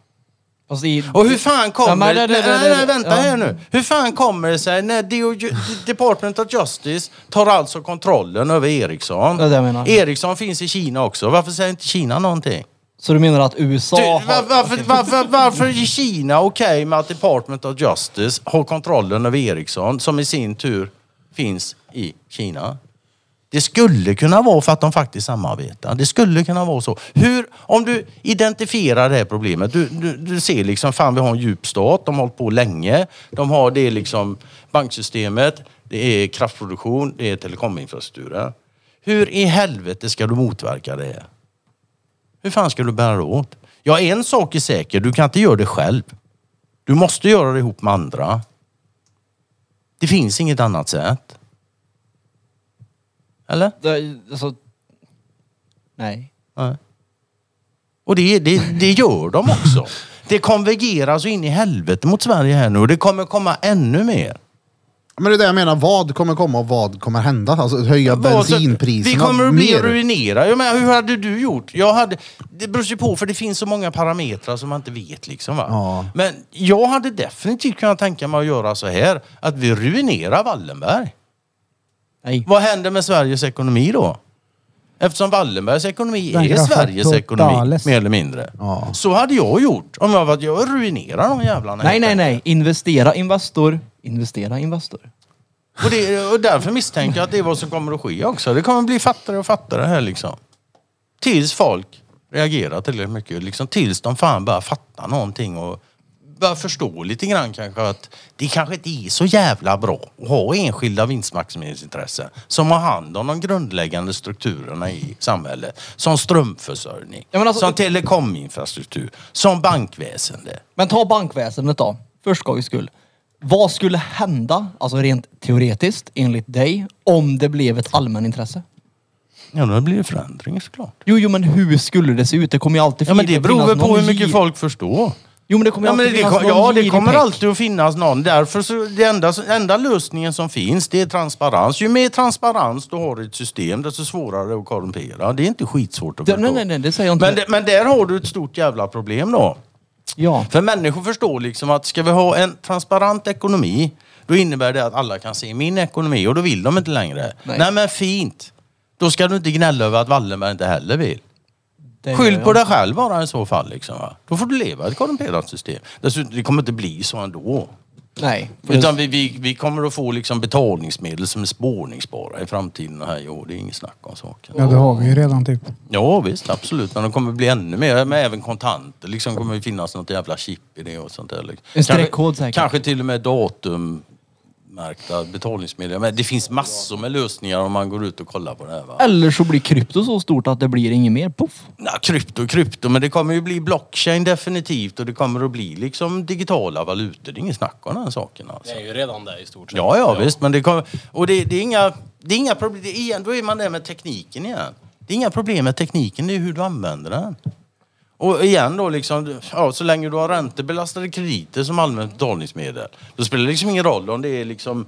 E: Alltså, i,
D: Och hur fan kommer...
E: men
D: Nej,
E: det-
D: nej,
E: det- det-
D: nej,
E: det-
D: vänta
E: ja.
D: här nu. Hur fan kommer det sig när DO, Department of Justice tar alltså kontrollen över Ericsson?
E: Det är det jag menar.
D: Ericsson finns i Kina också. Varför säger inte Kina någonting?
E: Så du menar att USA
D: Du,
E: har...
D: var, varför, varför, varför är Kina okej med att Department of Justice har kontrollen över Ericsson som i sin tur finns i Kina? Det skulle kunna vara för att de faktiskt samarbetar. Det skulle kunna vara så. Hur, om du identifierar det här problemet. Du, du, du ser liksom, fan vi har en djup stat. De har hållit på länge. De har det är liksom banksystemet, det är kraftproduktion, det är telekominfrastrukturen. Hur i helvete ska du motverka det här? Hur fan ska du bära dig åt? Ja, en sak är säker. Du kan inte göra det själv. Du måste göra det ihop med andra. Det finns inget annat sätt. Eller?
E: Det, alltså, nej.
D: Nej. Och det, det, det gör de också. Det konvergerar så in i helvete mot Sverige här nu och det kommer komma ännu mer.
A: Men det är det jag menar, vad kommer komma och vad kommer hända? Alltså höja bensinpriserna
D: Vi kommer att bli
A: mer.
D: ruinerade. Jag menar, hur hade du gjort? Jag hade, det beror ju på för det finns så många parametrar som man inte vet. Liksom, va?
A: Ja.
D: Men jag hade definitivt kunnat tänka mig att göra så här. Att vi ruinerar Wallenberg.
E: Nej.
D: Vad händer med Sveriges ekonomi då? Eftersom Wallenbergs ekonomi
C: Den
D: är
C: graffa
D: Sveriges ekonomi,
C: totales.
D: mer eller mindre.
A: Ja.
D: Så hade jag gjort. Om jag var jag ruinerar de jävlarna.
E: Nej,
D: helt
E: nej,
D: enkelt.
E: nej. Investera Investor. Investera Investor.
D: Och, det, och därför misstänker jag att det är vad som kommer att ske också. Det kommer bli fattare och fattare här liksom. Tills folk reagerar tillräckligt mycket. Liksom, tills de fan börjar fatta någonting och börjar förstå lite grann kanske att det kanske inte är så jävla bra att ha enskilda vinstmaximeringsintressen som har hand om de grundläggande strukturerna i samhället. Som strömförsörjning,
E: Ja, men alltså-
D: som telekominfrastruktur, som bankväsende.
E: Men ta bankväsendet då, för skojs skull. Vad skulle hända, alltså rent teoretiskt, enligt dig, om det blev ett allmänintresse?
D: Ja, då blir det förändring såklart.
E: Jo, jo, men hur skulle det se ut? Det kommer ju alltid
D: Ja, men det
E: finnas
D: beror väl på
E: någon
D: hur mycket
E: gi-
D: folk förstår.
E: Jo, men det kommer ju
D: Ja, men
E: alltid
D: det,
E: finnas
D: kom,
E: någon
D: ja, det
E: girig
D: kommer
E: prick.
D: alltid att finnas någon. Därför så, det enda, enda lösningen som finns, det är transparens. Ju mer transparens du har i ett system, desto svårare är det att korrumpera. Det är inte skitsvårt att
E: Det-
D: förstå.
E: nej, nej, nej, det säger jag inte.
D: men, det, men där har du ett stort jävla problem då.
E: Ja.
D: För människor förstår liksom att ska vi ha en transparent ekonomi, då innebär det att alla kan se min ekonomi och då vill de inte längre.
E: Nej.
D: Nej, men fint. Då ska du inte gnälla över att Wallenberg inte heller vill.
E: Det
D: Skyll
E: gör
D: på
E: jag.
D: dig själv bara i så fall. Liksom, va? Då får du leva i ett korrumperat system. Dessutom, det kommer inte bli så ändå.
E: Nej. för
D: Utan
E: det-
D: vi, vi, vi kommer att få liksom betalningsmedel som är spårningsbara i framtiden. Här, jo, det är inget snack om saken.
C: Ja, det har vi ju redan typ.
D: Ja visst, absolut. Men de kommer bli ännu mer, men även kontanter. Liksom kommer det finnas något jävla chip i det och sånt där. Liksom.
E: En streckkod säkert.
D: Kanske till och med datummärkta betalningsmedel. Men det finns massor med lösningar om man går ut och kollar på det här. Va?
E: Eller så blir krypto så stort att det blir inget mer. Puff.
D: Ja, krypto, krypto, men det kommer ju bli blockchain definitivt och det kommer att bli liksom digitala valutor. Det är inget snack om den saken alltså.
B: Det är ju redan där i stort sett.
D: Ja, ja, visst, men det kommer... Och det, det är inga, det är inga problem. Det är, igen, då är man där med tekniken igen. Det är inga problem med tekniken, det är hur du använder den. Och igen då liksom, ja, så länge du har räntebelastade krediter som allmänt betalningsmedel, då spelar det liksom ingen roll om det är liksom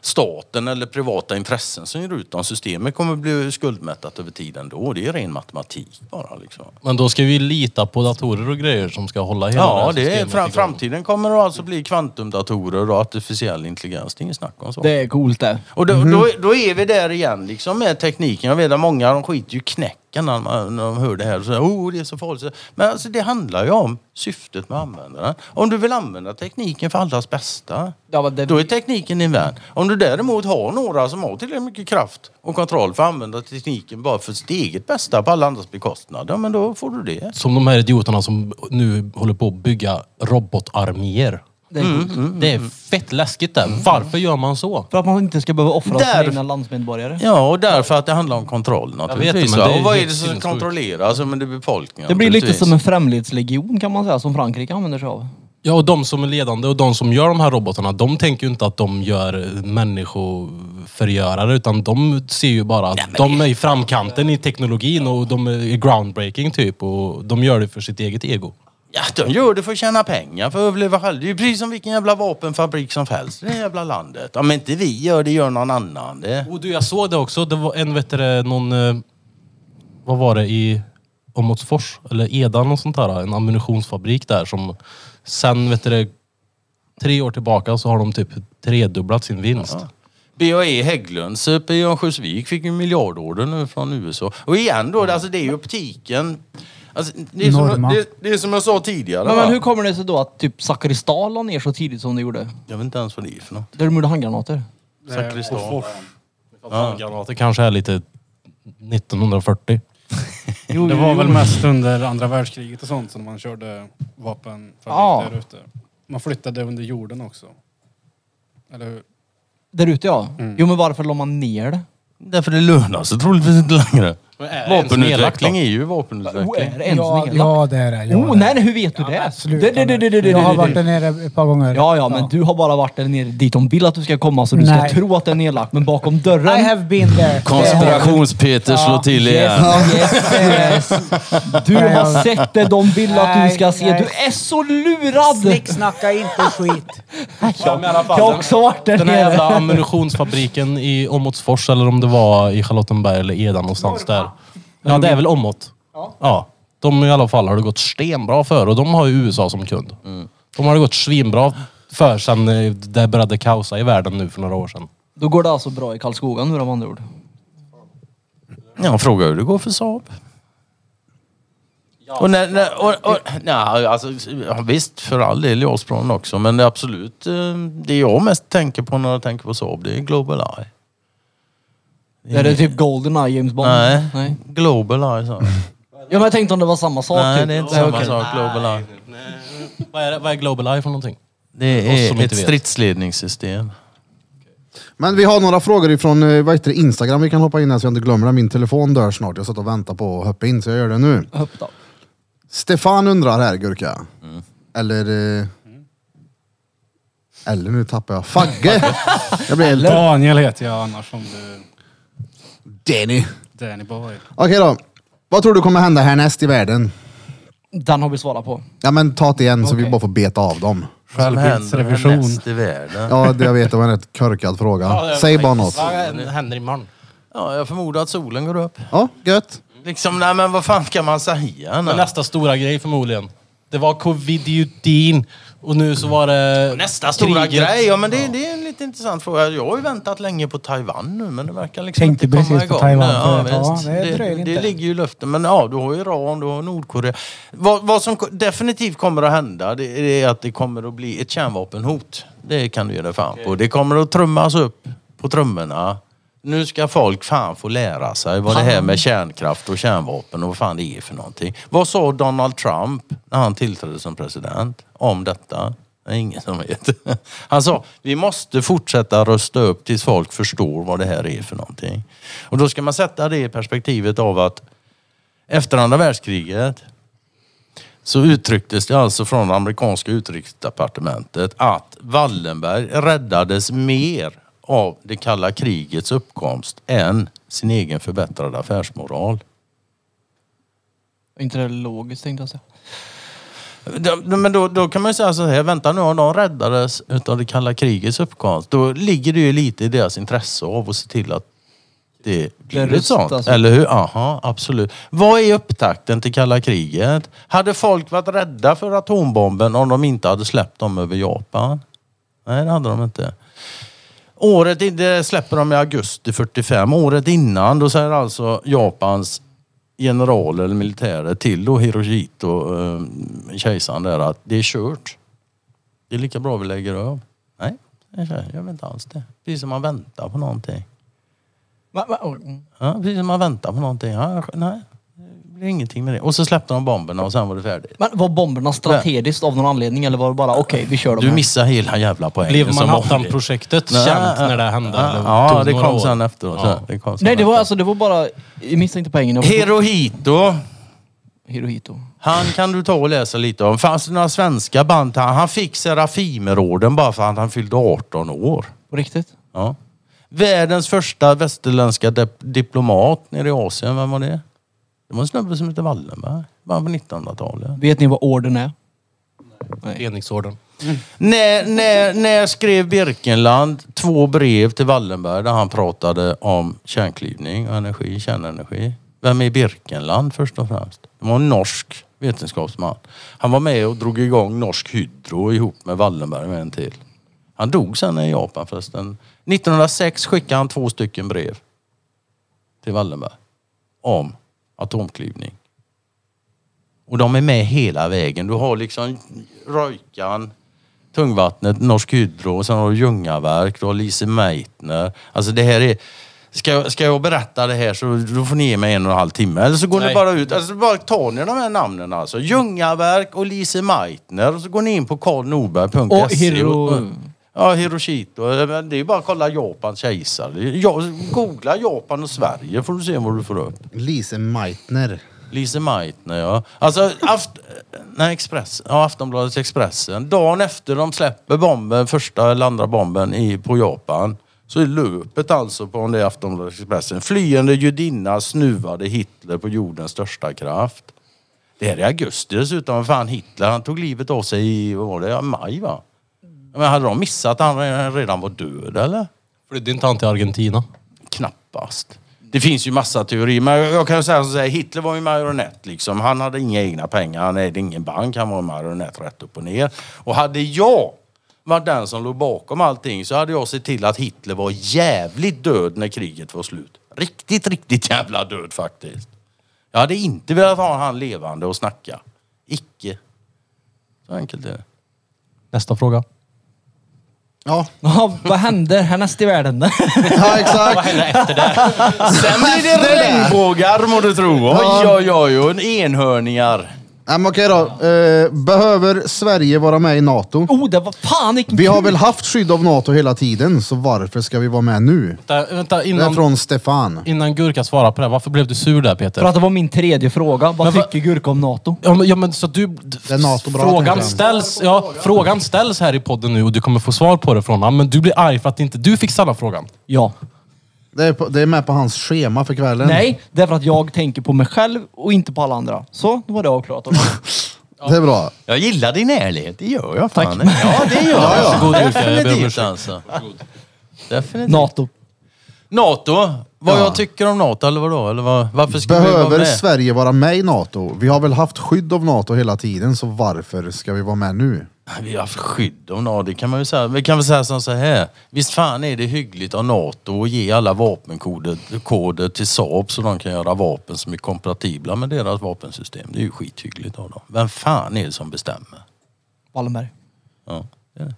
D: staten eller privata intressen som ger ut dem. Systemet kommer bli skuldmättat över tiden då. Det är ren matematik bara liksom.
B: Men då ska vi lita på datorer och grejer som ska hålla hela det
D: Ja,
B: här
D: det är,
B: systemet
D: fram,
B: igång.
D: framtiden kommer det alltså bli kvantumdatorer och artificiell intelligens. Det är inget snack om så.
E: Det är coolt det.
D: Och då,
B: Mhm.
D: då, då är vi där igen liksom med tekniken. Jag vet att många de skiter ju i knäcken när de, när de hör det här. Så, oh, det är så farligt. Så- Men alltså, det handlar ju om syftet med användaren. Om du vill använda tekniken för allas bästa,
E: Ja, men det-
D: då är tekniken din vän. Om du däremot har några som har tillräckligt mycket kraft och kontroll för att använda tekniken bara för sitt eget bästa på alla andras bekostnad, ja, men då får du det.
B: Som de här idioterna som nu håller på att bygga robotarméer.
D: Mm,
E: Det är coolt.
B: Det är fett läskigt där. Varför gör man så?
E: För att man inte ska behöva offra
D: Där-
E: sina egna landsmedborgare.
D: Ja, och därför att det handlar om kontroll naturligtvis.
B: det, men
D: va?
B: det är
D: och vad är
B: helt
D: det som
B: sinnessjukt.
D: kontrolleras? Ja, men det är befolkningen
E: Det blir lite
D: naturligtvis.
E: som en främlingslegion kan man säga, som Frankrike använder sig av.
B: Ja, och de som är ledande och de som gör de här robotarna, de tänker ju inte att de gör människoförgörare, utan de ser ju bara att de är i framkanten i teknologin och de är groundbreaking typ. Och de gör det för sitt eget ego.
D: Ja, de gör det för att tjäna pengar, för att överleva själv. Det är ju precis som vilken jävla vapenfabrik som helst i det här jävla landet. Om inte vi gör det, gör någon annan det.
B: Och du, jag såg det också. Det var en, vet du, det, någon... eh, Vad var det i Åmotsfors? Eller Edan och sånt där. En ammunitionsfabrik där som sen, vet du, det, tre år tillbaka så har de typ tredubblat sin vinst.
D: BAE Hägglunds uppe i Örnsköldsvik fick ju miljardorder nu från USA. Och igen då, alltså det är ju optiken. Alltså, det, är som,
C: Norma.
D: det, det är som jag sa tidigare.
E: Men,
D: va?
E: men hur kommer det sig då att typ Zakristal la ner så tidigt som det gjorde?
D: Jag vet inte ens vad det är för något.
E: Där de gjorde handgranater.
F: eh,
D: Sakristan.
B: Granater kanske är lite 1940.
E: Jo,
F: Det
E: jo,
F: var
E: jo.
F: väl mest under andra världskriget och sånt som man körde vapen
E: Ja.
F: där ute. Man flyttade under jorden också. Eller hur?
E: Där ute ja.
B: Mm.
E: Jo men varför la man ner det?
D: Därför det lönar sig troligtvis inte längre. Vapenutveckling är ju
E: Oh,
D: vapenutveckling.
E: är det ens
C: ja,
E: nedlagt?
C: ja, det är det. Ja,
E: Oh,
C: det.
E: nej, nej, hur vet du det?
C: Absolut.
E: Det- det- det- det- det- det-
C: jag har
E: det-
C: varit
E: det-
C: där nere ett par gånger.
E: Ja, ja, men du har bara varit där nere dit de vill att du ska komma så du ska
C: Nej.
E: tro att det är nedlagt. Men bakom dörren...
C: I have been there.
D: Konspirations-Peter slår till igen.
E: Yes, yes, yes. Du
C: Nej,
E: har
C: jag-
E: sett det de vill att du ska
C: Nej,
E: se.
C: nej.
E: Du är så lurad!
C: Snicksnacka inte skit.
E: Jag har också varit där
B: Den här
E: nere.
B: jävla ammunitionsfabriken i Åmotsfors eller om det var i Charlottenberg eller Eda någonstans där. Ja, det är väl Åmot. Ja. De i alla fall har det gått stenbra för och de har ju USA som kund.
D: Mm.
B: De har det gått svinbra för sen eh, det började kaosa i världen nu för några år sedan.
E: Då går det alltså bra i Karlskoga nu då, med andra ord.
D: Ja, fråga hur det går för Saab. Och när, när, och, och, nej, alltså, ja, visst, för all del i Åsbron också. Men det är absolut eh, det jag mest tänker på när jag tänker på Saab, det är Global Eye.
E: Är det typ Goldeneye, James
B: Mm,
E: Bond?
D: Nej,
E: Nej.
D: Global Eye sa jag.
E: Ja, men jag tänkte om det var samma sak.
D: Nej,
E: typ.
D: det är inte
E: Nej,
D: samma
E: okej.
D: sak. Global Eye.
B: Vad är, vad är Global Eye för någonting?
D: Det
B: Oss som
D: är
B: inte
D: ett
B: vet.
D: stridsledningssystem.
A: Men vi har några frågor ifrån eh, vad heter det, Instagram vi kan hoppa in här så jag inte glömmer det. Min telefon dör snart. Jag satt och väntade på att hoppa in så jag gör det nu.
E: Hopp då.
A: Stefan undrar här, Gurka. Eller... eh, Eller nu tappar jag. Fagge! jag blir helt...
F: Daniel heter jag annars om du...
A: Danny.
F: Danny Boy.
A: Okej då. Vad tror du kommer hända härnäst i världen?
E: Den har vi svarat på.
A: Ja men ta det igen så vi
E: Okej.
A: bara får beta av dem.
B: Alltså,
D: Som händer
F: Självbildsrevision.
D: härnäst i världen.
A: Ja, det jag vet det var en rätt korkad fråga. Säg bara något.
B: Vad händer imorgon?
D: Ja, jag förmodar att solen går upp.
A: Ja, gött.
D: Liksom, nej men vad fan kan man säga?
B: Men
D: Nej?
B: nästa stora grej förmodligen. Det var covid-19 och nu så var det...
D: Nästa stora
B: Eh, kriget.
D: grej, ja men det, det är en lite intressant fråga. Jag har ju väntat länge på Taiwan nu men det verkar liksom
C: Tänkte
D: inte komma
C: precis på
D: igång.
C: Taiwan
D: ja,
C: förut. Ja,
D: visst.
C: det dröjer
D: det, det
C: inte.
D: ligger ju i luften. Men ja, du har ju Iran, du har Nordkorea. Vad, vad som ko- definitivt kommer att hända det är det att det kommer att bli ett kärnvapenhot. Det kan du ge dig fan på. Det kommer att trummas upp på trummorna. Nu ska folk fan få lära sig vad det här med kärnkraft och kärnvapen och vad fan det är för någonting. Vad sa Donald Trump när han tillträdde som president om detta? Det är ingen som vet. Han sa, vi måste fortsätta rösta upp tills folk förstår vad det här är för någonting. Och då ska man sätta det i perspektivet av att efter andra världskriget så uttrycktes det alltså från det amerikanska utrikesdepartementet att Wallenberg räddades mer av det kalla krigets uppkomst än sin egen förbättrade affärsmoral.
E: Inte det logiskt tänkte jag säga.
D: då- Men då, då kan man ju säga så här, vänta nu om de räddades utav det kalla krigets uppkomst. Då ligger det ju lite i deras intresse av att se till att det blir ett
E: rust,
D: sånt.
E: alltså.
D: Eller hur? Aha, absolut. Vad är upptakten till kalla kriget? Hade folk varit rädda för atombomben om de inte hade släppt dem över Japan? Nej, det hade de inte. Året in, det släpper de i augusti 45. Året innan, då säger alltså Japans generaler eller militärer till då Hirohito, eh, kejsaren där, att det är kört. Det är lika bra vi lägger av. Nej, säger tjejen, jag vet inte alls det. Precis som man väntar på någonting.
E: Va, va, oj, mm.
D: Ja, precis som man väntar på någonting. Ja, nej, det blir ingenting med det. Och så släppte de bomberna och sen var det färdigt.
E: Men var bomberna strategiskt av någon anledning eller var det bara okej, vi kör dem
B: Mm.
D: Du
E: här?
D: missar hela jävla poängen.
B: Blev
D: som
B: Manhattan-projektet
D: vanligt.
B: känt
D: Nej,
B: när det hände?
D: Ja,
B: eller
D: ja
B: tog
D: det
B: några
D: kom
B: år?
D: sen efteråt.
B: Ja.
D: Det kom sen
E: Nej, det var
D: efteråt.
E: alltså, det var bara... Jag missade inte poängen. Jag
D: Hirohito.
E: Hirohito.
D: Han kan du ta och läsa lite om. Fanns det några svenska band till han? Han fick Serafimerorden bara för att han fyllde 18 år.
E: På riktigt?
D: Ja. Världens första västerländska dip- diplomat nere i Asien, vem var det? Det var en snubbe som hette Wallenberg. Var på 1900-talet.
E: Vet ni vad orden är?
B: Enhetsorden.
D: När, när, när skrev Birkenland två brev till Wallenberg där han pratade om kärnklyvning och energi, kärnenergi? Vem är Birkenland först och främst? Det var en norsk vetenskapsman. Han var med och drog igång Norsk Hydro ihop med Wallenberg med en till. Han dog sen i Japan förresten. 1906 skickade han två stycken brev till Wallenberg om atomklyvning. Och de är med hela vägen. Du har liksom Röjkan, Tungvattnet, Norsk Hydro, och sen har du Ljungaverk, du har Lise Meitner. Alltså det här är... Ska jag, ska jag berätta det här så då får ni ge mig en och en halv timme. Eller så går ni
B: Nej.
D: bara ut. Alltså bara tar ni de här namnen alltså. Ljungaverk och Lise Meitner. Och så går ni in på karlnorberg.se.
E: Och Hiro-
D: Ja, Hiroshito. Eh, Men Det är ju bara att kolla Japans kejsare. Ja, Googla Japan och Sverige får du se vad du får upp.
A: Lise Meitner.
D: Lise Meitner, ja. Alltså, aft nej, Express. ja, Aftonbladet Expressen. Dagen efter de släpper bomben, första eller andra bomben i, på Japan, så är löpet alltså på om det är Aftonbladet Expressen. Flyende judinna snuvade Hitler på jordens största kraft. Det här är i augusti dessutom. Fan, Hitler han tog livet av sig i, vad var det, Ja, maj va? Men hade de missat att han redan var död eller?
B: Flydde inte han till Argentina?
D: Knappast. Det finns ju massa teorier, men jag kan ju säga så här, Hitler var ju marionett liksom. Han hade inga egna pengar, han ägde ingen bank, han var en marionett rätt upp och ner. Och hade jag varit den som låg bakom allting så hade jag sett till att Hitler var jävligt död när kriget var slut. Riktigt, riktigt jävla död faktiskt. Jag hade inte velat ha han levande och snacka. Icke. Så enkelt är det.
B: Nästa fråga.
A: Ja,
E: Ja, vad händer härnäst i världen?
A: ja exakt.
D: Sen blir det regnbågar må du tro. Oj, oj, oj, oj. Enhörningar.
A: Nej, men Okej då. Eh, behöver Sverige vara med i NATO?
E: oh, det var fan vilken
A: Vi har
E: kul-
A: väl haft skydd av NATO hela tiden, så varför ska vi vara med nu?
B: Vänta, vänta
A: Det är
B: innan,
A: från Stefan.
B: innan Gurka svarar på det. här, Varför blev du sur där Peter?
E: För att det var min tredje fråga. Vad
B: Men va-
E: tycker Gurka om NATO?
B: Ja men, ja, men så du...
A: är NATO bra, tänker
B: frågan
A: jag.
B: ställs, ja, frågan ställs här i podden nu och du kommer få svar på det från honom. Men du blir arg för att inte du fick ställa frågan.
E: Ja.
A: Det är, på, det är med på hans schema för kvällen.
E: Nej, därför att jag tänker på mig själv och inte på alla andra. Så, då var det avklarat.
A: Det är bra.
D: Jag gillar din ärlighet, det gör jag
E: Tack.
D: fan. Ja, det gör jag.
B: Varsågod, Jocke. Jag ber om
D: Definitivt
B: ursäkt.
D: alltså. Definitivt.
E: NATO.
D: NATO, vad jag tycker om NATO eller vadå? Eller vad, varför ska vi vara
A: Behöver
D: med?
A: Sverige vara med i NATO? Vi har väl haft skydd av NATO hela tiden, så varför ska vi vara med nu?
D: Vi har haft skydd av NATO, det kan man ju säga. Vi kan väl säga som så här. Visst fan är det hyggligt av NATO att ge alla vapenkoder koder till Saab så de kan göra vapen som är kompatibla med deras vapensystem. Det är ju skithyggligt av dem. Vem fan är det som bestämmer?
E: Wallenberg.
D: Ja, det är det.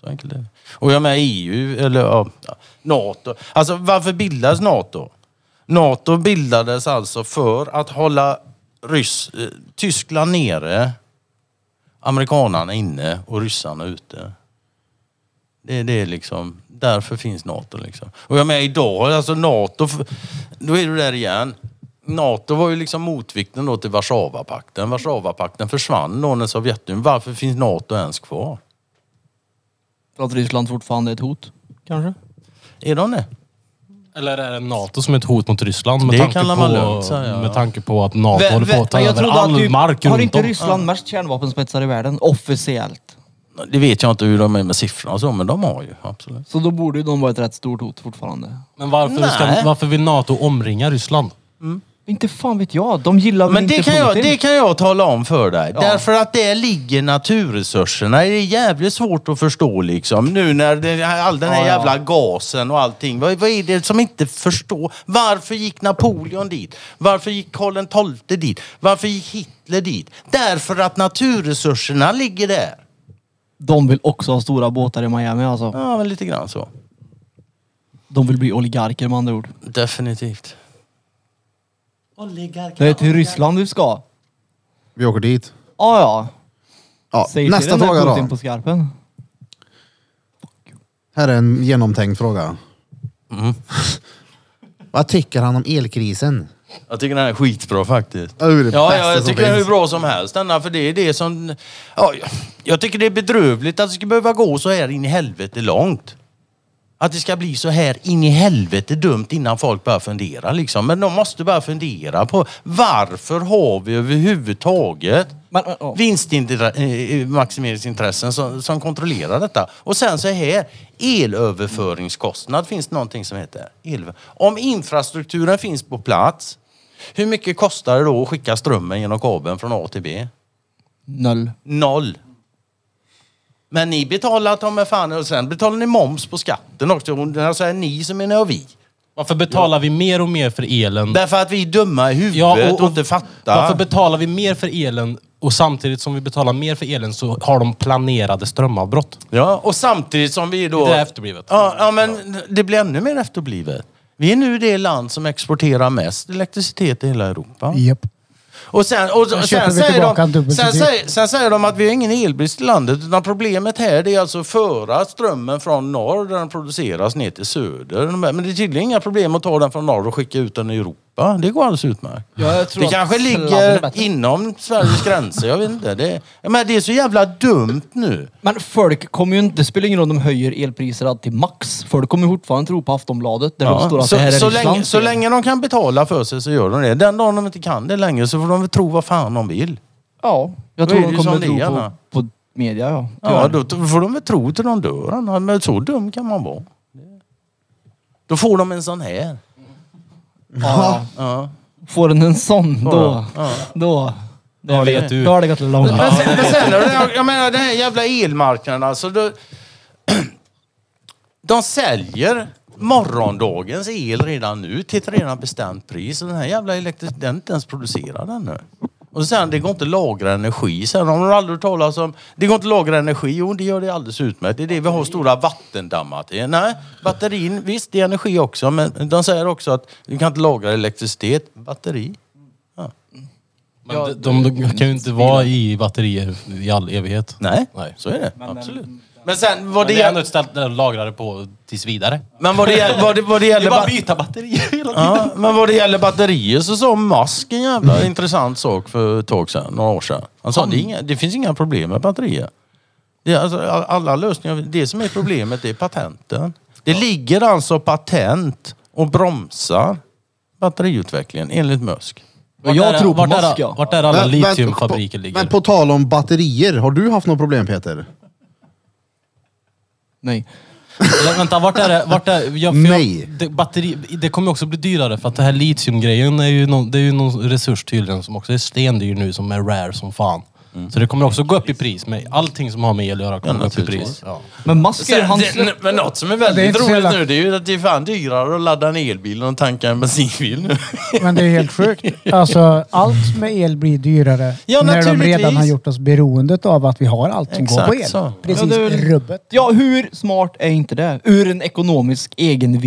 D: Så enkelt är det. Och jag menar EU, eller ja, NATO. Alltså varför bildas NATO? NATO bildades alltså för att hålla Ryss, eh, Tyskland nere, amerikanarna inne och ryssarna ute. Det, det är liksom, därför finns NATO liksom. Och jag menar idag, alltså NATO, f- då är du där igen. NATO var ju liksom motvikten då till Warszawapakten. Warszawapakten försvann då när Sovjetunionen, varför finns NATO ens kvar?
E: För att Ryssland fortfarande är ett hot, kanske?
D: Är de det?
B: Eller är det NATO som är ett hot mot Ryssland? Med
D: Det
B: tanke
D: kallar
B: på,
D: man lugnt, så här, ja.
B: Med tanke på att NATO
E: Vä-
B: håller på att ta
E: vä- jag
B: över
E: trodde
B: all
E: att typ-
B: mark
E: Har
B: runt
E: inte
B: om.
E: Ryssland mest kärnvapenspetsar i världen? Officiellt.
D: Det vet jag inte hur de är med siffrorna och så, men de har ju absolut.
E: Så då borde ju de vara ett rätt stort hot fortfarande.
B: Men varför,
D: Nej.
B: ska, varför vill NATO omringa Ryssland?
E: Inte fan vet jag. De gillar väl
D: Men
E: inte
D: det kan, jag,
E: Putin?
D: det kan jag tala om för dig. Därför att där ligger naturresurserna. Det är jävligt svårt att förstå liksom. Nu när det, all den här jävla gasen och allting. Vad, vad är det som inte förstår? Varför gick Napoleon dit? Varför gick Karl XII dit? Varför gick Hitler dit? Därför att naturresurserna ligger där.
E: De vill också ha stora båtar i Miami alltså.
D: Ja, men lite grann så.
E: De vill bli oligarker med andra ord.
D: Definitivt.
E: Det är till Ryssland du ska.
A: Vi åker dit.
E: Ah, ja,
A: Ja.
E: Säg
A: Nästa
E: till den där
A: fråga
E: Putin
A: då.
E: på skarpen.
A: Här är en genomtänkt fråga.
D: Mm.
A: Vad tycker han om elkrisen?
D: Jag tycker den här är skitbra faktiskt.
A: Ja, det är det
D: Ja,
A: bästa
D: ja, jag
A: som
D: tycker det är hur
A: finns.
D: bra som helst denna, för det är det som... Ja, jag tycker det är bedrövligt att det ska behöva gå så här in i helvete långt. Att det ska bli så här in i helvete dumt innan folk börjar fundera liksom. Men de måste bara fundera på varför har vi överhuvudtaget
E: Men, men, ja.
D: vinstmaximeringsintressen som, som kontrollerar detta. Och sen så här, elöverföringskostnad finns det någonting som heter. El, om infrastrukturen finns på plats, hur mycket kostar det då att skicka strömmen genom kabeln från A till B?
E: Noll.
D: Noll. Men ni betalar ta mig fan och sen betalar ni moms på skatten också. Och När jag säger ni så menar jag
B: Mm.
D: vi.
B: Varför betalar vi mer och mer för elen?
D: Därför att vi är dumma i huvudet
B: Ja,
D: och, inte fattar.
B: Varför betalar vi mer för elen och samtidigt som vi betalar mer för elen så har de planerade strömavbrott?
D: Ja, och samtidigt som vi då...
B: Det är efterblivet.
D: Ja, ja, men det blir ännu mer efterblivet. Vi är nu det land som exporterar mest elektricitet i hela Europa.
C: Japp.
D: Och sen, och, och
C: Sen
D: sen,
C: köper vi
D: säger
C: tillbaka en
D: de,
C: dubbel
D: sen,
C: till
D: säger, sen säger de att vi har ingen elbrist i landet. Utan problemet här det är alltså att föra strömmen från norr där den produceras ner till söder. Men det är tydligen inga problem att ta den från norr och skicka ut den i Europa. Det går alldeles utmärkt.
E: Ja, jag tror
D: det
E: att
D: kanske
E: sladden är
D: ligger
E: bättre.
D: inom Sveriges gränser. Jag vet inte. Det, jag menar, det är så jävla dumt nu.
E: Men folk kommer ju inte... Det spelar ingen roll om de höjer elpriser till max. Folk kommer ju fortfarande tro på Aftonbladet där det står att
D: så,
E: det här är
D: så,
E: Rysslands
D: länge, så
E: fel.
D: länge de kan betala för sig så gör de det. Den dagen de inte kan det längre så får de väl tro vad fan de vill.
E: Ja. Jag
D: Då
E: tror
D: är det
E: de
D: ju
E: kommer
D: som
E: tro
D: det är,
E: på,
D: va?
E: på media ja.
D: Ja, då t- får de väl tro till de dör. annars- Men så dum kan man vara. Då får de en sån här.
E: Ja.
D: Ja.
E: Får den en sån då... Då... Då,
B: vet
E: det,
B: du.
E: då har det gått långt.
D: Men sen, men sen när det- jag menar den här jävla elmarknaden alltså. Då, de säljer morgondagens el redan nu till ett redan bestämt pris. Och den här jävla elektriciteten den är inte ens producerad ännu. Och sen det går inte att lagra energi. Sen har de aldrig hört talas om... Det går inte att lagra energi. Jo, det gör det alldeles utmärkt. Det är det vi har stora vattendammar till. Nej, batterin, visst det är energi också. Men de säger också att du kan inte lagra elektricitet. Batteri.
B: Men de, de, de kan ju inte vara i batterier i all evighet.
D: Nej,
B: Nej.
D: så är det. Absolut. Men sen vad det
B: Men det är
D: gäller...
B: ändå ett ställe där de lagrar det på tills vidare.
D: Men vad det, gäll- vad det, vad det
B: Det är
D: gäller...
B: bara att
D: ba-
B: byta batterier hela tiden.
D: Ja, men vad det gäller batterier så sa Musk en jävla
C: Mm.
D: intressant sak för ett tag sedan, några år sedan. Han sa det, är inga, det finns inga problem med batterier. Det är alltså, all- alla lösningar, det som är problemet det är patenten. Det ligger alltså patent och bromsar batteriutvecklingen enligt Musk.
E: Och jag tror på
B: vart
E: Musk
B: är,
E: ja.
B: vart är alla
A: Men- men-
B: litiumfabriker
A: på-
B: ligger?
A: Men på tal om batterier, har du haft något problem Peter?
E: Nej.
B: Eller, vänta, vart är det? Vart är, jag, för
A: Nej.
B: Jag, det, batteri, det kommer också bli dyrare för att det här litiumgrejen är ju någon, det är ju någon resurs tydligen som också är stendyr nu som är rare som fan. Så det kommer också gå upp i pris. Men allting som har med el att göra kommer gå upp i pris. Mm. Ja.
E: Men Musk är ju
D: Sen,
E: han
D: det,
E: släpp...
D: men något som är
C: Det är
D: väldigt
C: inte så
D: roligt
C: jävla-
D: nu det är ju att det är fan dyrare att ladda en elbil än att tanka en bensinbil nu.
C: Men det är helt sjukt. Alltså, allt med el blir dyrare
D: Ja,
C: när de
D: naturligtvis.
C: redan har gjort oss beroendet av att vi har allt som går
D: Exakt
C: på el.
D: så.
C: Precis,
E: Ja, det är väl-
C: rubbet.
E: Ja, hur smart är inte det? Ur en ekonomisk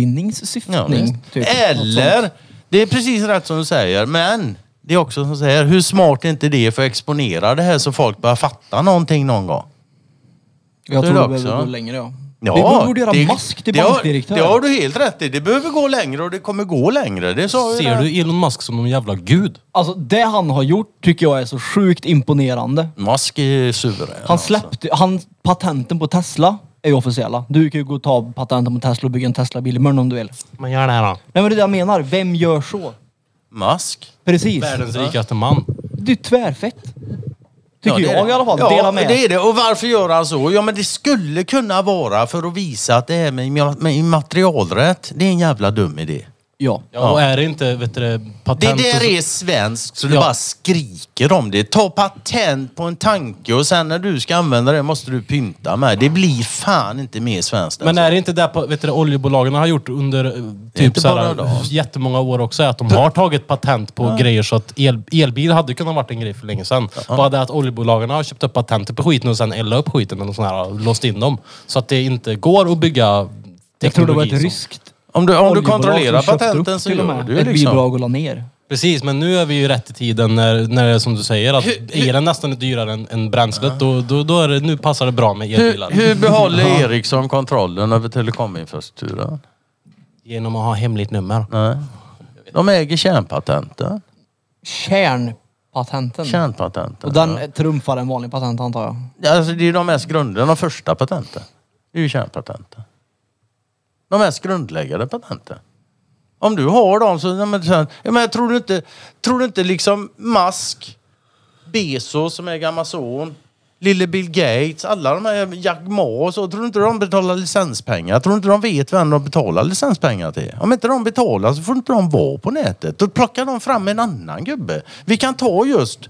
D: Ja,
E: egenvinningssyftning.
D: visst.
E: typ. Något sånt.
D: Eller, det är precis rätt som du säger, men det är också som säger, hur smart är inte det för att exponera det här så folk börjar fatta någonting någon gång?
E: Jag
D: Så
E: tror
D: är
E: det
D: det
E: behöver
D: också.
E: gå längre ja. vi borde- borde göra
D: det-
E: Musk till
D: det har-
E: bankdirektör.
D: Det har du helt rätt i. Det behöver gå längre och det kommer gå längre. Det sa ju
B: Ser
D: det.
B: du Elon Musk som någon jävla gud?
E: Alltså det han har gjort tycker jag är så sjukt imponerande.
D: Musk är suverän.
E: Han släppte, han, patenten på Tesla är ju officiella. Du kan ju gå och ta patenten på Tesla och bygga en Tesla-bil imorgon om du vill.
B: Men gör det här då.
E: Nej men det är det jag menar. Vem gör så?
D: Mask?
E: Precis.
B: Världens rikaste man.
E: Det är tvärfett. Tycker
D: Ja, det är
E: jag
D: det.
E: i alla fall.
D: Ja,
E: Dela med.
D: det är det. Och varför gör han så? Ja, men det skulle kunna vara för att visa att det här med imma- med immaterialrätt, det är en jävla dum idé.
E: Ja.
B: Ja. Och är det inte vet du, det,
D: Det
B: patent och så-
D: där är svenskt så du
B: Ja.
D: bara skriker om det. Ta patent på en tanke och sen när du ska använda det måste du pynta med. Det blir fan inte mer svenskt.
B: Men
D: alltså.
E: eh,
B: är det inte det på- vet du, det oljebolagen har gjort under eh, typ
D: inte
B: så
D: bara
B: här,
D: idag.
B: jättemånga år också? Att de har tagit patent på grejer så att el, elbil hade kunnat varit en grej för länge sedan. Bara det att oljebolagen har köpt upp patenter på skiten och sen eldat upp skiten eller sån här, och låst in dem. Så att det inte går att bygga
E: Jag tror det var ett
B: teknologi som-
E: ryskt
D: Om du, om du
E: oljebolag
D: kontrollerar
E: som köpte
D: patenten
E: upp
D: så
E: till och
D: gör
E: med
D: du ju
E: Ett
D: liksom.
E: bidrag och la ner.
B: Precis, men nu är vi ju rätt i tiden när, när det är som du säger att elen nästan är dyrare än, än bränslet. Då, då, då är det, nu passar det bra med elbilar.
D: Hur, hur behåller Ericsson kontrollen över telekominfrastrukturen?
B: Genom att ha hemligt nummer.
D: Nej. De äger kärnpatenten.
E: Kärnpatenten.
D: Kärnpatenten.
E: Mm. Och den trumfar en vanlig patent antar jag.
D: Alltså det är de mest grundläggande, de första patenten. Det är ju kärnpatenten. De mest grundläggande patenten. Om du har dem så, ja, men, sen, ja, men tror du inte, tror du inte liksom Musk, Bezos som är Amazon, lille Bill Gates, alla de här, Jack Ma och så, tror du inte de betalar licenspengar? Tror du inte de vet vem de betalar licenspengar till? Om inte de betalar så får inte de vara på nätet. Då plockar de fram en annan gubbe. Vi kan ta just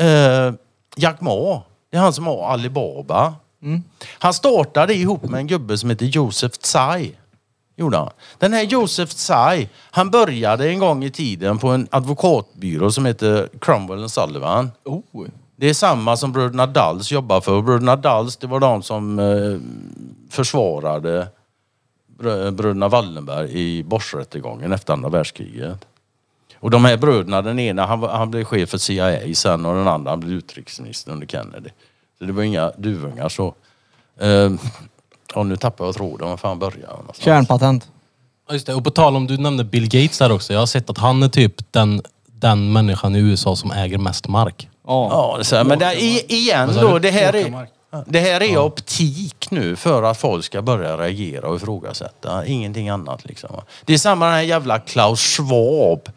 D: Eh, Jack Ma, det är han som har Alibaba. Han startade ihop med en gubbe som heter Joseph Tsai. Gjorde han. Den här Joseph Tsai, han började en gång i tiden på en advokatbyrå som heter Cromwell and Sullivan.
E: Oh.
D: Det är samma som bröderna Dals jobbar för. Och Bröderna Dals, det var de som eh, försvarade brö- bröderna Wallenberg i Boschrättegången efter andra världskriget. Och de här bröderna, den ena han, var- han blev chef för CIA sen och den andra han blev utrikesminister under Kennedy. Så det var inga duvungar så. Ehm, och nu tappar jag tråden, var fan började jag någonstans?
E: Kärnpatent.
B: Ja, Just det. Och på tal om, du nämnde Bill Gates där också. Jag har sett att han är typ den, den människan i USA som äger mest mark.
E: Ja.
D: Ja, det är så här, men det är, i- igen då, det här är, det här är optik nu för att folk ska börja reagera och ifrågasätta. Ingenting annat liksom. va. Det är samma den här jävla Klaus Schwab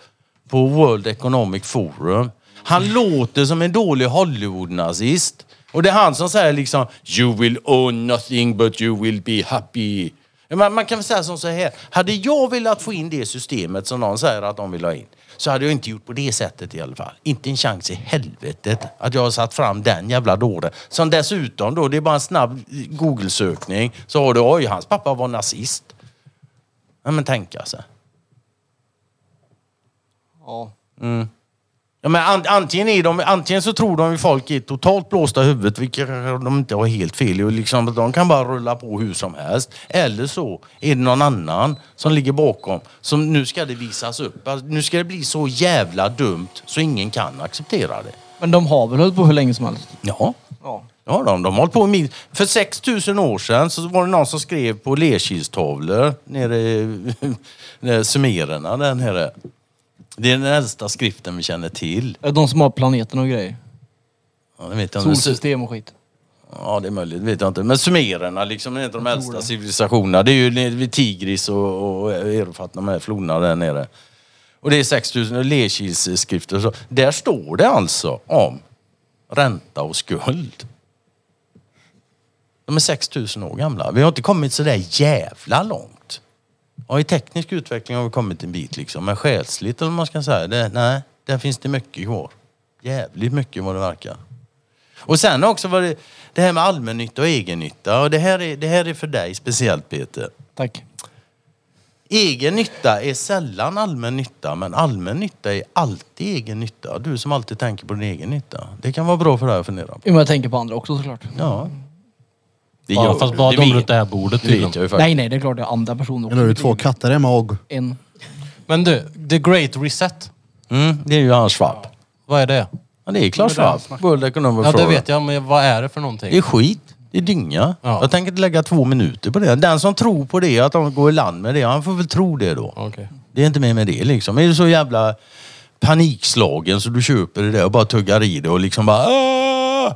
D: på World Economic Forum. Han låter som en dålig Hollywood-nazist. Och det är han som säger liksom You will own nothing but you will be happy. Ja, Man, man kan väl säga som så här. Hade jag velat få in det systemet som någon säger att de vill ha in så hade jag inte gjort på det sättet i alla fall. Inte en chans i helvetet att jag har satt fram den jävla dåren. Som dessutom då, det är bara en snabb google-sökning så har du oj, hans pappa var nazist. Ja, men alltså. tänka sig.
E: Ja.
D: Ja, men an- antingen, är de, antingen så tror de ju folk är totalt blåsta i huvudet, vilket de inte har helt fel i. och Liksom, de kan bara rulla på hur som helst. Eller så är det någon annan som ligger bakom. Som nu ska det visas upp. Alltså, nu ska det bli så jävla dumt så ingen kan acceptera det.
E: Men de har väl hållit på hur länge som helst?
D: Ja.
E: Ja.
D: Ja, de, de har hållit på min... För 6000 år sedan så var det någon som skrev på lerkilstavlor nere i nere i Sumererna där nere. Det är den äldsta skriften vi känner till.
E: De som har planeterna och grejer.
D: Ja, jag vet inte om det-
E: Solsystem och skit.
D: Ja, det är möjligt. vet jag inte. Men sumererna, liksom, det är inte de äldsta civilisationerna. Det är ju nere vid Tigris och, och Erofat, de här floderna där nere. Och det är 6000 Lekilsskrifter. och så. Där står det alltså om ränta och skuld. De är 6000 år gamla. Vi har inte kommit så där jävla långt. Ja, i teknisk utveckling har vi kommit en bit liksom. Men själsligt, eller vad man ska säga, det, nej, där finns det mycket kvar. Jävligt mycket vad det verkar. Och sen också var det, det här med allmännytta och egennytta. Och det här, är, det här är för dig speciellt Peter.
E: Tack.
D: Egen nytta är sällan allmän nytta, men allmän nytta är alltid egen nytta. Du som alltid tänker på din egen nytta. Det kan vara bra för dig att fundera på.
E: Jo, men jag tänker på andra också såklart.
D: Ja. Det
B: Ja, fast
D: du.
B: bara
D: Det
B: de
D: vet-
B: runt det här bordet
D: det vet
B: tydligen.
D: jag ju faktiskt.
E: Nej, nej, det är klart det är andra personer också.
A: Eller har du två katter hemma och...
E: En.
B: Men du, The Great Reset.
D: Mm, det är ju hans Schwab.
B: Vad är det?
D: Ja, det är Klaus Schwab. World Economic
B: Ja, det
D: Forum.
B: vet jag, men vad är det för
D: Det
B: någonting?
D: är skit. Det är dynga.
B: Ja.
D: Jag tänker inte lägga två minuter på det. Den som tror på det, att de går i land med det, han får väl tro det då.
B: Okej.
D: Det är inte mer med det liksom. Är du så jävla panikslagen så du köper det där och bara tuggar i det och liksom bara "Åh!"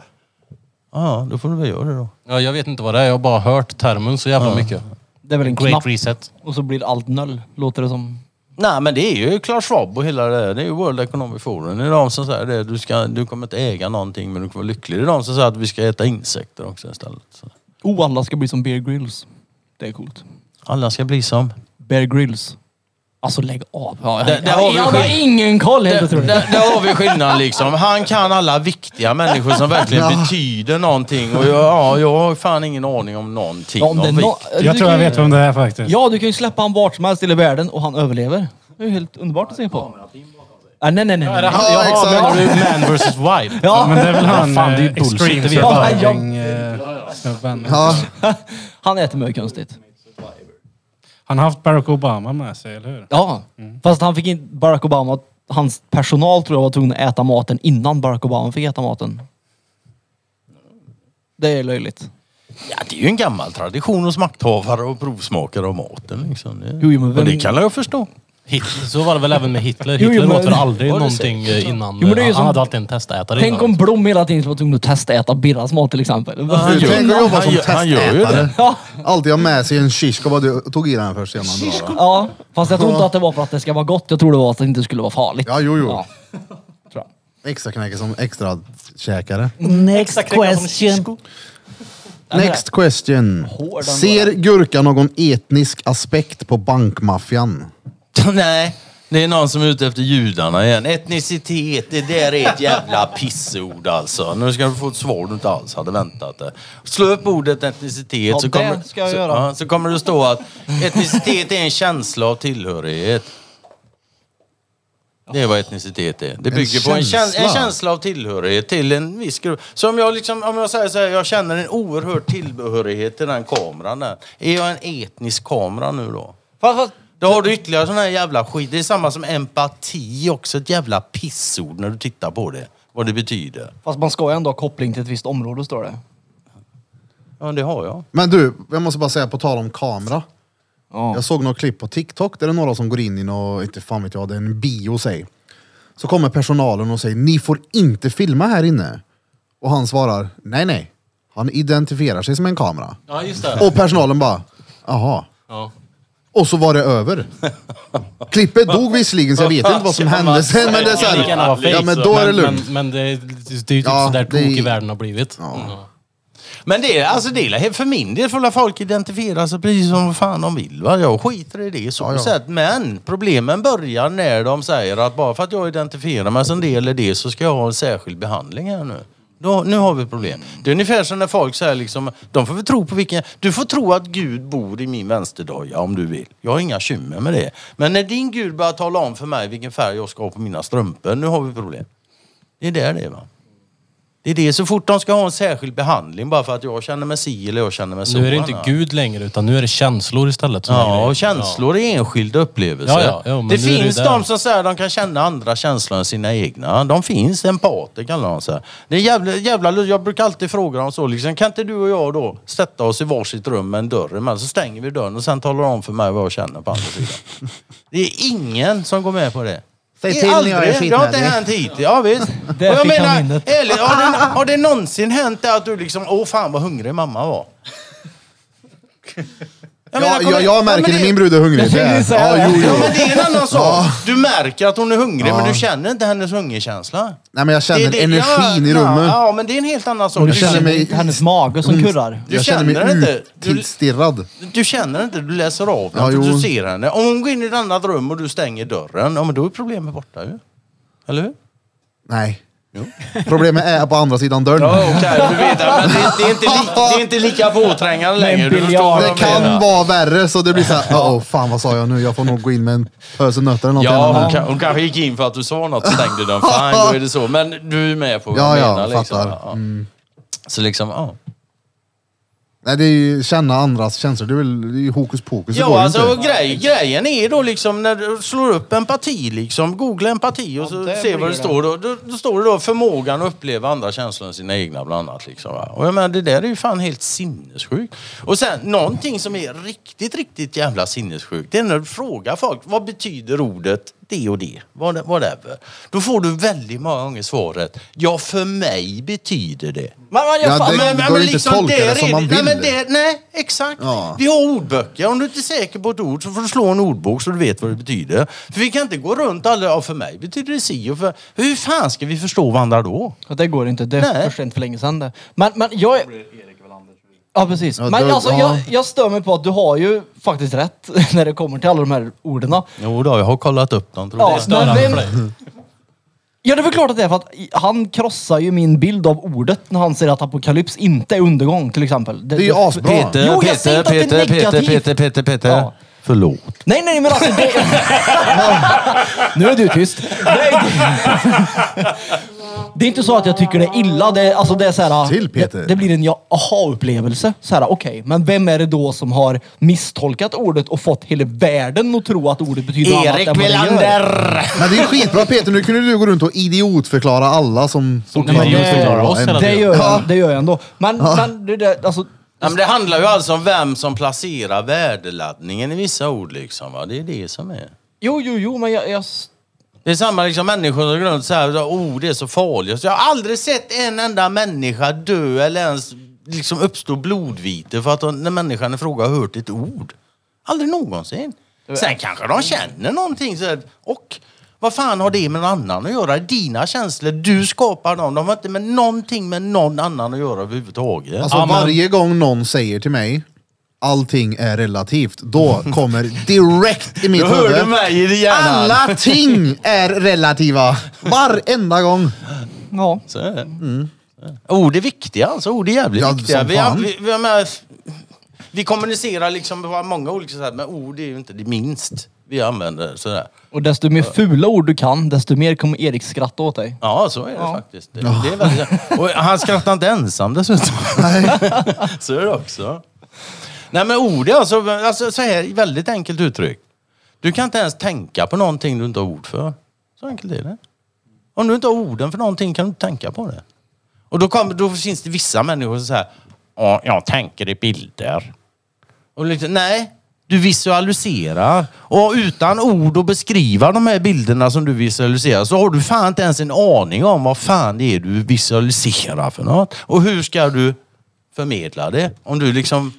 D: Ja, då får du väl göra det då.
B: Ja, jag vet inte vad det är. Jag har bara hört termen så jävla mycket.
E: Det är väl en
B: Great
E: knapp.
B: reset.
E: Och så blir allt noll, låter det som.
D: Nej, men det är ju Klaus Schwab och hela det där. Det är ju World Economic Forum. Det är de som säger det. Du, ska, du kommer inte äga någonting men du kommer vara lycklig. Det är de som säger att vi ska äta insekter också istället. Så.
E: Oh, alla ska bli som Bear Grylls. Det är coolt.
D: Alla ska bli som...
E: Bear Grylls. Alltså lägg av. Ja,
D: Det-
E: jag,
D: det har
E: jag,
D: vi
E: jag
D: ju-
E: har ingen koll helt
D: Där,
E: otroligt.
D: där, där har vi skillnaden liksom. Han kan alla viktiga människor som verkligen betyder någonting. Och jag, ja, jag har fan ingen aning om någonting.
E: Ja, om det är
D: om
E: nå-
D: vikt.
F: Jag
E: Du kan
F: tror jag
E: ju-
F: vet vem det är faktiskt.
E: Ja, du kan ju släppa han vart som helst i hela världen och han överlever. Det är ju helt underbart att se på. Ah, nej, nej, nej. nej.
A: Ja, exakt.
B: Jaha, men man vs wild.
E: Ja,
F: Men det är väl han
B: Fan, det är ju
F: eh,
B: bullshit,
F: Extreme
B: det vet jag.
F: Surviving eh, snubben.
A: Ja,
E: han äter mycket konstigt.
F: Han har haft Barack Obama med sig, eller hur?
E: Ja, fast han fick inte Barack Obama, hans personal tror jag var tvungen att äta maten innan Barack Obama fick äta maten. Det är löjligt.
D: Ja, det är ju en gammal tradition hos makthavare och provsmakare av maten. Liksom. Det,
E: Jo, jo, men vem-
D: och det kan jag förstå.
B: Hitler, så var det väl även med Hitler.
E: Jo, jo,
B: Hitler åt
E: men-
B: väl aldrig
D: Var det
B: någonting eh, innan.
E: Jo, men det är ju
B: eh,
E: som-
B: Han hade alltid en testätare
E: Tänk
B: innan.
E: om Blom hela tiden var tvungen att testa äta Birras mat till exempel.
A: du tänker
D: gör-
A: jobba
D: han
A: som
D: gör- han gör ju
A: testätare.
E: Ja,
A: Alltid ha med sig en shishko. Vad du tog i den först innan du la den.
E: ja, fast jag tror inte att det var för att det ska vara gott. Jag tror det var att det inte skulle vara farligt.
A: Ja, jo, jo.
E: Ja. Tror jag.
A: Extra knäcker som extra käkare.
C: Next question.
A: Next question.
E: Hård den
A: Ser Gurka någon etnisk aspekt på bankmaffian?
D: Nej, det är någon som är ute efter judarna igen. Etnicitet, det där är ett jävla pissord alltså. Nu ska du få ett svar du inte alls hade väntat dig. Slå upp ordet etnicitet
E: Ja,
D: så,
E: det
D: kommer,
E: ska jag
D: så,
E: göra.
D: ja, så kommer det stå att etnicitet är en känsla av tillhörighet. Det är vad etnicitet är. Det bygger på en, käns-
A: känsla.
D: en känsla av tillhörighet till en viss grupp. Så om jag, liksom, om jag säger så här, jag känner en oerhörd tillhörighet till den kameran där. Är jag en etnisk kamera nu då?
E: Fast, fast,
D: Då har du ytterligare sån här jävla skit. Det är samma som empati också. Ett jävla pissord när du tittar på det. Vad det betyder.
E: fast man ska ju ändå ha koppling till ett visst område står det.
D: Ja, det har jag.
A: Men du, jag måste bara säga på tal om kamera.
E: Ja.
A: Jag såg några klipp på TikTok där det är några som går in i något, inte fan vet jag, det är en bio säg. Så kommer personalen och säger, ni får inte filma här inne. Och han svarar, nej nej. Han identifierar sig som en kamera.
B: Ja, just det.
A: Och personalen bara, jaha.
B: Ja.
A: Och så var det över. Klippet dog visserligen så jag vet inte vad som hände sen. Men det är så
B: Det kan gärna vara
A: här,
B: fake,
A: ja men då är det
B: men-
A: lugnt.
B: Men, men det, är- det är ju typ
A: Ja,
B: sådär
A: det är-
B: tokig världen har blivit. Mm.
D: Men det är, alltså det är, för min del får folk identifiera sig precis som vad fan de vill. Va? Jag skiter i det så sätt. Men problemen börjar när de säger att bara för att jag identifierar mig som det eller det så ska jag ha en särskild behandling här nu. Då, nu har vi problem. Det är ungefär som när folk säger liksom, de får väl tro på vilken... Du får tro att Gud bor i min vänsterdoja om du vill. Jag har inga bekymmer med det. Men när din Gud börjar tala om för mig vilken färg jag ska ha på mina strumpor, nu har vi problem. Det är där det är va. Det är det, så fort de ska ha en särskild behandling bara för att jag känner mig si eller jag känner mig så.
B: Nu är det inte
D: va?
B: Gud längre, utan nu är det känslor istället. som är
D: Ja,
B: grejen.
D: och känslor är enskilda upplevelser.
B: Ja, ja, ja, men
D: det
B: nu är det
D: finns
B: där.
D: de som säger att de kan känna andra känslor än sina egna. De finns, empater kallar de sig. Det är jävla, jävla, jag brukar alltid fråga dem så, liksom, kan inte du och jag då sätta oss i varsitt rum med en dörr emellan, så stänger vi dörren och sen talar de om för mig vad jag känner på andra sidan. Det är ingen som går med på det.
A: Säg
D: Det är
A: till när jag är
D: aldrig, Det har inte
A: skitnödig.
D: hänt hittills. Ja, visst.
E: Där
D: Och jag
E: fick han
D: menar,
E: minnet.
D: ärligt, har, det, har det någonsin hänt att du liksom, åh fan vad hungrig mamma var? Jag menar,
A: Ja,
D: kommer-
A: jag, jag
D: Ja,
A: märker
D: men
A: det,
D: det-
A: min brud är hungrig.
E: Jag
A: Det är,
E: tänkte säga
A: ja,
E: det.
A: jo,
D: Ja,
A: jo.
D: men det är en annan sak. Du märker att hon är hungrig, men du känner inte hennes hungerkänsla.
A: Nej men jag känner
D: Det är det-
A: energin
D: ja,
A: i rummet.
D: Ja, men det är en helt annan sak.
A: jag
D: Du
A: känner
D: känner,
A: mig-
E: Hennes mage som kurrar.
D: Du
A: jag känner
D: känner
A: mig
D: inte.
A: uttillstirrad.
D: du känner inte, du läser av
A: Ja,
D: den, för
A: jo.
D: du ser henne. Om hon går in i ett annat rum och du stänger dörren, ja, men då är problemet borta ju. Eller hur?
A: Nej. Problemet är på andra sidan dörren.
D: Ja, okej, du vet det. Men det, det, är inte li, det är inte lika påträngande längre. Du förstår vad
A: Det
D: jag
A: kan
D: menar.
A: vara värre så det blir såhär, oh, fan vad sa jag nu? Jag får nog gå in med en pöse nötter eller något.
D: Ja,
A: innan
D: hon,
A: nu.
D: kan, hon kanske gick in för att du sa något och stängde den. Fine, då är det så. Men du är med på vad
A: Ja,
D: jag
A: ja,
D: menar. Liksom.
A: fattar. Mm.
D: Ja. Så liksom, ja.
A: Nej, det är ju känna andras känslor. Det är, väl, det är ju hokus pokus. Det går
D: Ja,
A: ju
D: alltså
A: inte.
D: grej, grejen är då liksom när du slår upp empati liksom, googla empati och så se vad det står då. då. Då står det då förmågan att uppleva andra känslor än sina egna bland annat liksom. va. Och jag menar det där är ju fan helt sinnessjukt. Och sen någonting som är riktigt, riktigt jävla sinnessjukt det är när du frågar folk vad betyder ordet det och det. What- Whatever. Då får du väldigt många gånger svaret. Ja, för mig betyder det.
E: Men, men, jag
A: Ja,
E: fan,
A: det-
E: men,
A: går inte att tolka det
D: där liksom är
A: som man
D: Nej,
A: vill.
D: men det, nej exakt.
A: Ja.
D: Vi har ordböcker. Om du inte är säker på ett ord så får du slå en ordbok så du vet vad det betyder. För vi kan inte gå runt alla, ja, för mig betyder det si och för... Hur fan ska vi förstå varandra då?
E: Ja, det går inte. Det är
D: Nej.
E: för sent för länge sedan det. Men, men jag... Ja, precis.
A: Ja,
E: men
A: du-
E: alltså,
A: ja.
E: jag, jag stör mig på att du har ju faktiskt rätt när det kommer till alla de här orden.
D: Jo då, jag har kollat upp dem. Tror
E: Ja,
D: jag.
E: men
B: Störande
E: vem...
B: för dig.
E: Ja, det är väl klart att det är för att han krossar ju min bild av ordet när han säger att apokalyps inte är undergång till exempel.
A: Det är ju asbra.
D: Peter,
E: Jo, jag säger
D: Peter,
E: inte att det är
D: Peter, Peter,
E: negativt.
D: Peter, Peter, Peter.
E: Ja.
D: Förlåt.
E: Nej, nej, men alltså det... nu är du tyst. Nej, det- Det är inte så att jag tycker det är illa. Det är, alltså det är så här,
A: Till, Peter.
E: Det, det blir en ja- aha-upplevelse. Så här, okej, men vem är det då som har misstolkat ordet och fått hela världen att tro att ordet betyder annat än vad det gör?
A: Men det är skitbra Peter, nu kunde du gå runt och idiotförklara alla som...
B: Som
A: som-
B: idiotförklarar oss hela
E: Det
B: tiden.
E: gör jag, det gör jag ändå. Men, men det där, alltså...
D: Ja, men det handlar ju alltså om vem som placerar värdeladdningen i vissa ord liksom. Va? Det är det som är.
E: Jo, jo, jo, men jag... jag
D: Det är samma liksom människor som går runt så här, oh det är så farligt. Jag har aldrig sett en enda människa dö eller ens liksom uppstå blodvite för att de, när människan i fråga har hört ett ord. Aldrig någonsin. Sen kanske de känner någonting så här, och vad fan har det med någon annan att göra? Dina känslor, du skapar dem. De har inte med någonting med någon annan att göra överhuvudtaget.
A: Alltså varje gång någon säger till mig allting är relativt, då kommer direkt i mitt
D: Då hör
A: huvud.
D: du mig i hjärnan.
A: Alla ting är relativa. Varenda gång.
E: ja.
D: Så är det. Ord är viktiga alltså. Ord är jävligt
A: Mm. Ja,
D: viktiga.
A: som
D: Vi,
A: fan.
D: vi, vi, jag menar, vi kommunicerar liksom på många olika sätt, men ord är ju inte det minst vi använder. Sådär.
E: Och desto mer fula ord du kan, desto mer kommer Erik skratta åt dig.
D: Ja, så är det faktiskt. Det, det är väldigt, och han skrattar inte ensam dessutom. så är det också. Nej men ord är alltså, alltså så här väldigt enkelt uttryckt. Du kan inte ens tänka på någonting du inte har ord för. Så enkelt är det. Om du inte har orden för någonting kan du inte tänka på det. Och då, kommer, då finns det vissa människor som säger Ja, jag tänker i bilder. Och liksom, nej, du visualiserar. Och utan ord att beskriva de här bilderna som du visualiserar så har du fan inte ens en aning om vad fan det är du visualiserar för något. Och hur ska du förmedla det? Om du liksom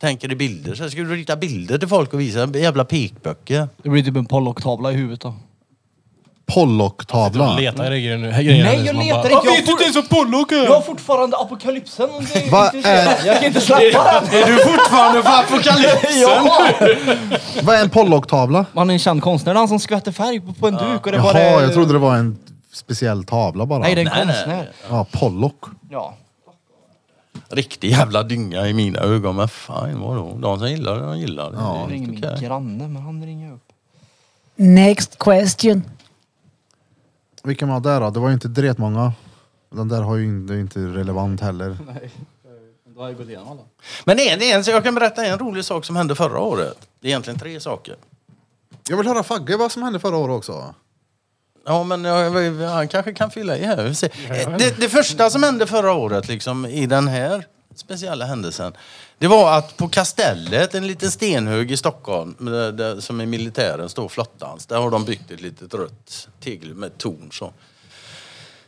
D: tänker i bilder. Så här, ska du rita bilder till folk och visa jävla pekböcker?
E: Det blir typ en Pollock-tavla i huvudet då.
A: Pollock-tavlan.
B: Leta i det grejer nu. grejerna
E: Nej,
B: nu
E: jag
B: som man
E: letar
B: bara-
E: inte. Jag, får,
F: ens vad Pollock
E: jag har fortfarande apokalypsen. Det är
A: Vad
E: inte så- Jag kan inte släppa den.
D: Är du fortfarande på apokalypsen?
E: Ja.
A: Vad är en Pollock-tavla?
E: Han är en känd konstnär. Det är Han som skvätter färg på, på en duk. Och det
A: Jaha,
E: bara är...
A: jag trodde det var en speciell tavla bara.
E: Nej, det är en
D: Nej, nej.
E: konstnär.
A: Ja, Pollock.
E: Ja.
D: Riktig jävla dynga i mina ögon. Men fan vadå? De som gillar det, de gillar det.
A: Ja.
D: det är
E: Ringer
D: helt
E: min
D: okej.
E: granne, men han ringer upp.
C: Next question.
A: Vilken var det då? Det var ju inte dretmånga. Den där har ju inte, det är ju inte relevant heller.
I: Då har jag gått igenom alla.
D: Men det är, det är en, jag kan berätta en rolig sak som hände förra året. Det är egentligen tre saker.
A: Jag vill höra Fagge vad som hände förra året också.
D: Ja, men jag, han kanske kan fylla i här. Vi får se. Det, det första som hände förra året liksom, i den här speciella händelsen det var att på Kastellet, en liten stenhög i Stockholm där, där, som är militären står flottans, där har de byggt ett litet rött tegel med torn. Så.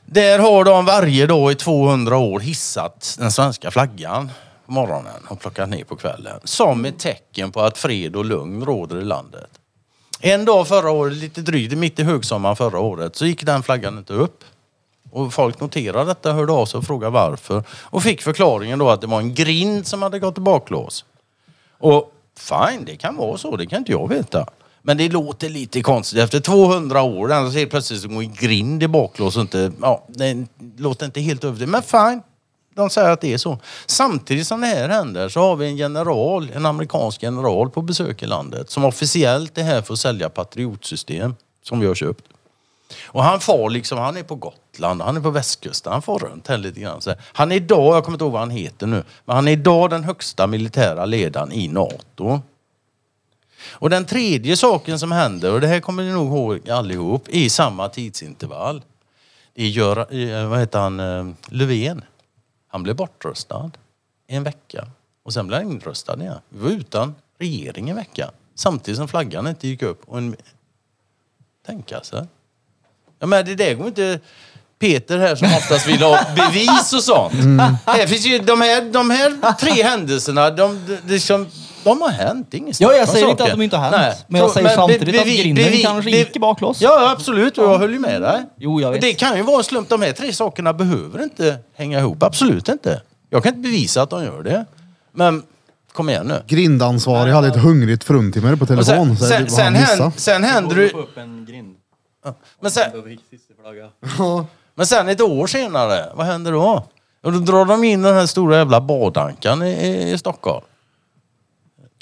D: Där har de varje dag i 200 år hissat den svenska flaggan på morgonen och plockat ner på kvällen. Som ett tecken på att fred och lugn råder i landet. En dag förra året, lite drygt, mitt i högsommaren förra året, så gick den flaggan inte upp. Och folk noterade detta, hörde av sig och frågade varför. Och fick förklaringen då att det var en grind som hade gått i baklås. Och fine, det kan vara så, det kan inte jag veta. Men det låter lite konstigt. Efter 200 år den så helt plötsligt så går en grind i baklås och inte, ja, det låter inte helt över det. Men fine, de säger att det är så. Samtidigt som det här händer så har vi en general, en amerikansk general på besök i landet som officiellt är här för att sälja patriotsystem som vi har köpt. Och han far liksom, han är på Gotland, han är på västkusten, han far runt här lite grann. Så här. Han är idag, jag kommer inte ihåg vad han heter nu, men han är idag den högsta militära ledaren i NATO. Och den tredje saken som händer, och det här kommer ni nog ihåg allihop, i samma tidsintervall. Det är Göra, eh, vad heter han, eh, Löfven. Han blev bortröstad i en vecka. Och sen blev han inröstad igen. Vi var utan regering en vecka. Samtidigt som flaggan inte gick upp. Och en Tänka sig. Ja, men det där går inte... Peter här som oftast vill ha bevis och sånt.
E: Mm.
D: Här finns ju de, här, de här tre händelserna, de, de, de, som- de har hänt. Det är inget snack
E: Ja, jag
D: om
E: säger
D: saken.
E: inte att de inte har hänt,
D: Nej.
E: men jag
D: Så-
E: säger samtidigt att grinden kanske gick i baklås.
D: Ja, absolut. Och jag höll ju med dig.
E: Jo, jag vet.
D: Det kan ju vara en slump. De här tre sakerna behöver inte hänga ihop. Absolut inte. Jag kan inte bevisa att de gör det. Men kom igen nu.
A: Grindansvarig hade ett hungrigt fruntimmer på
D: Och
A: telefon.
D: sen,
A: så typ jag
D: sen,
A: vet vad han
D: sen, hän,
A: missade.
D: sen händer
I: Du
D: det...
I: får upp en grind.
D: Men sen,
I: Då fick sista flagga.
D: men sen ett år senare, vad händer då? Och då drar de in den här stora jävla badankan i, i, i Stockholm.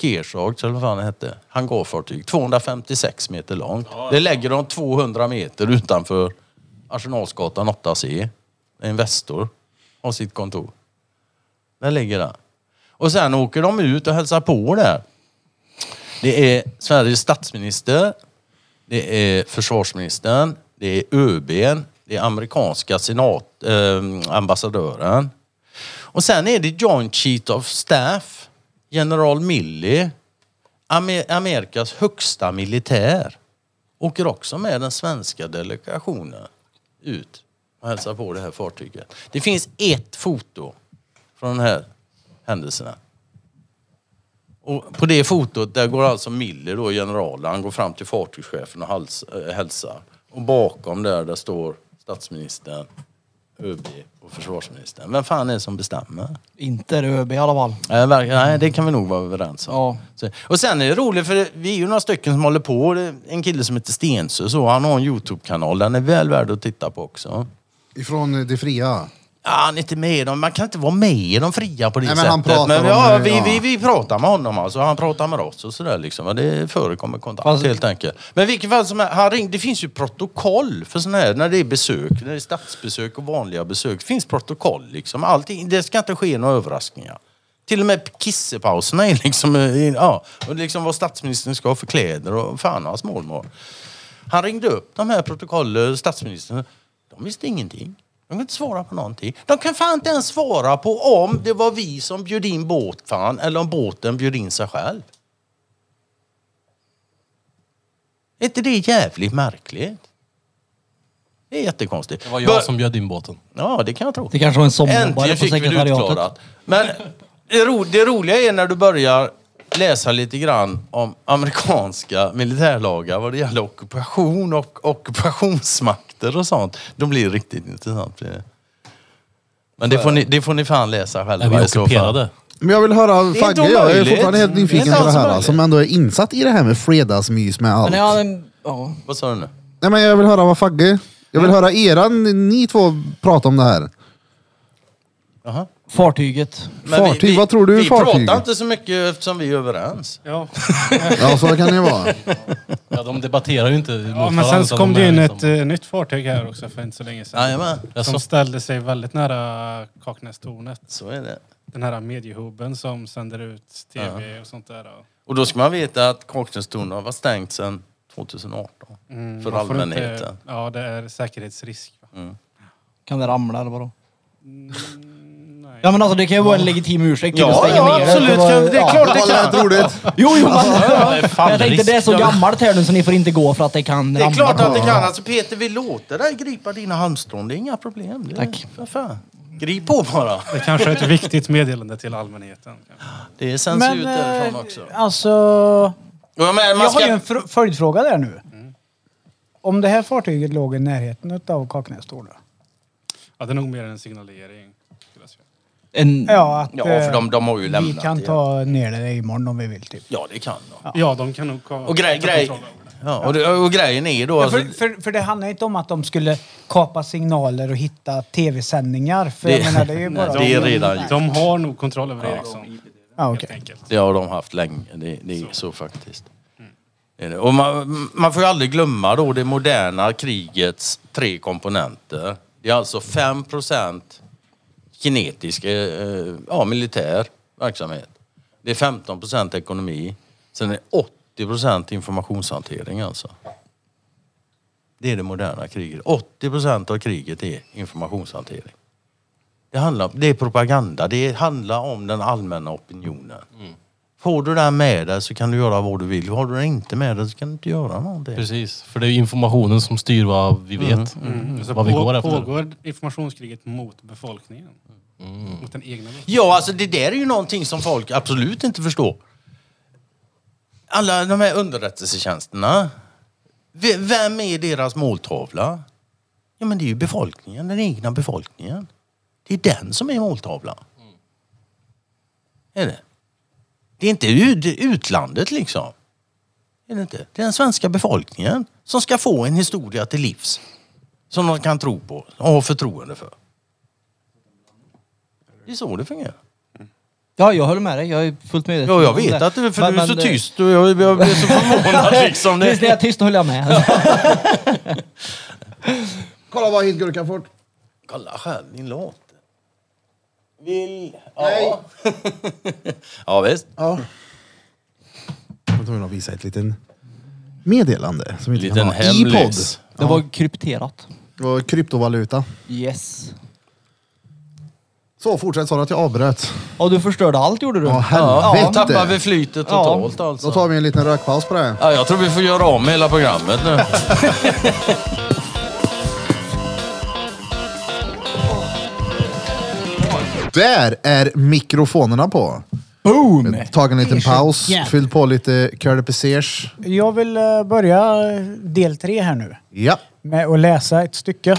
D: Kershags eller vad fan det hette. Hangarfartyg. 256 meter långt. Det lägger de 200 meter utanför Arsenalsgatan 8C. Investor har sitt kontor. Där ligger den. Och sen åker de ut och hälsar på där. Det är Sveriges statsminister, det är försvarsministern, det är ÖBn, det är amerikanska senat, eh, ambassadören. Och sen är det Joint Chief of Staff, general Milley, Amer- Amerikas högsta militär. Åker också med den svenska delegationen ut och hälsar på det här fartyget. Det finns ett foto från de här händelserna. Och på det fotot, där går alltså Miller, då, generalen, han går fram till fartygschefen och hals, äh, hälsar. Och bakom där, där står statsministern, ÖB och försvarsministern. Vem fan är det som bestämmer? Mm.
E: Inte är det ÖB i alla fall.
D: Nej, verk- Nej, det kan vi nog vara överens om.
E: Ja.
D: Så, och sen är det roligt för vi är ju några stycken som håller på. Det är En kille som heter Stensö, så han har en Youtube-kanal. Den är väl värd att titta på också.
A: Ifrån eh, det fria.
D: Ja, han är inte med i dem. Man kan inte vara med i dem fria på det
A: Nej,
D: sättet.
A: men han pratar om
D: ja,
A: hur-
D: vi,
A: ja.
D: Vi, vi pratar med honom alltså. Han pratar med oss och sådär liksom. Och Det förekommer kontakt
A: Alltså-
E: Fast-
D: helt enkelt. Men i vilket fall som helst, han ringde. Det finns ju protokoll för sådana här, när det är besök. När det är statsbesök och vanliga besök. Det finns protokoll liksom. Allting, det ska inte ske några överraskningar. Till och med kissepauserna är liksom, eh, i- ja. Och liksom vad statsministern ska ha för kläder och fan och hans mormor. Han ringde upp de här protokollen, statsministern. De visste ingenting. De kan inte svara på någonting. De kan fan inte ens svara på om det var vi som bjöd in båtfan eller om båten bjöd in sig själv. Är inte det jävligt märkligt? Det är jättekonstigt.
B: Det var
D: Bör-
B: jag som bjöd in båten.
D: Ja, det kan jag tro.
E: Det kanske var en sommarjobbare
D: Äntligen
E: på
D: fick vi det
E: sekretariatet.
D: utklarat. Men det, ro, det roliga är när du börjar läsa lite grann om amerikanska militärlagar vad det gäller ockupation och ockupationsmakter och sånt. De blir riktigt intressant. blir det. Men det får, ni, det får ni fan läsa själva
B: Är vi
D: i så fall.
B: ockuperade?
A: Men jag vill höra
D: inte
A: Fagge, jag är
D: omöjligt.
A: fortfarande helt
D: Det är
A: nyfiken
D: inte
A: på det
D: alls
A: här.
D: omöjligt.
A: Som ändå är insatt i det här med fredagsmys med allt.
E: Men ja, den, ja.
D: Vad sa du nu?
A: Nej men jag vill höra vad Fagge... Jag vill höra eran, ni två prata om det här.
D: Jaha.
E: Fartyget.
D: Men vi-
A: Fartyg,
D: vi-
A: vad tror du är
D: Vi
A: fartyg?
D: pratar inte så mycket eftersom vi är överens.
F: Ja.
A: Ja så kan det ju vara.
B: Ja, de debatterar ju inte mot
F: ja, men
B: varandra,
F: sen så
B: utan
F: kom
B: de
F: det
B: är
F: in
B: liksom-
F: ett eh, nytt fartyg här också för inte så länge sedan.
D: Jajamän,
B: Jaså?
F: Som ställde sig väldigt nära Kaknästornet.
D: så är det.
F: Den här mediehubben som sänder ut tv och sånt där. och-
D: Och då ska man veta att Kaknästornet har varit stängt sedan 2018.
F: Mm,
D: För
F: man får inte-
D: allmänheten.
F: ja, det är säkerhetsrisk. Va?
E: Kan det ramla eller vadå?
F: Nej.
E: Ja men alltså det kan ju vara en legitim ursäkt till
D: Ja,
E: att stänga
D: ja,
E: ner det.
D: absolut.
E: var-
D: Det är klart det kan.
E: Jo, jo, men, jag tänkte
B: risk.
E: det är så
B: Ja, men-
E: gammalt här nu så ni får inte gå för att det kan
D: Det är
E: ramla
D: klart
E: på-
D: att det kan. Alltså Peter, vi låter dig gripa dina halmstrån. Det är inga problem. Det är,
E: Tack.
D: För fan. Grip på bara.
F: Det kanske är ett viktigt meddelande till allmänheten.
D: Det sänds
C: Men
D: ut
C: eh,
D: därifrån också.
C: alltså,
D: Och jag menar, man
C: jag
D: ska...
C: har ju en fr- följdfråga där nu.
D: Mm.
C: Om det här fartyget låg i närheten av Kaknästornet?
F: Ja, det är nog mer en signalering. skulle jag säga.
E: En,
C: Ja, att
D: Ja, för
C: eh,
D: de, de har ju
C: vi
D: lämnat
C: kan
D: det.
C: ta ner det imorgon om vi vill. Typ.
D: Ja, det kan de.
F: Ja, de kan nog ka-
D: Och, grej,
F: ta
D: grej,
F: kontroll över det.
D: ja, och, det- och grejen är då...
C: Ja, för,
D: Alltså,
C: för, för det handlar inte om att de skulle kapa signaler och hitta tv-sändningar. För
D: Det-
C: jag menar, det är ju
D: Nej,
C: bara...
D: det är redan gjort.
F: De har nog kontroll över Ericsson.
C: Ja,
F: Helt
C: okej.
F: enkelt.
D: det har de haft länge. Det, det är så, Mm. faktiskt. Det är det. Och man, man får ju aldrig glömma då det moderna krigets tre komponenter. Det är alltså 5 kinetisk eh, eh, ja, militär verksamhet. Det är 15 ekonomi. Sen är det 80 informationshantering alltså. Det är det moderna kriget. 80 av kriget är informationshantering. Det, handlar, det är propaganda. Det handlar om den allmänna opinionen. Får du den med dig så kan du göra vad du vill. Har du den inte med dig så kan du inte göra någonting.
B: Precis, för det är ju informationen som styr vad vi vet.
F: Så
B: Mm. Vad vi
F: på-
B: går efter.
F: Pågår informationskriget mot befolkningen?
D: Mm.
F: Mot den egna befolkningen?
D: Ja, alltså det där är ju någonting som folk absolut inte förstår. Alla de här underrättelsetjänsterna. V- Vem är deras måltavla? Ja, men det är ju befolkningen, den egna befolkningen. Det är den som är måltavlan. Är det? Det är inte ut- utlandet liksom. Är det inte? Det är den svenska befolkningen som ska få en historia till livs. Som de kan tro på och ha förtroende för. Det är så det fungerar.
E: Ja, jag håller med dig. Jag är fullt medveten.
D: Ja, jag
E: om
D: vet
E: det.
D: att du, för
E: Men-
D: du är
E: men
D: så
E: det-
D: tyst och jag, jag blir så förvånad liksom.
E: Precis när
D: Det,
E: jag är tyst håller jag med.
A: Kolla vad Hintgurkan fort.
D: kolla själv din låt. Vill... Ja. ja visst.
A: Ja. Jag var tvungen att visa ett litet meddelande som vi inte
D: Liten
A: kan ha i podd.
D: hemlis.
E: Det var krypterat.
A: Det var kryptovaluta.
E: Yes.
A: Så fortsätt sa du att jag avbröt.
E: Ja, du förstörde allt gjorde du.
A: Ja,
D: Ja, då
A: helvete.
D: tappar vi flytet totalt
A: Då
D: alltså.
A: tar vi en liten rökpaus på det. här.
D: Ja, jag tror vi får göra om hela programmet nu.
A: Där är mikrofonerna på.
E: Boom!
A: Tagit en liten paus,
C: Yeah.
A: fyllt på lite curly pesers.
C: Jag vill eh, börja eh, del tre här nu
A: Ja.
C: med att läsa ett stycke.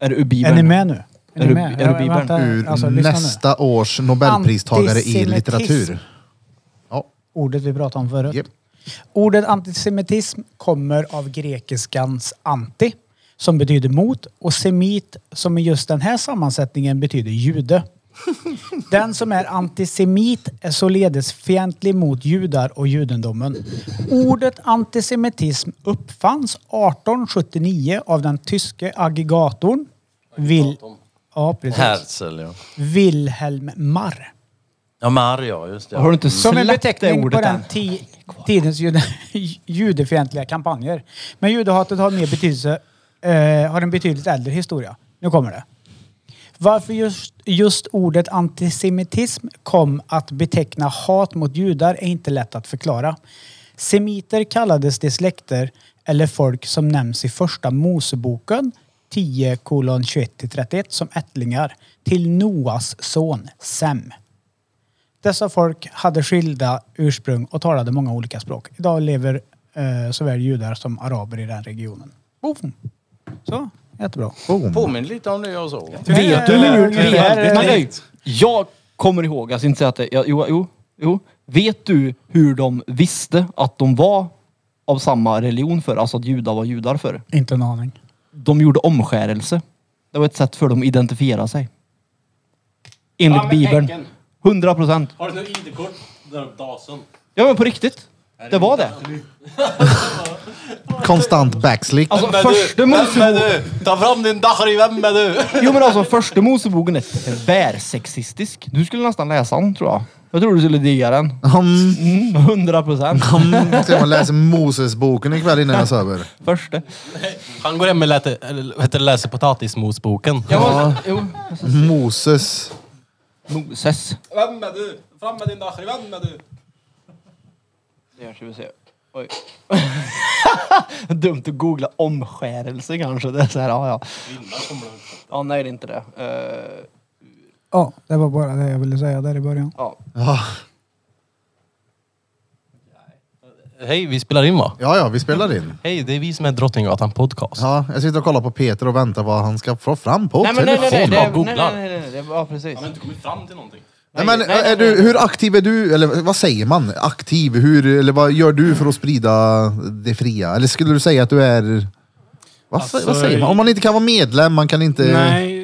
E: Är det ur
C: Är
E: Bibeln?
C: ni med nu?
E: Är
C: ni
E: du-
C: med?
E: är du Bibeln?
C: vänta,
A: Ur
C: alltså, lyssna nu.
A: nästa års nobelpristagare i
C: Antisemitism.
A: litteratur. Ja,
C: Ordet vi pratade om förut.
A: Japp.
C: Ordet antisemitism kommer av grekiskans anti, som betyder mot, och semit, som i just den här sammansättningen betyder jude. Den som är antisemit är således fientlig mot judar och judendomen. Ordet antisemitism uppfanns 1879 av den tyske aggregatorn Vil- ja, precis.
D: Herzl ja.
C: Wilhelm Marr.
D: Ja, Mar ja, just det.
E: Har du inte
C: Som en
E: släppt det
C: beteckning på
E: ordet än?
C: den ti- tidens jude, judefientliga kampanjer. Men judehatet har, mer betydelse, eh, har en betydligt äldre historia. Nu kommer det. Varför just, just ordet antisemitism kom att beteckna hat mot judar är inte lätt att förklara. Semiter kallades de släkter eller folk som nämns i första Moseboken 10 21-31 som ättlingar till Noas son Sem. Dessa folk hade skilda ursprung och talade många olika språk. Idag lever eh, såväl judar som araber i den regionen. Boom. Så, jättebra.
A: boom.
D: Påminner lite om det jag såg.
E: Vet du hur gjort
C: Det är
E: vi är?
C: väldigt
E: Men nej, jag kommer ihåg, jag ska inte säga att det... Jag, jo, jo, jo. Vet du hur de visste att de var av samma religion för? Alltså att judar var judar för?
C: Inte en aning.
E: De gjorde omskärelse. Det var ett sätt för dem att identifiera sig. Enligt
I: Ja, men
E: Bibeln.
I: Henken.
E: 100 procent.
B: Har du något ID-kort? Där uppe dasen.
E: Ja men på riktigt. Det var det.
A: Konstant backslick.
E: Alltså första
D: Vem är
E: Moseboken...
D: du? Ta fram din Dahri, vem är du?
E: Jo men alltså första Moseboken är tvärsexistisk. Du skulle nästan läsa den tror jag. Jag tror du skulle digga den.
A: Mm,
E: Mm, 100 procent.
A: mm. Ska man läsa Mosesboken ikväll innan jag sover?
E: Första.
B: Han går hem och läte, eller, vad heter det, läser potatismosboken.
E: Jag var, jo.
A: Moses.
E: Moses.
I: Vem är du? Fram med din Dakhri, vem är du?
E: Det ska vi se. Oj. Dumt att googla omskärelse kanske. Det är så här, ja ja. Ja nej det är inte det. Eh,
C: Ja, det var bara det jag ville säga där i början.
E: ja.
A: Ja,
B: Hej, vi spelar in va?
A: ja, ja, vi spelar in.
B: Hej, det är vi som är Drottninggatan podcast.
A: Ja, jag sitter och kollar på Peter och väntar vad han ska få fram på
E: Nej men nej nej nej.
A: telefon.
E: det- nej, nej,
B: bara googlar.
E: nej, nej, nej, nej. Ja precis.
I: har inte kommit fram till någonting.
A: Nej, men,
E: nej, nej,
A: är
E: nej,
A: du,
E: nej.
A: hur aktiv är du? Eller vad säger man? Aktiv? Hur, eller vad gör du för att sprida det fria? Eller skulle du säga att du är... Vad,
F: Alltså,
A: vad säger man? Om man inte kan vara medlem, man kan inte...
F: Nej,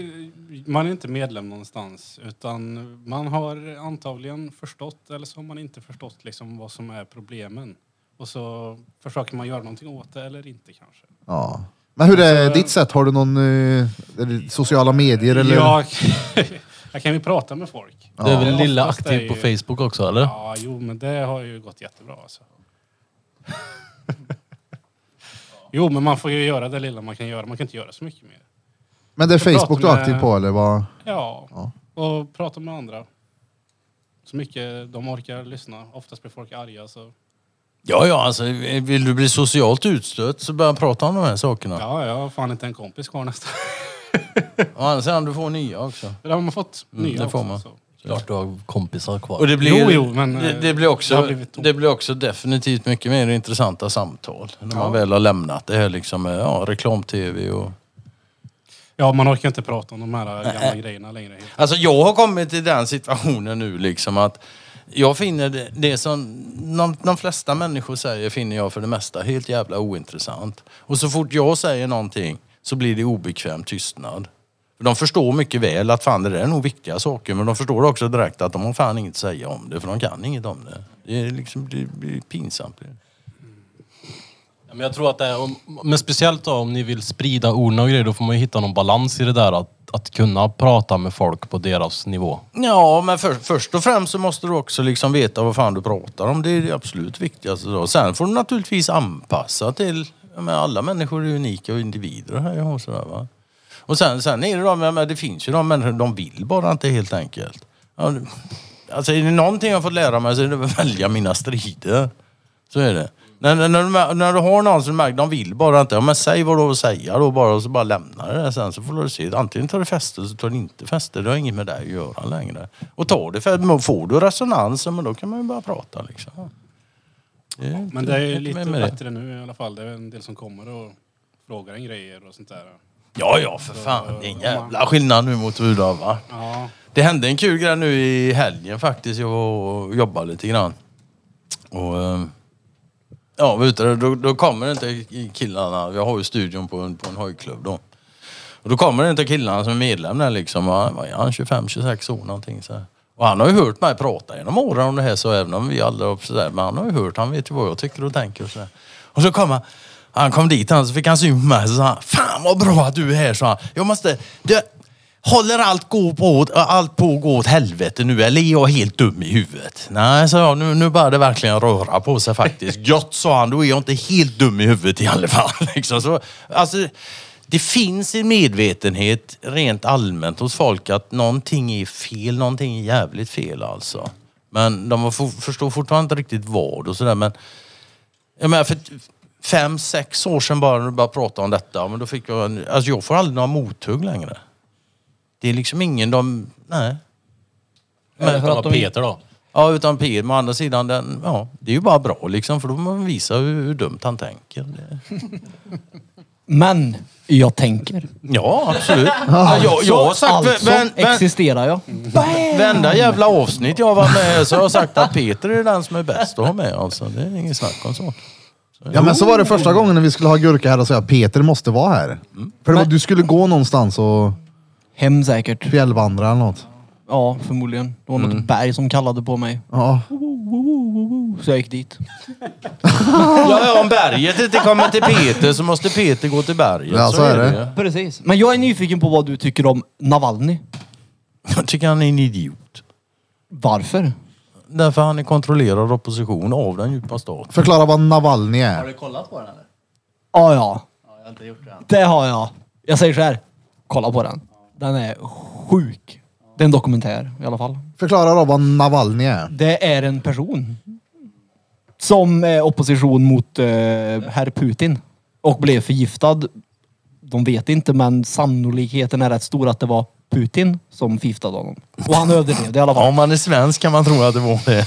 F: man är inte medlem någonstans. Utan man har antagligen förstått, eller så har man inte förstått liksom vad som är problemen. Och så försöker man göra någonting åt det eller inte kanske.
A: Ja. Men hur är
F: Alltså-
A: ditt sätt? Har du någon eh, är det sociala medier eller?
F: Jag, jag kan ju prata med folk.
B: Du är väl lilla
F: Oftast är
B: aktiv
F: ju-
B: på Facebook också eller?
F: Ja, jo, men det har ju gått jättebra alltså. Jo, men man får ju göra det lilla man kan göra. Man kan inte göra så mycket mer.
A: Men det är
F: jag
A: Facebook du
F: pratar
A: är
F: med-
A: aktiv på eller vad?
F: Ja, och prata med andra. Så mycket de orkar lyssna. Oftast blir folk arga så...
D: Ja, ja, alltså vill du bli socialt utstött så börja prata om de här sakerna.
F: Ja, jag har fan inte en kompis kvar nästan.
D: Och annars kan du få nya också.
F: Det har man fått
D: Mm,
F: nya
D: det får
F: också,
D: man.
F: så.
B: Klart du har kompisar kvar.
D: Och det blir,
F: Jo, jo, men,
D: det,
F: eh,
D: det, blir också,
F: det har
D: det,
F: blivit tomt.
D: blir också definitivt mycket mer intressanta samtal. När man väl har lämnat det här liksom, eh, ja, reklam-tv och...
F: Ja, man orkar inte prata om de här gamla grejerna längre.
D: Alltså jag har kommit till den situationen nu liksom att jag finner det, det som de, de flesta människor säger finner jag för det mesta helt jävla ointressant. Och så fort jag säger någonting så blir det obekväm tystnad. För De förstår mycket väl att fan det där är nog viktiga saker men de förstår också direkt att de har fan inget att säga om det för de kan inget om det. Det, är liksom, det blir pinsamt.
B: Ja, Men jag tror att det är, om- men speciellt då om ni vill sprida orden och grejer, då får man ju hitta någon balans i det där att, att kunna prata med folk på deras nivå.
D: Ja, men för, först och främst så måste du också liksom veta vad fan du pratar om. Det är det absolut viktigaste. Då. Sen får du naturligtvis anpassa till... Jag menar, alla människor är unika och individer här och sådär va. Och sen, sen är det de, jag menar, det finns ju de människor, de vill bara inte helt enkelt. Ja, det- Alltså är det någonting jag har fått lära mig så är det att välja mina strider. Så är det. När, när, när, du, mär- när du har någon som märker, de vill bara inte. Ja, men säg vad du har att säga då bara och så bara lämna det där sen så får du se. Antingen tar det fäste eller så tar det inte fäste. Det har inget med dig att göra längre. Och tar det för, får du resonans, ja, men då kan man ju börja prata liksom. Det är
F: Men det är ju
D: inte
F: lite
D: mer med det.
F: bättre nu i alla fall. Det är en del som kommer och frågar en grejer och sånt där.
D: Ja, ja, för fan. Det är en jävla skillnad nu mot hur det har varit.
F: Ja,
D: Det hände en kul grej nu i helgen faktiskt. Jag var och jobbade lite grann. Och... eh, Ja, var ute, då, då kommer inte killarna. Jag har ju studion på en, på en hojklubb då. Och då kommer det inte killarna som är medlem där liksom. Och han var han 25-26 år någonting så här. Och han har ju hört mig prata genom åren om det här så även om vi aldrig har så där. Men han har ju hört, han vet ju vad jag tycker och tänker och så där. Och så kommer han. Han kom dit han så fick han syn på mig så sa han, Fan vad bra att du är här sa han. Jag måste, du, håller allt, gå på, åt- allt på att gå åt helvete nu eller är jag helt dum i huvudet? Nej sa jag, nu, nu börjar det verkligen röra på sig faktiskt. Gött sa han, då är jag inte helt dum i huvudet i alla fall. Liksom. Så, alltså, det finns en medvetenhet rent allmänt hos folk att någonting är fel, någonting är jävligt fel alltså. Men de har for, förstår fortfarande inte riktigt vad och sådär. Men jag menar, för t- fem, sex år sedan bara när du började prata om detta, men då fick jag en, Alltså jag får aldrig några mothugg längre. Det är liksom ingen de... Nej.
B: Men för att de... Peter då?
D: Ja, utan P, E men å andra sidan, den, ja, det är ju bara bra liksom, för då får man visa hur, hur dumt han tänker. Det-
E: Men jag tänker.
D: Ja, absolut. Ja, jag, jag har sagt...
E: alltså
D: vän- vän-
E: existerar jag.
D: Mm. Varenda jävla avsnitt jag har varit med i så har jag sagt att Peter är den som är bäst att ha med. Alltså, det är inget snack om så.
A: Ja men så var det första gången när vi skulle ha Gurka här och säga Peter måste vara här. För det var, du skulle gå någonstans och
E: Hem säkert.
A: fjällvandra eller något.
E: Ja, förmodligen. Det var något
D: Mm.
E: berg som kallade på mig.
A: Ja.
E: Så jag gick dit.
D: Ja, ja, om berget inte kommer till Peter så måste Peter gå till berget.
A: Ja, så är det.
D: ju.
E: Precis. Men jag är nyfiken på vad du tycker om Navalny.
D: Jag tycker han är en idiot.
E: Varför?
D: Därför han är kontrollerad opposition av den djupa staten.
A: Förklara vad Navalny är.
K: du kollat på den eller?
E: Ah, ja,
K: Ja, jag har inte gjort det än.
E: det har jag. Jag säger så här. Kolla på den. Den är sjuk. Det är en dokumentär i alla fall.
A: Förklara då vad Navalny är.
E: Det är en person som är opposition mot eh, herr Putin och blev förgiftad. De vet inte, men sannolikheten är rätt stor att det var Putin som förgiftade honom. Och han överlevde i alla fall.
D: Om man är svensk kan man tro att det var det.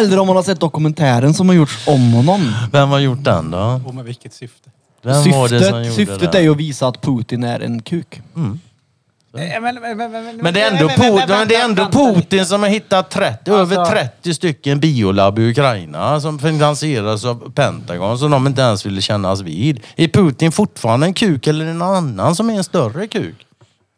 E: Eller om man har sett dokumentären som har gjorts om honom.
D: Vem har gjort den då?
F: och med vilket syfte?
D: Vem var det som
E: Syftet,
D: gjorde
E: syftet
D: den?
E: är ju att visa att Putin är en kuk.
C: Eh, Men, men, men, men,
D: Men det är ändå, Putin, men det är ändå
C: vänta lite.
D: Putin som har hittat 30,
E: Alltså-
D: över 30 stycken biolab i Ukraina som finansieras av Pentagon som de inte ens ville kännas vid. Är Putin fortfarande en kuk eller är det någon annan som är en större kuk?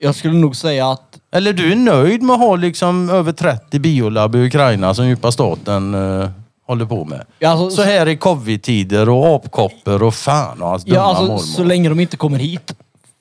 E: Jag skulle nog säga att
D: Eller du är nöjd med att ha liksom över 30 biolab i Ukraina som djupa staten eh, håller på med?
E: Ja, alltså-
D: så här i covid-tider och apkoppor och fan och hans dumma
E: ja, alltså,
D: mormor.
E: så länge de inte kommer hit,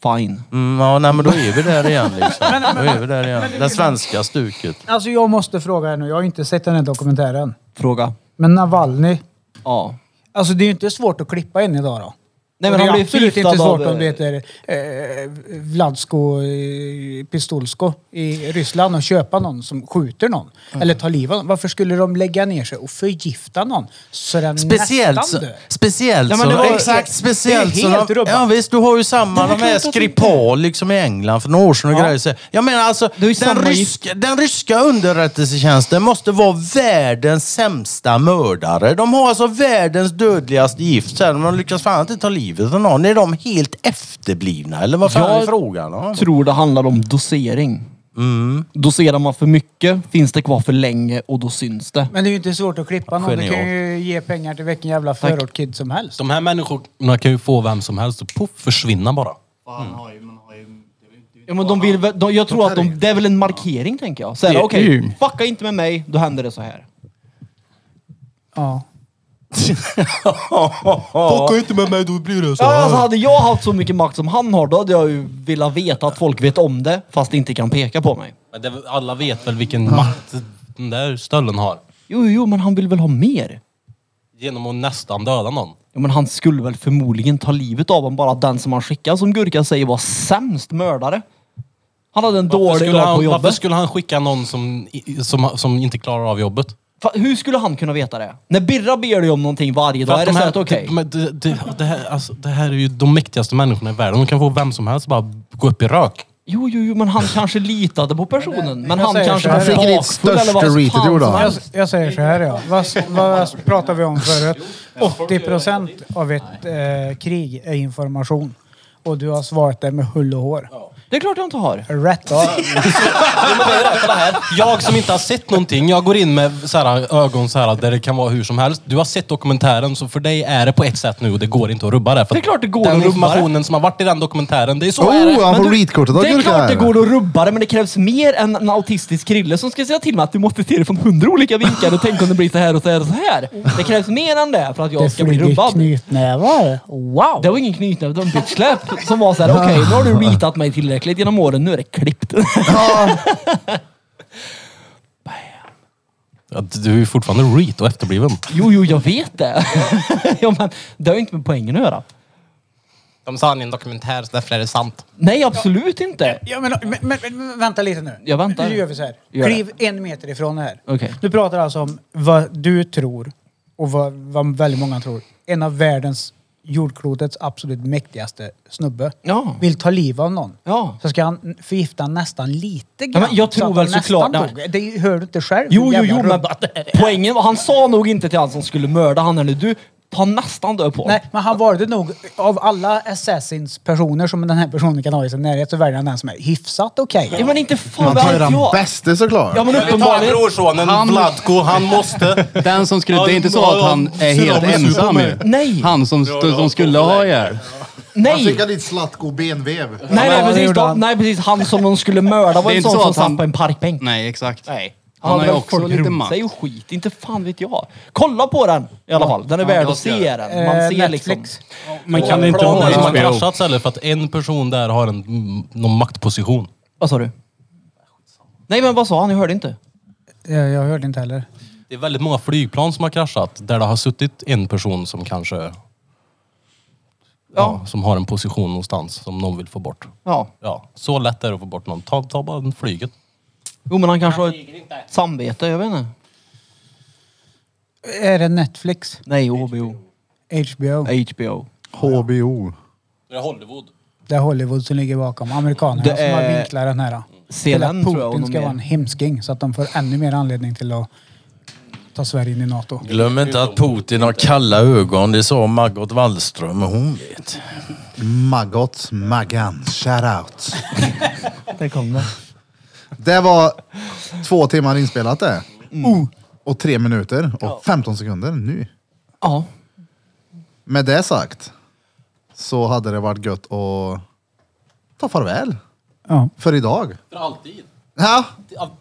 E: fine.
D: Mm, ja, nej, men då är vi där igen liksom. Då är vi där igen. Det svenska stuket.
C: Alltså jag måste fråga er nu, jag har ju inte sett den här dokumentären.
E: Fråga.
C: Men Navalny,
E: Ja.
C: alltså det är ju inte svårt att klippa in idag då.
E: Nej, men
C: Och det är
E: han blir
C: absolut
E: förgiftad
C: inte svårt
E: av,
C: om du
E: eh,
C: heter eh, Vladsko eh, Pistolsko i Ryssland och köpa någon som skjuter någon.
E: Mm.
C: Eller tar livet av någon. Varför skulle de lägga ner sig och förgifta någon så den
D: Speciellt,
C: nästan
D: så-
C: dör?
D: speciellt
C: Ja, men
D: så-
C: det var-
D: Exakt, speciellt
C: det är helt
D: så de,
C: rubbat.
D: Ja visst, du har ju samma.
C: Det är
D: De här
C: klart att det
D: Skripal liksom i England för några år sedan och
C: Ja.
D: grejer. Så- Jag menar alltså, den
C: samma gift.
D: ryska, den ryska underrättelsetjänsten måste vara världens sämsta mördare. De har alltså världens dödligaste gift. Så här, de lyckas fan inte ta livet av någon. Är de helt efterblivna eller vad fan
E: Jag
D: är frågan? Ja.
E: tror det handlar om dosering. Doserar man för mycket, finns det kvar för länge och då syns det.
C: Men det är ju inte svårt att klippa någon. Du
E: Genialt.
C: kan ju ge pengar till vilken jävla förortskid som helst.
B: De här människorna kan ju få vem som helst och poff, försvinna bara.
E: Ja, men de vill, väl- de, jag tror att de, det är väl en markering tänker jag. Såhär,
B: Det är
E: okej,
B: ju-
E: fucka inte med mig, då händer det så här.
C: Ja.
E: Fucka
D: inte med mig, då blir det
E: Ja, alltså, hade jag haft så mycket makt som han har, då hade jag ju velat veta att folk vet om det, fast inte kan peka på mig.
B: Men det, alla vet väl vilken makt den där stölden har.
E: Jo, jo, men han vill väl ha mer?
B: Genom att nästan döda någon.
E: Ja, men han skulle väl förmodligen ta livet av honom, bara den som han skickade, som Gurka säger, var sämst mördare. Han hade en
B: Varför
E: dålig
B: skulle,
E: dag på
B: han, varför
E: jobbet.
B: skulle han skicka någon som, i- som, som inte klarar av jobbet?
E: Fa- Hur skulle han kunna veta det? När Birra ber dig om någonting varje
B: För
E: dag,
B: att
E: är det
B: de
E: så
B: här- typ-
E: att okej?
B: det- men Det, det, det, här- alltså, det här är ju de mäktigaste människorna i världen. De kan få vem som helst att bara gå upp i rök.
E: Jo, jo, jo, men han kanske litade på personen. Men
C: Jag
E: han
C: säger
E: kanske
C: så här.
E: var bakfull eller vad fan som
C: Jag,
E: helst.
C: jag säger så här ja. Vad, vad pratar vi om förut? 80 procent av ett eh, krig är information. Och du har svarat det med hull och hår.
E: Det är klart jag inte har.
C: Rätt av.
B: Jag som inte har sett någonting, jag går in med så här, ögon så här, där det kan vara hur som helst. Du har sett dokumentären, så för dig är det på ett sätt nu och det går inte att rubba det. För
E: Det är klart det går
B: den
E: att rubba det. Oh!
B: informationen som har varit i den dokumentären, det är så
E: Så är
B: är
E: det.
B: det.
E: Men du,
A: av
E: Det är
A: Gurka
E: klart det
A: här.
E: går att rubba det, men det krävs mer än en autistisk krille som ska säga till mig att du måste se det från hundra olika vinklar och tänka om det blir så här och så här och så här. Det krävs mer än det för att jag
C: Det
E: ska bli
C: flyger
E: rubbad.
C: knytnävar. Wow!
E: Det var ingen knytnäve, det var en bitchslap som var såhär, okej nu har du ritat mig tillräckligt genom åren, nu är det klippt.
B: Ja, du är ju fortfarande reet och efterbliven.
E: jo, jo, jag vet det. ja, men det har ju inte med poängen att göra.
B: De sa i en dokumentär, så därför är det sant.
E: Nej, absolut inte.
C: Ja, men, men, men, men vänta lite nu.
E: Jag väntar.
C: Nu gör vi så här.
E: Gör det.
C: Kliv en meter ifrån det här.
E: Okej.
C: Du pratar alltså om vad du tror och vad, vad väldigt många tror. En av världens, jordklotets absolut mäktigaste snubbe
E: Ja.
C: vill ta liv av någon.
E: Ja.
C: Så ska han förgifta nästan lite
E: Ja,
C: grann.
E: men jag
C: så
E: tror
C: att han
E: väl
C: nästan
E: såklart-
C: dog. Det hör du inte själv.
E: Jo,
C: hur
E: jo,
C: jävla
E: jo, men
C: rubbat det är.
E: poängen var, han sa nog inte till han som skulle mörda han eller du, ta nästan död på honom.
C: Nej, men han valde nog, av alla assassins personer som den här personen kan ha i sin närhet, så väljer han den som är hyfsat okej.
E: Ja, men inte fan
A: Man
E: vad
A: tar ju
E: vet
A: den
E: jag.
A: bäste såklart.
E: Ja, men uppenbarligen.
B: brorsonen
L: Han-
B: Vladko, han måste.
L: Den som skulle... Det är inte så att han är helt ensam ju.
E: Nej.
L: Han som, st- som skulle ha ihjäl.
A: Han
E: Nej!
A: skickade dit Zlatko benvev.
E: Nej, nej,
C: det
E: precis,
C: gjorde
E: då,
C: han.
E: nej precis. Han som de skulle mörda var
L: Det är
E: en
L: inte
E: sån
L: så
E: som
L: att han-
E: satt på en parkbänk.
L: Nej, exakt. Nej.
E: Han,
L: Han har
E: hade
L: ju
E: väl
L: också
E: folk
L: lite
E: runt
L: makt.
E: sig och skit. Inte fan vet jag. Kolla på den i alla fall. Den är värd
L: jag
E: att
L: ska
E: se
L: göra
E: den. Man
C: Eh,
E: ser
C: Netflix.
E: liksom...
F: Man kan inte
B: Planen
F: ha
B: som har
F: HBO.
B: kraschats eller för att en person där har en, mm, någon maktposition.
E: Vad sa du? Nej men vad sa han? Jag hörde inte.
C: Jag, jag hörde inte heller.
B: Det är väldigt många flygplan som har kraschat där det har suttit en person som kanske... Ja. som har en position någonstans som någon vill få bort.
E: Ja.
B: Ja, så lätt är det att få bort någon. Ta, ta bara flyget.
E: Jo men han kanske har ett samvete. Jag vet inte.
C: Är det Netflix?
E: Nej, HBO.
C: HBO?
E: HBO.
A: HBO.
B: Det är Hollywood.
C: Det är Hollywood som ligger bakom. Amerikanerna
E: Det
C: som har
E: är-
C: vinklat den här. Till att
E: CNN tror jag. och
C: Putin
E: någon
C: ska vara en
E: mer.
C: hemsking så att de får ännu mer anledning till att ta Sverige in i NATO.
D: Glöm inte att Putin har kalla ögon. Det sa Margot Wallström och hon vet.
A: Maggot Maggan. Shout out.
E: Där kom det.
A: Det var två timmar inspelat det.
E: Mm.
C: Oh.
A: Och tre minuter och 15 sekunder nu.
E: Ja.
A: Med det sagt så hade det varit gött att ta farväl
C: Ja.
A: för idag.
B: För alltid.
A: Ja,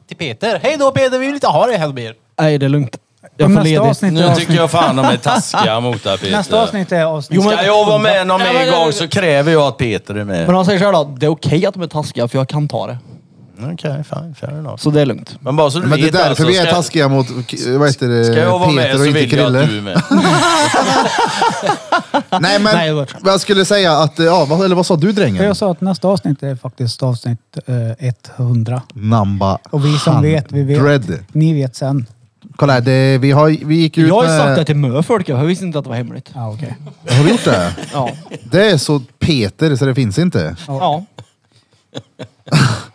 B: Till Peter. Hej då Peter, vi vill inte ha dig här mer.
E: Nej, det är lugnt. Jag
C: Men
E: får
C: nästa
E: ledigt.
C: avsnitt-
D: Nu tycker jag fan de är taskiga mot dig Peter.
C: Nästa avsnitt är avsnitt...
D: Ska jag vara med någon
E: Ja, men-
D: mer gång så kräver jag att Peter är med.
E: Men han säger såhär då. Det är okej att de är taskiga för jag kan ta det.
D: Okej, fine, fair enough.
E: Så det är lugnt.
D: Men bara så du
A: Men det är
D: vet
A: därför
D: alltså,
A: vi är
D: ska-
A: taskiga mot k- vad heter det,
D: Ska jag vara med
A: Peter
D: så
A: och inte
D: vill jag att
A: Krille.
D: du är med.
A: Nej men
C: Nej, det var
A: vad jag skulle säga att, ja, vad, eller vad sa du drängen?
C: Jag sa att nästa avsnitt är faktiskt avsnitt eh, 100.
A: Namba.
C: Och vi som vet, vi vet.
A: Dread.
C: Ni vet sen.
A: Kolla här, det, vi, har, vi gick ut
E: Jag har ju
C: eh,
A: med-
E: sagt det till mö folk, jag visste inte att det var hemligt.
C: Ja, Ah, okej.
A: Har du gjort det?
E: Ja.
A: Det är så Peter så det finns inte.
E: Ja.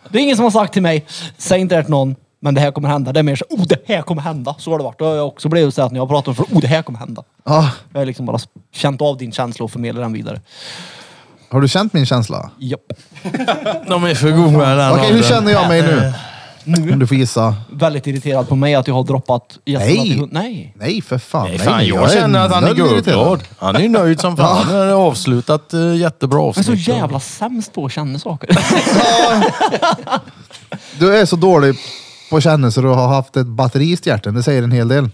E: Det är ingen som har sagt till mig, säg inte det här till någon, men det här kommer hända. Det är mer så, oh det här kommer hända. Så har det varit. Det har jag också blivit så att när jag pratar om för, oh det här kommer hända.
A: Ja.
E: Jag har liksom bara känt av din känsla och förmedlat den vidare.
A: Har du känt min känsla?
E: Japp.
D: De är för goa den Eh,
A: Okej, hur
D: åldern.
A: känner jag mig nu?
E: Nu?
A: Om du får gissa.
E: Väldigt irriterad på mig att jag har droppat gästerna
A: Nej.
E: till hund- Nej.
A: Nej, för fan.
D: Nej, fan, jag, känner att han är
A: noll irriterad.
D: guldglad. Han är nöjd som fan. Han har avslutat eh, jättebra
E: Jag är så
D: avsnitt.
E: jävla sämst på att känna saker.
A: Du är så dålig på kännelser och har haft ett batteri i stjärten. Det säger en hel del.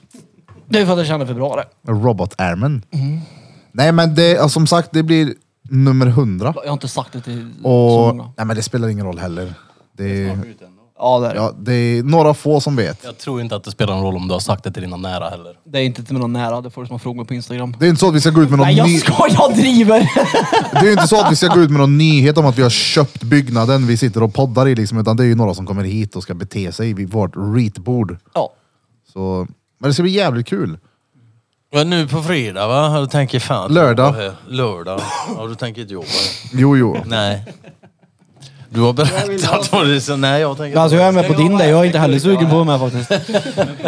E: Det är för att jag känner för bra det.
A: Robotärmen.
D: Mhm.
A: Nej, men det, ja, som sagt, det blir nummer 100.
E: Jag har inte sagt det till så
A: Och,
E: många.
A: nej, men det spelar ingen roll heller. Det är,
E: Ja, det är det.
A: ja, det är några få som vet.
B: Jag tror inte att det spelar någon roll om du har sagt det till dina nära heller.
E: Det är inte till mina nära, det får du som har frågat mig på Instagram.
A: Det är inte så att vi ska gå ut med någon
E: Nej jag
A: ny...
E: skojar, jag driver!
A: Det är ju inte så att vi ska gå ut med någon nyhet om att vi har köpt byggnaden vi sitter och poddar i liksom, utan det är ju några som kommer hit och ska bete sig vid vårt reetbord.
E: Ja.
A: Så, men det ska bli jävligt kul.
D: Ja, nu på fredag va? Du tänker fan...
A: Lördag.
D: Lördag. Ja, du tänker inte jobba.
A: Jo, jo.
D: Nej. Du har berättat vad du... Så, nej, jag tänker...
E: Alltså jag är med på din där, jag är inte heller sugen på att vara med faktiskt.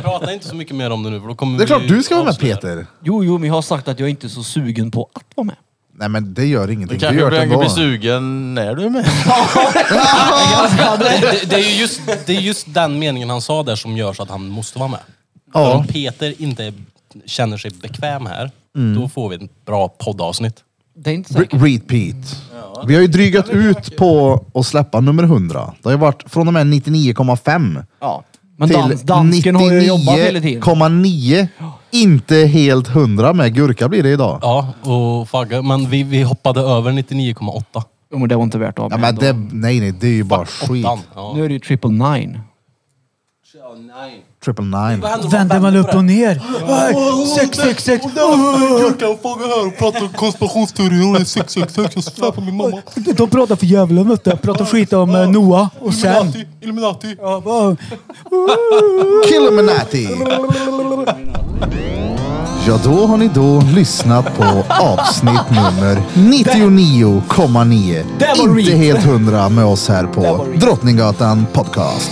B: Prata inte så mycket mer om det nu för då kommer
A: Det är klart
B: vi
A: du ska vara med
B: avslöja.
A: Peter.
E: Jo, jo, men jag har sagt att jag inte är så sugen på att vara med.
A: Nej men det gör
D: Du
A: ingenting. Du
D: kanske
A: gör det
D: blir,
A: ändå.
D: blir sugen när du är med.
B: Det, det, är ju just, det är just den meningen han sa där som gör så att han måste vara med. För
A: Ja.
B: Om Peter inte är- känner sig bekväm här, då får vi ett bra poddavsnitt.
E: Det är inte
A: Re-
E: säkert.
A: Repeat. Vi har ju drygat ut på att släppa nummer 100. Det har ju varit från och med 99,5
E: Ja. Men
A: till
E: dans, dansken har ju jobbat hela tiden.
A: 99,9. Inte helt 100 med gurka blir det idag.
B: Ja, och fagga. Men vi, vi hoppade över 99,8.
E: Jo, men det var inte värt att ha
A: Ja,
E: med
A: men
E: ändå.
A: det, nej nej, det är ju bara skit.
B: Åttan. Ja.
E: Nu är det ju triple nine.
A: Triple nine.
C: Vänder man upp och ner? Aj, Sex, sex, sex.
D: Gurkan frågar här och pratar om konspirationsteorier. Hon är 666. Jag svär på min mamma.
C: De pratar för djävulen vet du. Pratar skit om eh, Noah och sen.
D: Illuminati.
C: Ja, bara-
A: Killuminati! Ja, då har ni då lyssnat på avsnitt nummer 99,9.
E: Där var
A: Inte
E: Reed.
A: helt hundra med oss här
E: Där
A: på
E: var Reed.
A: Drottninggatan Podcast.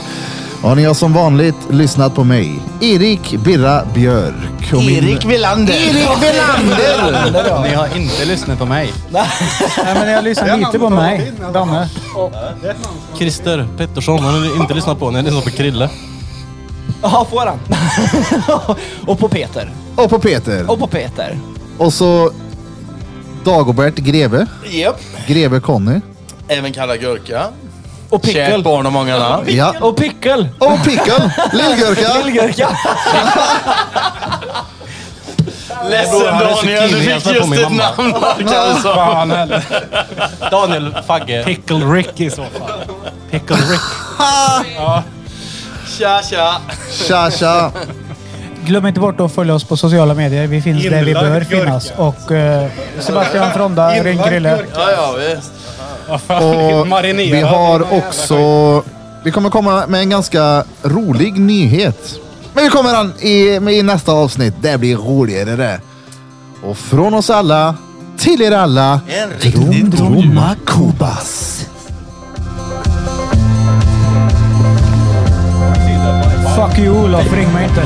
A: Och ni har som vanligt lyssnat på mig, Erik Birra Björk. och min-
D: Wilander.
A: Erik Wilander!
L: Ni har inte lyssnat på mig.
C: Nej, men jag lyssnar lite på mig. Danne.
B: Christer Pettersson, han har ni inte lyssnat på. Ni har lyssnat på Krille.
E: Ja, får han. och på Peter.
A: Och på Peter.
E: Och på Peter.
A: Och så Dagobert Greve.
D: Japp.
A: Greve Conny.
D: Även kallad Gurka.
E: Och
D: Kärt
E: Pickel.
D: barn och många namn.
A: Ja.
E: Och Pickel.
A: Och Pickel! Lillgurka!
E: Lillgurka.
D: Ledsen Daniel, du fick
B: Jag slår på
D: just
B: min
D: ett
B: mamma.
D: namn. Alltså.
F: Fan heller.
B: Daniel Fagge.
F: Pickle Rick i så fall. Pickle Rick.
D: Tja, tja.
A: Tja tja!
C: Glöm inte bort att följa oss på sociala medier. Vi finns där vi bör finnas. Och eh, Sebastian Fronda, Ring Grille.
D: Ja, ja, visst.
F: Vad fan,
A: Och
F: marinera.
A: vi har också... Vi kommer komma med en ganska rolig nyhet. Men vi kommer an i, med i nästa avsnitt. Det blir roligare det. Och från oss alla, till er alla.
D: En riktig
A: Droma Kubas.
C: Fuck you Olof, ring mig inte.